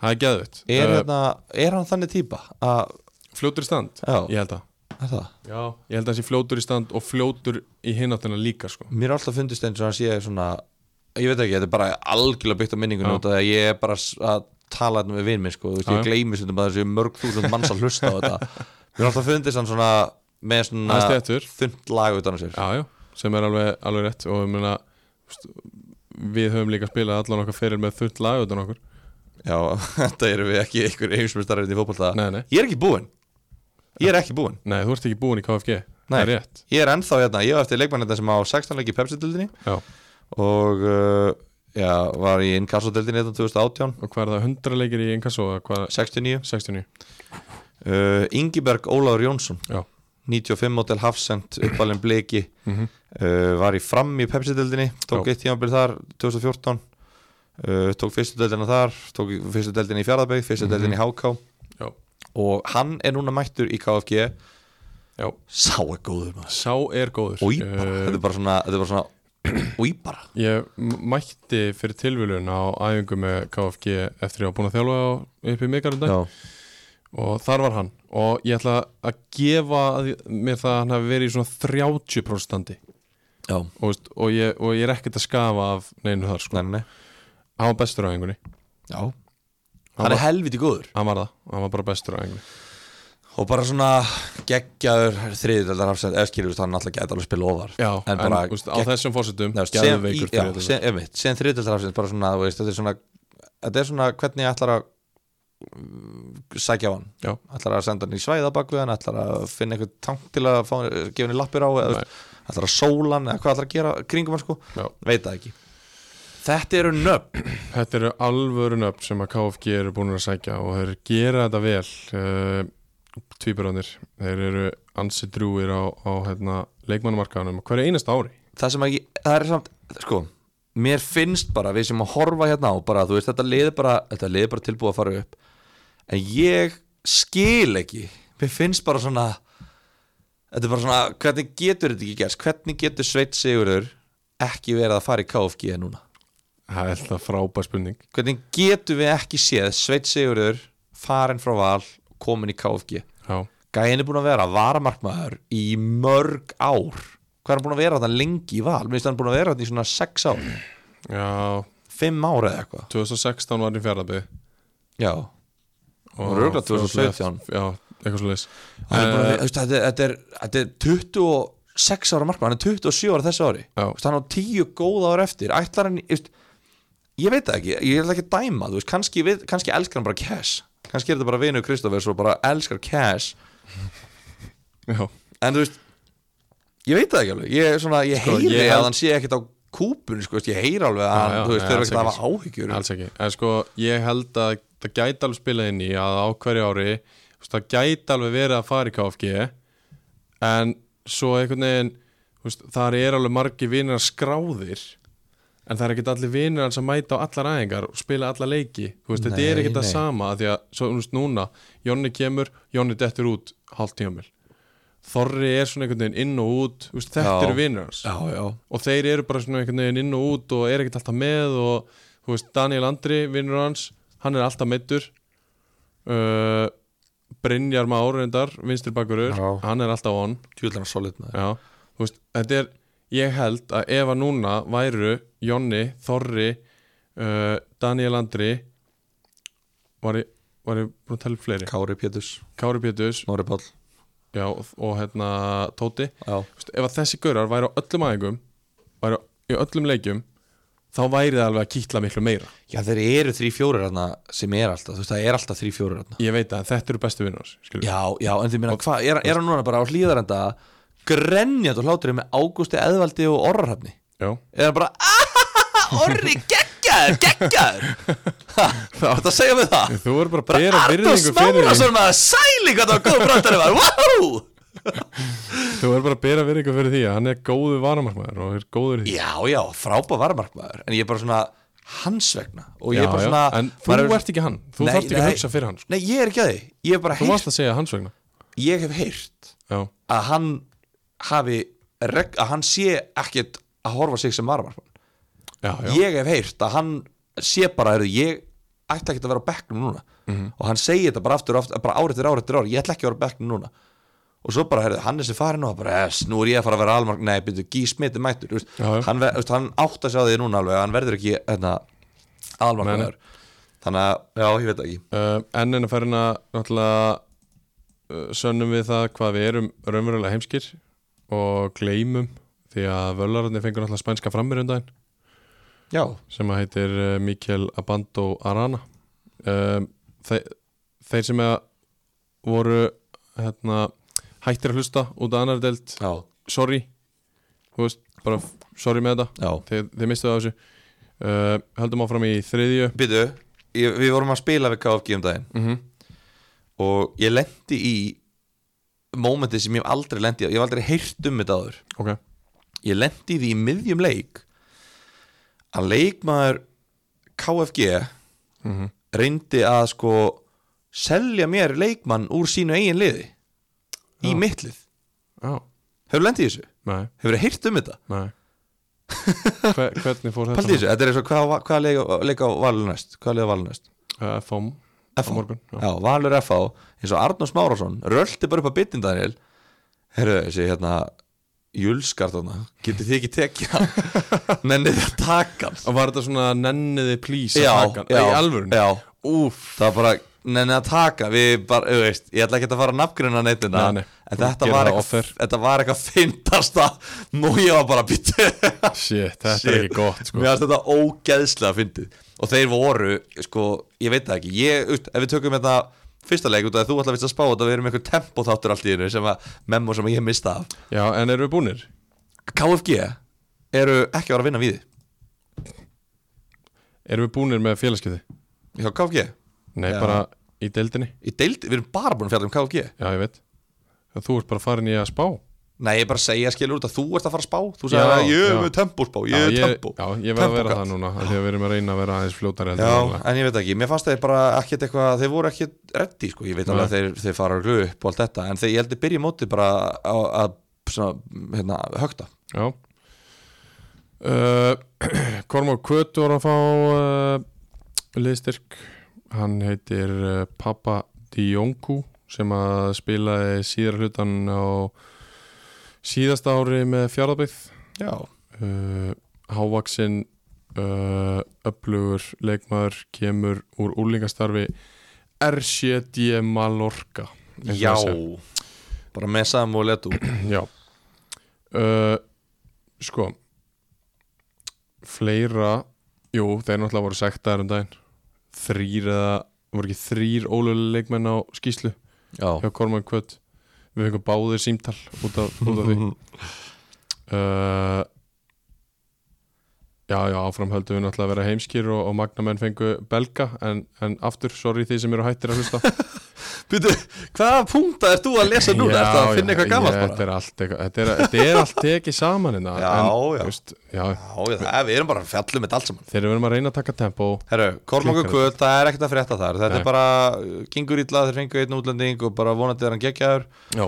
A: það er geðvitt
B: Er, hérna, er hann þannig típa að,
A: fljótur í stand,
B: Já.
A: ég held að
B: að það?
A: Já. ég held að það sé fljótur í stand og fljótur í hináttina líka sko
B: Mér er alltaf fundist eins og hann sé svona ég veit ekki, þetta er bara algjörlega byggt á minningunni
A: Já.
B: út af því að ég er bara s- að tala hérna við vinn minn, sko, þú veist,
A: Já,
B: ég
A: já.
B: gleymi sem þetta er mörg þúsund manns að hlusta á þetta
A: [laughs]
B: Mér er alltaf fundist hann svona með svona
A: Aðeins þéttur.
B: þund lag utan á sér
A: Já, já, sem er alveg, alveg rétt og ég meina veist, við höfum líka spilað allan okkar fyrir með þurrt lag utan okkur
B: Já, [laughs] þetta eru við ekki einhver heimsmyndstarfinn í fótbolta
A: Nei, nei.
B: Ég er ekki búinn Ég er ekki búinn
A: Nei, þú ert ekki búin í KFG Það
B: Nei.
A: er rétt
B: Ég er ennþá hérna, ég var eftir leikmannetna sem á 16 leik í Pepsi-dildinni
A: já.
B: og uh, já, var í hérna Inkasso-dildinni 2018,
A: Og hvað er það, 100 leikir í Inkasso eða hvað,
B: 69
A: 69
B: uh, Ingiberg Ólafur Jónsson
A: Já,
B: 95 mótel Hafsend, uppalinn Bleki
A: Mhm.
B: uh, var í fram í Pepsi-dildinni tók
A: Já.
B: eitt tímabil þar 2014 uh, tók fyrstu deildina þar tók fyrstu deildina í Fjarðabæg fyrstu
A: Mhm.
B: deildina í HK
A: Já.
B: og hann er núna mættur í KFG
A: já,
B: sá er góður maður
A: sá er góður
B: og íbara,
A: Eh,
B: þetta er bara svona, þetta er bara svona [clears throat] og íbara
A: Ég m- mætti fyrir tilvílun á æfingu með KFG eftir ég var búin að þjálfa á- upp í mikalum dag
B: já,
A: og þar var hann og ég ætla að gefa að- mér það að hann hafi verið í svona 30% standi
B: já,
A: og, veist, og, ég, og ég er ekkert að skafa af neinu þar sko.
B: nei, nei, nei.
A: hann var bestur á æfingunni
B: já hann er helviti góður
A: hann var það, hann var bara bestur á æfingunni
B: og bara svona geggjaður þriðdeldar Hafsend, eða skilur þú, hann alltaf geta alveg spila ofar
A: já,
B: en
A: en,
B: bara
A: úst, á
B: gegg-
A: þessum fórsetum
B: Nei, veist, sem,
A: geðveikur
B: í- já,
A: þriðjudeildar.
B: sem, einmitt, sem þriðdeldarafsins bara svona, þú veist, þetta er svona þetta er svona hvernig ég ætlar að mm, sækja á hann
A: Já.
B: ætlar að senda hann í svæða bak við hann ætlar að finna einhvern tank til að fá, gefa hann í lappir á eða, þú
A: Nei.
B: veist, ætlar að sóla hann eða hvað ætlar að gera kringum hann sko,
A: Já.
B: veit það ekki þetta eru nöpp
A: þetta eru alvöru nöfn sem að KFG eru búin að sækja og þeir gera þetta vel uh, tvíburannir þeir eru ansi drúir á, á hérna, leikmannumarkaðanum hverja einasta ári
B: það sem ekki, það er samt, sko mér finnst bara, við sem að horfa hérna á bara, þú veist, þetta liði bara, þetta liði bara tilbúið að fara upp en ég skil ekki mér finnst bara svona þetta er bara svona, hvernig getur þetta ekki gerst hvernig getur Sveit Sigurður ekki verið að fara í KFG núna
A: það er alltaf frábær spurning
B: hvernig getur við ekki séð Sveit Sigurður farin frá val komin í KFG
A: já,
B: Gæin er búin að vera varamarkmaður í mörg ár hvað er hann búin að vera þetta lengi í val mér finnst hann búin að vera þetta í svona sex ár
A: já
B: fimm ára eða eitthvað
A: 2016 var hann í fjárðabbi
B: já Og örugglega 2017.
A: já, eitthvað Eh, svo leis
B: hann er bara, uh, veist, þetta, er- þetta, er, þetta er 26 ára markmann, hann er 27 ára þessu ári
A: Já.
B: veist, hann á 10 góð ára eftir ætlar hann, í- veist, ég veit það ekki ég ætla ekki að dæma, þú veist, kannski, við, kannski elskar hann bara cash, kannski er þetta bara vinu Kristofers og bara elskar cash
A: já,
B: en þú veist, ég veit það ekki alveg ég, er svona, ég
A: Sko,
B: heyri
A: ég-
B: að hann sé ekkert á kúpun sko, veist, ég heyri alveg að hann,
A: já,
B: þú veist,
A: nei,
B: þau eru
A: alls
B: ekkert að
A: ekki,
B: hafa áhyggjur
A: alls ekki en sko, ég held að það gæti alveg spilað inn í að á hverju ári þú veist, það gæti alveg verið að fara í KFG en svo einhvern veginn þú veist, þar er alveg margi vinnir skráðir en það er ekkert allir vinnir hans að mæta á allar æfingar og spila alla leiki Þú veist, þetta er
B: Nei,
A: ekkert það
B: nei.
A: sama af því að svo, þú veist, núna, Jonni kemur Jonni dettur út hálft tímamil Þorri er svona einhvern veginn inn og út Þú veist, þetta
B: Já.
A: eru vinnir hans
B: já, já,
A: og þeir eru bara svona einhvern veginn inn og út og er ekkert alltaf með og þú veist, Daniel Andri, vinnur hans hann er alltaf meittur uh, Brynjar Már reyndar, vinstri bakurur
B: Já.
A: hann er alltaf on
B: tjúðlega solid maður
A: Já. þú veist, þetta er, ég held að ef að núna væru Jonni, Þorri uh, Daniel Andri var ég var ég búin að tala upp fleiri
B: Kári Péturs,
A: Kári Péturs
B: Nóri Páll
A: já, og, og hérna Tóti
B: já.
A: Þú veist, ef að þessi gaurar væri á öllum aðingum væri í öllum leikjum þá væri það alveg að kýtla miklu meira
B: Já þeir eru þrý fjórir hérna sem er alltaf, þú veist það er alltaf þrý fjórir hérna
A: ég veit að þetta eru bestu vinnars
B: Já, já, en því minna, hvað, er, er hann núna bara á hlýðarenda grenjand og hláturinn með Ágústi Eðvaldi og Orrarhafni
A: já.
B: Er hann bara, ahaha, Orri, geggjaður, geggjaður Ha, Hvað það segja við það?
A: þú voru bara að bera
B: Arnór
A: virðingu fyrir því
B: Smárasson maður, sæli hvað það var góð brandari var, wow
A: þú voru bara að bera virðingu fyrir því að hann er góðu varamarsmaður og er góður í því
B: Já, já, frábæð varmarkmaður En ég er bara svona, hans vegna og
A: já,
B: ég er bara svona
A: já, en þú
B: maður er-
A: ert ekki hann þú
B: Nei,
A: þarft ekki að
B: nei.
A: hugsa fyrir hann sko.
B: Nei, ég er ekki að því, ég er bara
A: þú
B: heyrt
A: varst að segja hans vegna
B: ég hef heyrt
A: já,
B: að hann hafi reg, að hann sé ekkert að horfa sig sem varamarkmann
A: já, já,
B: ég hef heyrt að hann sé bara heyrðu, ég ætti ekkert að vera á bekknum núna
A: Mhm.
B: og hann segi þetta bara aftur og aftur bara árið til árið til árið, ég ætli ekki að vera á bekknum núna og svo bara, heyrðu, hann er sem farin og það bara, yes, nú er ég að fara að vera almark nei, byrju, gí smiti mættur, þú veist
A: Já, já.
B: hann, ve- þú veist, hann átt að sjá því núna alveg að hann verður ekki, hérna,
A: Nei, nei.
B: almark þannig að, já, ég veit það ekki
A: Uh, enn en að ferina náttúrulega uh, sönnum við það hvað við erum raunverulega heimskir og gleymum því að völararnir fengur náttúrulega spænska framir um daginn
B: já,
A: sem að heitir uh, Mikel Abando Arana um, þe þeir sem að voru hérna, hættir að hlusta út af annar delt
B: já,
A: sorry Þú veist, bara f- sorry með þetta
B: já
A: þið, þið mistuðu af þessu uh, höldum áfram í þriðju
B: byrju, ég- við vorum að spila við KFG um daginn
A: mm
B: og ég lendi í mómenti sem ég hef aldrei lendi í ég hef aldrei heyrt um þetta áður
A: ok,
B: ég lendi í því í miðjum leik að leikmaður KFG
A: Mhm.
B: reyndi að sko selja mér leikmann úr sínu eigin liði í
A: Já.
B: mitt lið
A: já,
B: hefur lendið í þessu,
A: nei
B: hefur heyrt um þetta
A: [laughs] Nei Hver, Hvernig fór þetta?
B: Paldið þessu, þetta er eins og hvað, hvað leik, leik á valur næst hvað leik á valur næst
A: Uh, FM á
B: FH.
A: morgun já.
B: Já, Valur FH eins og Arnór Smárásson rölti bara upp að byttin Daniel Herru, þessi hérna Júlskartana, getið þið ekki tekið hann
A: [laughs]
B: Nennið þið að taka hann
A: Og Var þetta svona nenniði plís að taka hann?
B: já,
A: Í alvörun?
B: já,
A: Úf
B: það var bara nennið að taka Við bara, þú veist, ég ætla ekki að fara að nafngrunna neittuna
A: Nei, nei,
B: En
A: þú
B: þetta
A: gerir
B: var,
A: það
B: eitthvað,
A: offer.
B: þetta var eitthvað fyndasta Nú ég var bara að bytta
A: Shit, þetta er
B: Shit.
A: ekki gott sko
B: Mér finnst þetta ógeðslega fyndið Og þeir voru, sko, ég veit það ekki ég, veist, Ef við tökum þetta fyrsta leik út af því að þú ætla að vits að spá þetta Við erum eitthvað tempoþáttur allt í hennu sem að memo sem ég mista af
A: Já, en eru við búnir?
B: KFG eru ekki að vera að vinna við
A: Eru við búnir með félagskeiði?
B: Hjá KFG
A: Nei,
B: Já.
A: bara í deildinni
B: Í deildi, Við erum bara búin að fjalla um KFG
A: Já, ég veit En Þú ert bara farin í að spá
B: Nei, ég er bara að segja skilur út að þú ert að fara að spá Þú
A: Já,
B: segir að ég
A: já.
B: er með tempospá, ég er
A: já,
B: tempo
A: Já, ég verð að vera
B: Tempokat.
A: það núna af Því að við erum að reyna að vera aðeins fljótari heldur
B: Já,
A: en venjulega.
B: en ég veit ekki, mér fannst þeir bara ekkert eitthvað, þeir voru ekkert reddi sko, ég veit alveg að þeir, þeir fara örugglega upp og allt þetta, en þeir, ég held heldur byrja mótið bara að, að svona, hérna, högta.
A: Já uh, [clears throat] Kormór Kvöt voru að fá uh, liðstyrk hann heitir uh, Papa Dionku sem að spilaði síðar hlutan á síðasta ári með fjárðabyggð
B: Já.
A: uh, Hávaksinn uh, öflugur leikmaður kemur úr úlingastarfi RCD Mallorca eins og
B: Já.
A: það sé.
B: Bara með Samu og Letu.
A: Já uh, Sko Fleira Jú, þeir náttúrulega voru sektaðar um daginn Þrýr eða voru ekki þrýr ólega leikmenn á skýslu
B: Já.
A: hjá Kormann Kvöt Við fengum báðir símtal út af, út af því
B: [laughs]
A: uh, Já, já, áfram höldum við náttúrulega að vera heimskir og, og magnamenn fengu belga en, en aftur, sorry því sem eru hættir að hlusta
B: [laughs] Býtu, hvaða punta ert þú að lesa núna? Ertu að finna eitthvað gammalt
A: ég,
B: bara?
A: Þetta er allt, eitthvað- þetta er, þetta er allt tekið saman hérna
B: Já,
A: en,
B: já.
A: Veist, já
B: Já, já, það- við erum bara að fjalla um þetta allt saman.
A: Þegar við erum að reyna að taka tempo
B: Herru, Kormokur
A: Klikkar
B: Kvöld, það er ekkert að frétta þar. Þetta
A: Nei.
B: er bara, uh, gengur illa, þeir fengu einn útlending og bara vonandi er hann geggjaður.
A: Já,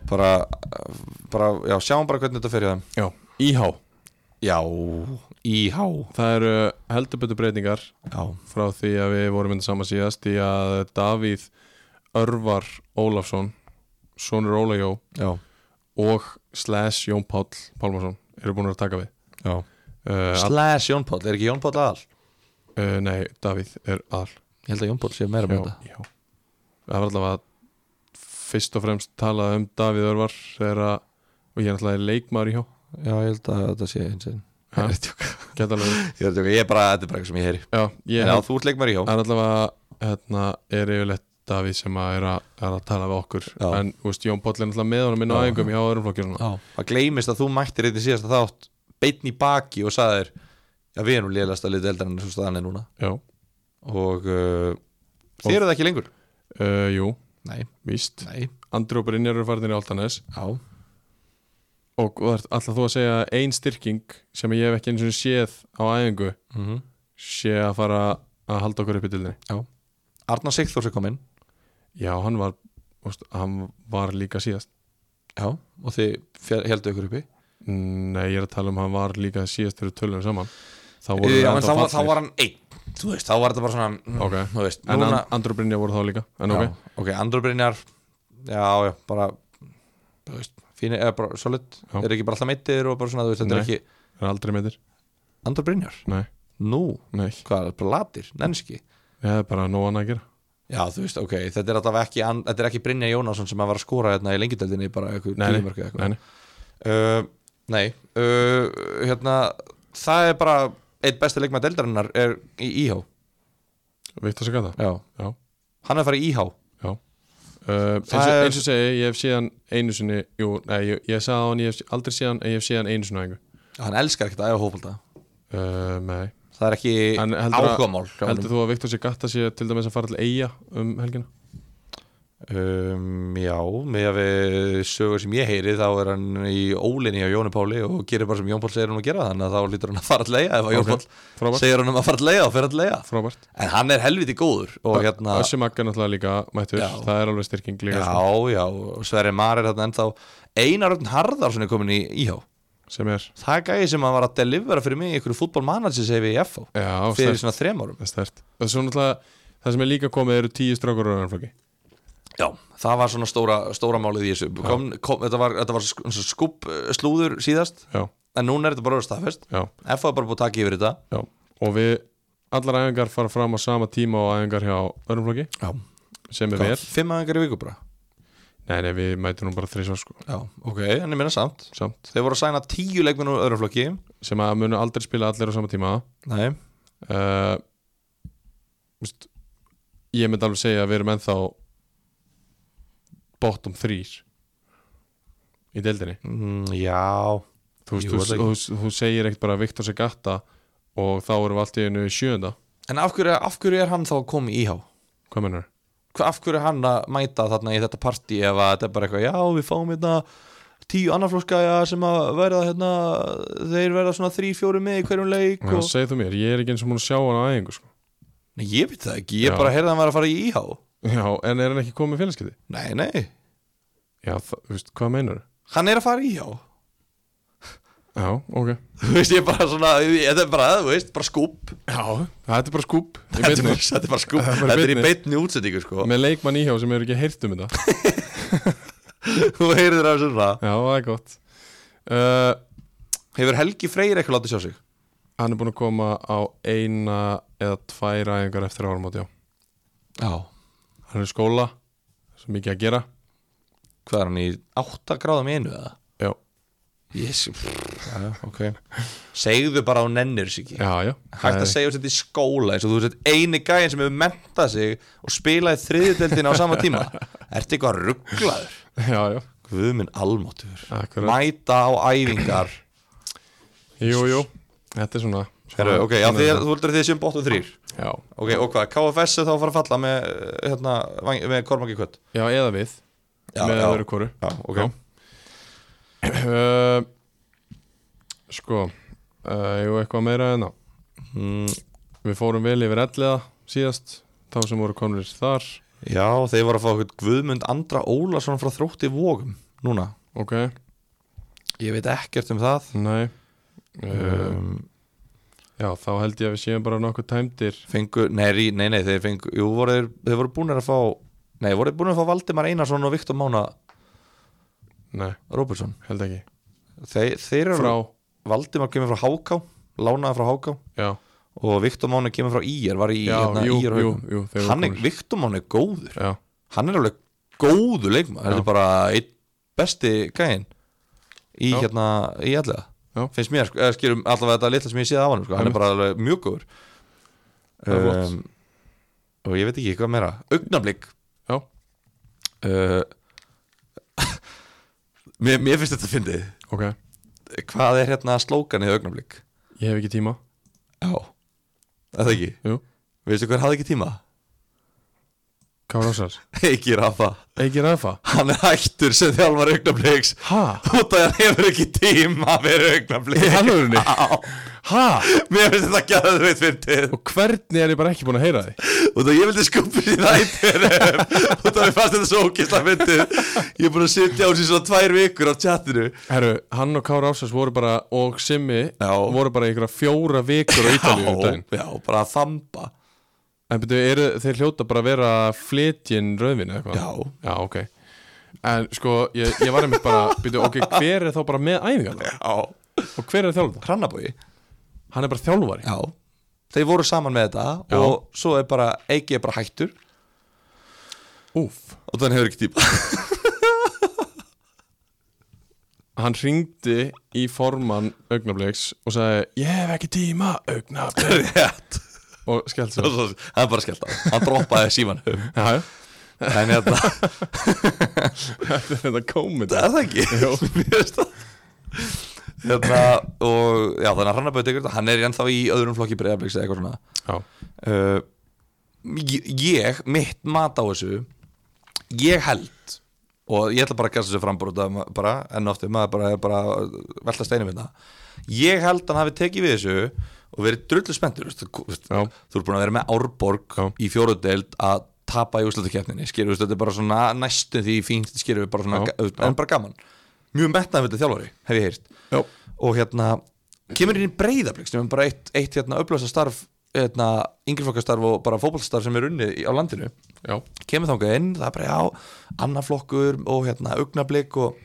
B: Og Bara, uh, bara, já, sjáum bara hvernig þetta fer hjá þeim.
A: já Íhá,
B: Já, IH
A: það eru eh, heldur betur breytingar
B: Já,
A: frá því að við vorum yndir saman síðast í að Davíð Örvar Ólafsson Sónur Óla Jó
B: já,
A: og slash Jón Páll Pálmarsson eru búin að taka við
B: já.
A: uh, all,
B: Slash Jón Páll, er ekki Jón Páll aðal?
A: uh, Nei, Davíð er all
B: Ég held að Jón Páll sé meira með
A: já, já. Það var allavega fyrst og fremst talað um Davíð Örvar þegar að og ég er alltaf leikmaður í hjá
B: þetta Já, ég held að þetta sé eins og
A: Ha?
B: Ég er að djóka.
A: Geta alveg verið.
B: Ég er að djóka, ég er bara, þetta er bara eitthvað sem ég heyri
A: Já, ég
B: En já, þú ert leikmar í hjá
A: Það er allavega hérna, er yfirleitt Davíð sem að er, að, er að tala við okkur
B: Já.
A: en þú veist, Jón Páll er náttúrulega með honum inn á
B: Já.
A: æfingum hjá öðrum flokkjörnum
B: Það gleymist að þú mættir eitthvað síðast að þátt Beitn í baki og sagðir Já, við erum lélegast að lita eldar en svo staðan er núna
A: Já,
B: Og uh, þið eru það ekki lengur
A: uh, jú,
B: Nei,
A: víst
B: nei,
A: Andri og Brynjar eru farinir í Altanes
B: já
A: og, og alltaf þú að segja að ein styrking sem ég hef ekki eins og séð á æfingu
B: mm -hmm.
A: sé að fara að halda okkur upp í dildinni
B: Arnar Sigþórs er kominn
A: Já, hann var, úst, hann var líka síðast
B: Já, og þið fjall, heldur ykkur uppi
A: Nei, ég er að tala um hann var líka síðast fyrir tölunum saman Þá voru
B: Já,
A: þeir
B: en
A: ennþá
B: þá var, þá
A: fallnir.
B: var hann einn Þú veist, þá var þetta bara svona mm,
A: Ok.
B: Þú veist,
A: En
B: núna
A: núna... Andru Brynja voru þá líka En ok,
B: já, ok, Andrú Brynjar Já, já, bara Þú veist, fíni, eða bara solid
A: Já.
B: Er ekki bara alltaf meittir og bara svona, þú veist, þetta
A: Nei.
B: er ekki
A: er aldrei meitir
B: Andrú Brynjar,
A: Nei,
B: nú,
A: nei,
B: hvað er það, bara latir, nennski
A: það er bara nóg annað að gera
B: Já, þú veist, ok, þetta er alltaf ekki an- Þetta er ekki Brynja Jónásson sem að var að skora hérna í lengjudeldinni bara eitthvað
A: Nei, nei,
B: tíumörku eitthvað
A: nei, nei.
B: uh, Nei, uh, hérna Það er bara eitt besti leikmaður deildarinnar er í íhá
A: Viktor Sagata
B: Já,
A: Já,
B: hann er að fara í íhá
A: já Uh, eins, og,
B: Það er-
A: eins og segi, ég hef síðan einu sinni Jú, nei, ég, ég sagði á hann, ég hef sí- aldrei síðan En ég hef síðan einu sinni á einhver
B: Hann elskar ekkert að æfa hófbólta
A: uh, Nei,
B: Það er ekki
A: En heldur að-
B: áhugamál hjá honum.
A: heldur þú að Viktor Sagata sé til dæmis að fara til eiga um helgina?
B: Um, já, með að við sögur sem ég heyri þá er hann í ólinni á Jóni Páli og gerir bara sem Jón Pál segir hann að gera þannig að þá lítur hann að fara að leiða ef að Jón
A: Ok,
B: Pál
A: Frábært,
B: segir hann um að fara að leiða og fer að leiða
A: frábært
B: en hann er helviti góður og hérna,
A: Össi Magga náttúrulega líka mættur,
B: Já.
A: það er alveg styrking líka sko,
B: já, já Sverri Mar er hérna ennþá Einar Örn Harðarsson er komin í íhá
A: sem er
B: það er gæði sem hann var að delivera fyrir mig í einhverju fútbolmanager segir við í FO
A: já,
B: fyrir
A: stert,
B: svona þrem árum
A: það er stert og svo náttúrulega, það sem er líka komið eru tíu strákur á rannflokki,
B: Já, það var svona stóra, stóra málið í þessu kom, kom, þetta var, þetta var skup eh, slúður síðast
A: já,
B: en núna er þetta bara staðfest
A: já,
B: FO er bara búið að taka yfir þetta
A: já og við, allar æfingar fara fram á sama tíma og æfingar hjá rannflokki
B: Já,
A: sem er
B: Hvað,
A: vel,
B: Fimm aðingar í viku bara
A: nei, nei, við mætum nú bara þrísvar sko,
B: Já, ok, en ég minna samt
A: samt,
B: Þeir voru að sæna tíu leikmenn úr öðrum flokki
A: sem að munu aldrei spila allir á sama tíma
B: Nei,
A: uh, veist, ég myndi alveg segja að við erum ennþá bottom þrýr í deildinni
B: mm, já
A: þú, veist,
B: Jú,
A: þú,
B: er það
A: þú, þú, þú segir ekkert bara Viktor Segata og þá erum við allt í einu í sjönda
B: En af hverju, af hverju er hann þá að koma í íhá?
A: hvað mennur?
B: Hva- Af hverju er hann að mæta þarna í þetta partí ef að þetta er bara eitthvað, já við fáum hérna tíu annarflokkaja sem að verða hérna, þeir verða svona þrý, fjóri með í hverjum leik
A: Já,
B: og...
A: segð þú mér, ég er ekki eins og múin að sjá hann á æfingu sko.
B: Nei, ég veit það ekki, ég
A: Já.
B: bara heyrði að hann var að fara í íhá
A: já, en er hann ekki komið félagsgeti?
B: Nei, nei,
A: já, það- þú veist, hvað mennur?
B: hann er að fara í íhá
A: já, ok
B: Þú veist, ég bara svona, þetta er bara, þú veist, bara skúp
A: já, þetta er bara skúp í
B: [laughs] Þetta er
A: beinni.
B: bara- þetta er bara skúp,
A: er bara
B: þetta er í
A: beinni.
B: beinni útsendingu [laughs] sko
A: með leikmann íhjá sem hefur ekki heyrt um þetta
B: Þú heyrðir af þessu svona
A: já, það er gott uh,
B: Hefur Helgi Freyr eitthvað látið sjá sig?
A: hann er búin að koma á eina eða tvær æfingar eftir áramót já.
B: Já
A: hann er í skóla, svo mikið að gera
B: Hvað er hann í 8 gráðum í einu eða?
A: já,
B: Jésu Já, ok Segðu bara á nennir sig ekki
A: já, já
B: Hægt að segja þetta í skóla eins og þú sett eini gæðin sem hefur mentað sig og spilaði þriðudeldin á sama [laughs] tíma Ertu eitthvað rugglaður?
A: já, já,
B: Guðminn almóttur
A: akkurat
B: Mæta á æfingar
A: Jú, jú, þetta er svona
B: Heru, Ok, já, þið, þú heldur að þið séum bóttum þrýr
A: já.
B: Ok, og hvað, KFS er þá að fara að falla með, eh, hérna, Vang- með Kormaki Kött
A: já, eða við
B: Já,
A: með
B: já.
A: öðru kóru
B: Já, ok
A: Já. uh, Sko, uh, jú, eitthvað meira en á
B: Mm,
A: Við fórum vel yfir elliða síðast Þá sem voru konur þar
B: Já, þeir voru að fá okkur Guðmund Andra Ólason frá þrótti vógum núna.
A: Ok,
B: Ég veit ekkert um það.
A: nei uh,
B: Um,
A: Já, þá held ég að við séum bara nokkuð tæmdir
B: fengu, nei, rí- nei, nei, þeir fengu, jú, voru, þeir- þeir voru búin að fá, nei, voru búin að fá Valdimar Einarsson og Viktor Mána
A: Nei,
B: Róbertsson.
A: held ekki
B: Þeir, þeir eru,
A: Frá,
B: Valdimar kemur frá Háká, lánaði frá Háká
A: já,
B: og Viktor Mána kemur frá Íjar, var í,
A: já,
B: hérna,
A: jú,
B: Íjar
A: jú,
B: Haukum.
A: jú þeir voru
B: Hann er,
A: konur.
B: Viktor Mána er góður,
A: Já,
B: hann er alveg góður
A: Já.
B: leikmaður, þetta er bara einn besti gæinn í,
A: Já.
B: hérna, í allega.
A: Já.
B: finnst mér, sko, eða skilum allavega þetta litla sem ég séð af hann, sko, hann er
A: Einmitt.
B: bara alveg mjög góður
A: Það
B: Ehm,
A: er flott.
B: og ég veit ekki hvað meira augnablík
A: Já.
B: uh, Eh, [laughs] mér, mér finnst þetta að fyndið
A: ok
B: hvað er hérna slókanið augnablík
A: Ég hef ekki tíma
B: já, það ekki
A: Jú.
B: veistu hver hafði ekki tíma? [laughs]
A: Kára Ásars
B: ekki Rafa,
A: Eikir Rafa
B: hann er hættur sem þjálfar augnablíks
A: Ha?
B: út að hann hefur ekki tíma fyrir augnablík
A: alvörunni?
B: Já.
A: Hæ?
B: Mér finnst þetta ekki að þau veit fyndið
A: Og hvernig er ég bara ekki búin að heyra því?
B: Og það ég vildi skupa sér nættir Og það mér fannst þetta svo ókisla fyndið Ég er búin að sitja á þessu svona tvær vikur á tjatinu
A: Herru, hann og Kára Ásas voru bara, og Simmi
B: Já.
A: voru bara í einhverja fjóra vikur á Ítalíu um daginn.
B: já, bara að þamba
A: En betur, eru, þeir hljóta bara að vera flytjinn rauðvinni eitthvað?
B: Já.
A: Já, ok. En sko, ég, ég var einmitt [laughs] bara, betur, ok, hver er þá bara með æfingarna?
B: Já,
A: Og hver er þjálfari?
B: hrannabói
A: Hann er bara þjálfari.
B: Já, þeir voru saman með þetta
A: Já.
B: Og svo er bara, Eiki er bara hættur
A: Úf.
B: Og þannig hefur ekki tíma
A: Hann ringdi í formann augnabliks og sagði, ég hef ekki tíma [laughs] augnablik.
B: [laughs] Rétt
A: og skellt
B: [laughs] Og
A: svo.
B: svo- Hann bara skellt á, hann droppaði síman
A: Já, já.
B: En hérna,
A: [laughs] Þetta er þetta komið.
B: það er það ekki
A: Jó.
B: [laughs] Mér finnst það. Hérna, og já, þannig að Hrannaböð tekur þetta, hann er ennþá í öðrum flokki breyðabliks eða eitthvað svona
A: Já.
B: uh, ég- ég, mitt mat á þessu ég held og ég ætla bara að gæsta þessu frambúrúta bara, enn og aftur, maður bara, bara velta steinum hérna ég held að hann hafi tekið við þessu og verið drullu spenntur veist, þú veist,
A: Já.
B: þú er búin að vera með Árborg
A: Já.
B: í fjóruðdeild að tapa í úslutakefninni skilur, veist, þetta er bara svona næstum því fínt skilur, bara svona,
A: Já.
B: ga- en bara gaman mjög metnaðan við þetta þjálfari, hef ég heyrt
A: Já.
B: og hérna kemur inn í breyðablík sem er bara eitt, eitt hérna, upplösa starf hérna, yngriflokkastarf og bara fótballstarf sem er unnið í- á landinu
A: Já.
B: kemur þangað inn, það er bara já annar flokkur og hérna augnablík og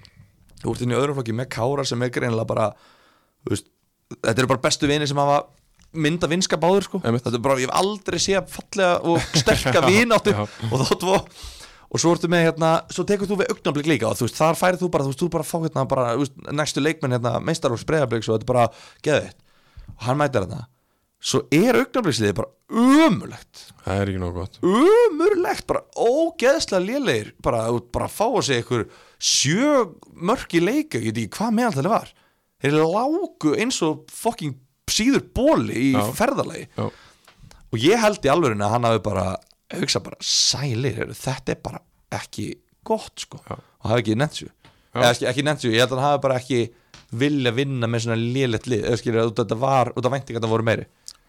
B: þú ert inn í öðrum flokki með kára sem er greinilega bara þú veist, þetta eru bara bestu vini sem hafa mynda vinska báður sko
A: Einmitt.
B: þetta er bara, ég hef aldrei séð fallega og
A: [laughs]
B: sterka vin áttu
A: já.
B: og þá tvo og svo ertu með hérna, svo tekur þú við augnablík líka og þú veist, þar færið þú bara, þú veist, þú bara fá hérna bara, þú veist, næstu leikmenn hérna, meistar og spreyðablík og þetta er bara, geðið og hann mætir hérna, svo er augnablíksliðið bara umulegt
A: Það er ekki nóg gott.
B: umurlegt, bara ógeðslega lélegir, bara, þú ert bara að fá að segja ykkur sjö mörki leika, ég veit ekki hvað meðal það var þeir lágu eins og fucking síður bóli í
A: Já.
B: ferðarlegi
A: Já.
B: og ég held í alvörinu að hann hafi bara hugsa bara, sælir, heyrðu, þetta er bara ekki gott sko
A: Já.
B: og hafi ekki nefnt sér
A: Já.
B: eða ekki, ekki nefnt sér, ég held að hann hafi bara ekki vilja vinna með svona lélegt lið eða skilur að þetta var, út af væntingarna voru meiri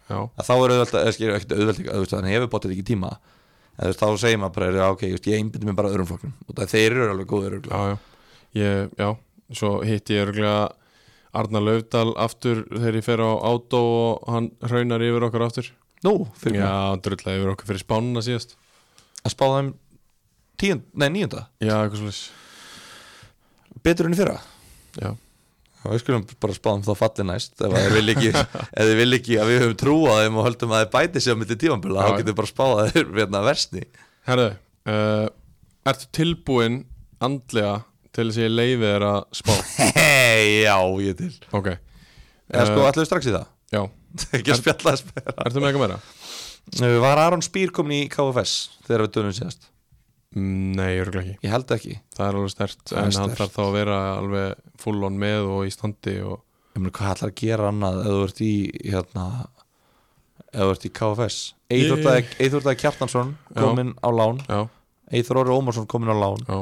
A: Já.
B: að þá er auðvelt að, eða skilur ekkert auðvelt að, veist, þannig hefur bóttið ekki tíma eða þú veist, þá segir maður bara, já, ok, just, ég einbytti mig bara að öðrum flokknum og það þeir eru alveg góður örugglega.
A: já, já. Ég, já, svo hitti ég örgulega Arnar Laufdal aftur þegar ég fer á átó og hann hraunar yfir okkur aftur
B: nú, fyrir mig,
A: Já, hann drullaði yfir okkur fyrir spánuna síðast
B: að spá þeim tíund, nei, níunda,
A: Já, eitthvað svolítið
B: betur enn í fyrra
A: Já,
B: Já, við skulum bara spá um þá falli næst ef þeir vil [laughs] ekki, ef þeir vil ekki að við höfum trú á þeim og höldum að þeir bæti sér á myndi tímanbila,
A: Já,
B: þá getum við bara spáð að þeir verðna versni
A: herðu uh, Ertu tilbúinn andlega til þess að ég leifi þér að spá?
B: Hei, já, ég til
A: Ok,
B: Eða sko,
A: Eh,
B: ætlum við strax í það
A: já,
B: [laughs] Ekki að spjalla að spjalla
A: ertu með eitthvað meira?
B: Var Aron Spýr komin í KFS þegar við dönum síðast?
A: Mm, Nei, örgulega ekki,
B: Ég held ekki
A: það er alveg stert
B: Það er
A: En hann
B: sterkt.
A: þarf þá að vera alveg full on með og í standi og
B: ég meina hvað ætlar að gera annað ef þú ert í hérna ef þú ert í KFS
A: Ég-
B: Eithorda Kjartansson
A: Já.
B: kominn á lán
A: Já,
B: Eithor Orri Ómarsson kominn á lán
A: já,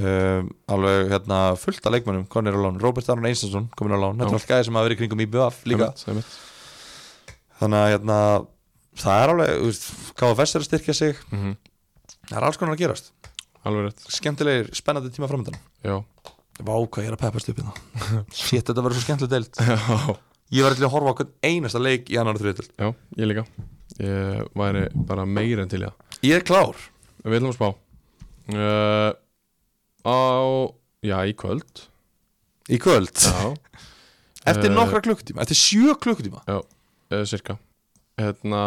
B: um, alveg hérna fullt af leikmönnum konir á lán, Robert Aron Einsansson kominn á lán
A: Já.
B: þetta er allt gæði sem hafa verið í kringum IBF líka
A: einmitt, einmitt.
B: þannig að hérna það er alveg, þú veist, KFS er að styrkja sig
A: Mm
B: það er alls konar að gerast
A: Alveg rétt
B: skemmtilegir, spennandi tíma framöndan
A: Já,
B: Vá, hvað ég er að peppast upp hérna. í það [laughs] Shit, þetta verður svo skemmtileg deilt
A: já,
B: Ég var til að horfa á hvern einasta leik í annar og þriðdeild
A: já, ég líka Ég væri bara meira en til í það
B: Ég er klár
A: Við ætlum að spá uh, Á, já, í kvöld
B: Í kvöld
A: Já,
B: Eftir
A: Eh,
B: nokkra klukkutíma, eftir sjö klukkutíma
A: uh, cirka Hérna,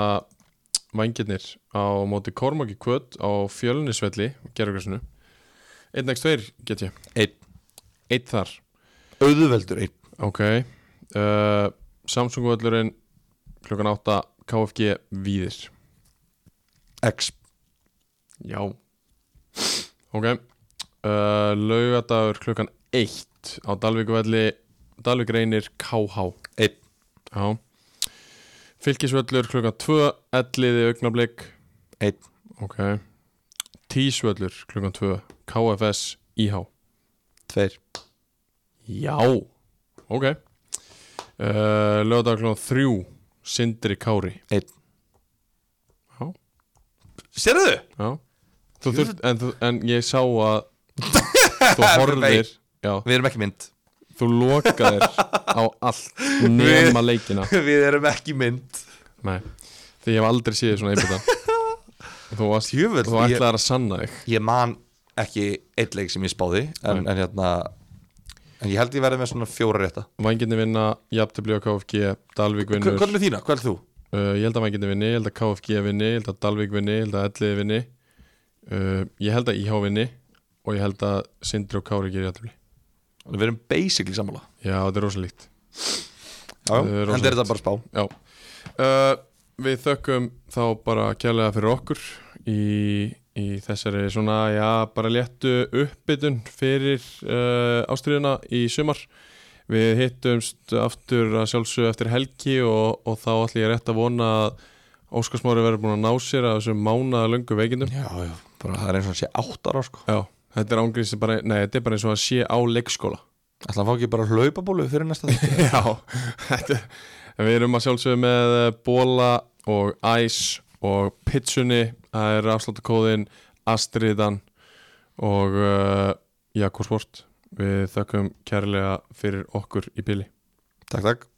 A: vængirnir á móti Kormáki kvöld á Fjölnisvelli, gerðugræsunu 1x2 get ég
B: Einn.
A: Einn þar
B: Auðveldur einn
A: Ok uh, Samsung völlurinn klukkan 8 KFG Víðir
B: X
A: Já Ok uh, Laugadagur klukkan 1 á Dalvíkvelli Dalvík reynir KH
B: Einn.
A: Já Fylkisvöllur klukkan 2 Elliði augnablik
B: Einn.
A: Ok Tísvöllur klukkan 2 KFS IH
B: Tveir
A: Já Ok uh, Lögðarklón 3 Sindri Kári
B: Einn
A: Já.
B: Sérðu?
A: Já. Þú þurft, en, þú- en ég sá
B: [laughs]
A: að þú horfir já,
B: Við erum ekki mynd
A: þú lokaðir á allt nema leikina
B: [laughs] Við erum ekki mynd
A: Nei, því ég hef aldrei séð svona einbjöndan Þú, varst,
B: Djöfull,
A: þú
B: ég-
A: ætlaðir að sanna þig
B: Ég man ekki eitt leik sem ég spáði En, en hérna En ég held ég verði með svona fjóra rétta
A: Vænginni vinna, Jafntöfli og KFG Dalvík
B: Hva-
A: vinnur
B: Hvað er með þína? Hvað er þú?
A: Uh, ég held að maður getur vinni, ég held að KFG vinni, ég held að Dalvik vinni, ég held að Elliði vinni uh, Ég held að IH vinni og ég held að Sindri og Kári gerir jættumli
B: Við erum basically sammála
A: Já, þetta er rosalíkt
B: Já,
A: Það er
B: en þetta er
A: rosalegt.
B: þetta bara spá
A: Já uh, Við þökkum þá bara kjærlega fyrir okkur í, í þessari svona, já, bara léttu uppbytun fyrir uh, ástriðuna í sumar Við hittumst aftur að sjálfsögðu eftir helgi og, og þá ætlum ég rétt að vona að Óskarsmári verður búin að ná sér að þessum mánaða löngu veikindum
B: Já, já, bara það er eins og hann sé átt ára sko
A: Já, þetta er ángriðs bara, nei, þetta er bara eins og að sé á leikskóla
B: Ætla hann fá ekki bara hlaupabólu fyrir næsta [laughs]
A: [laughs]
B: þetta
A: Já, þetta er en Við erum að sjálfsögðu með eh, bóla og æs og pitsunni það er afsláttakóðin Astriðan og uh, Jakobsvort Við þökkum kærlega fyrir okkur í bili
B: Takk, takk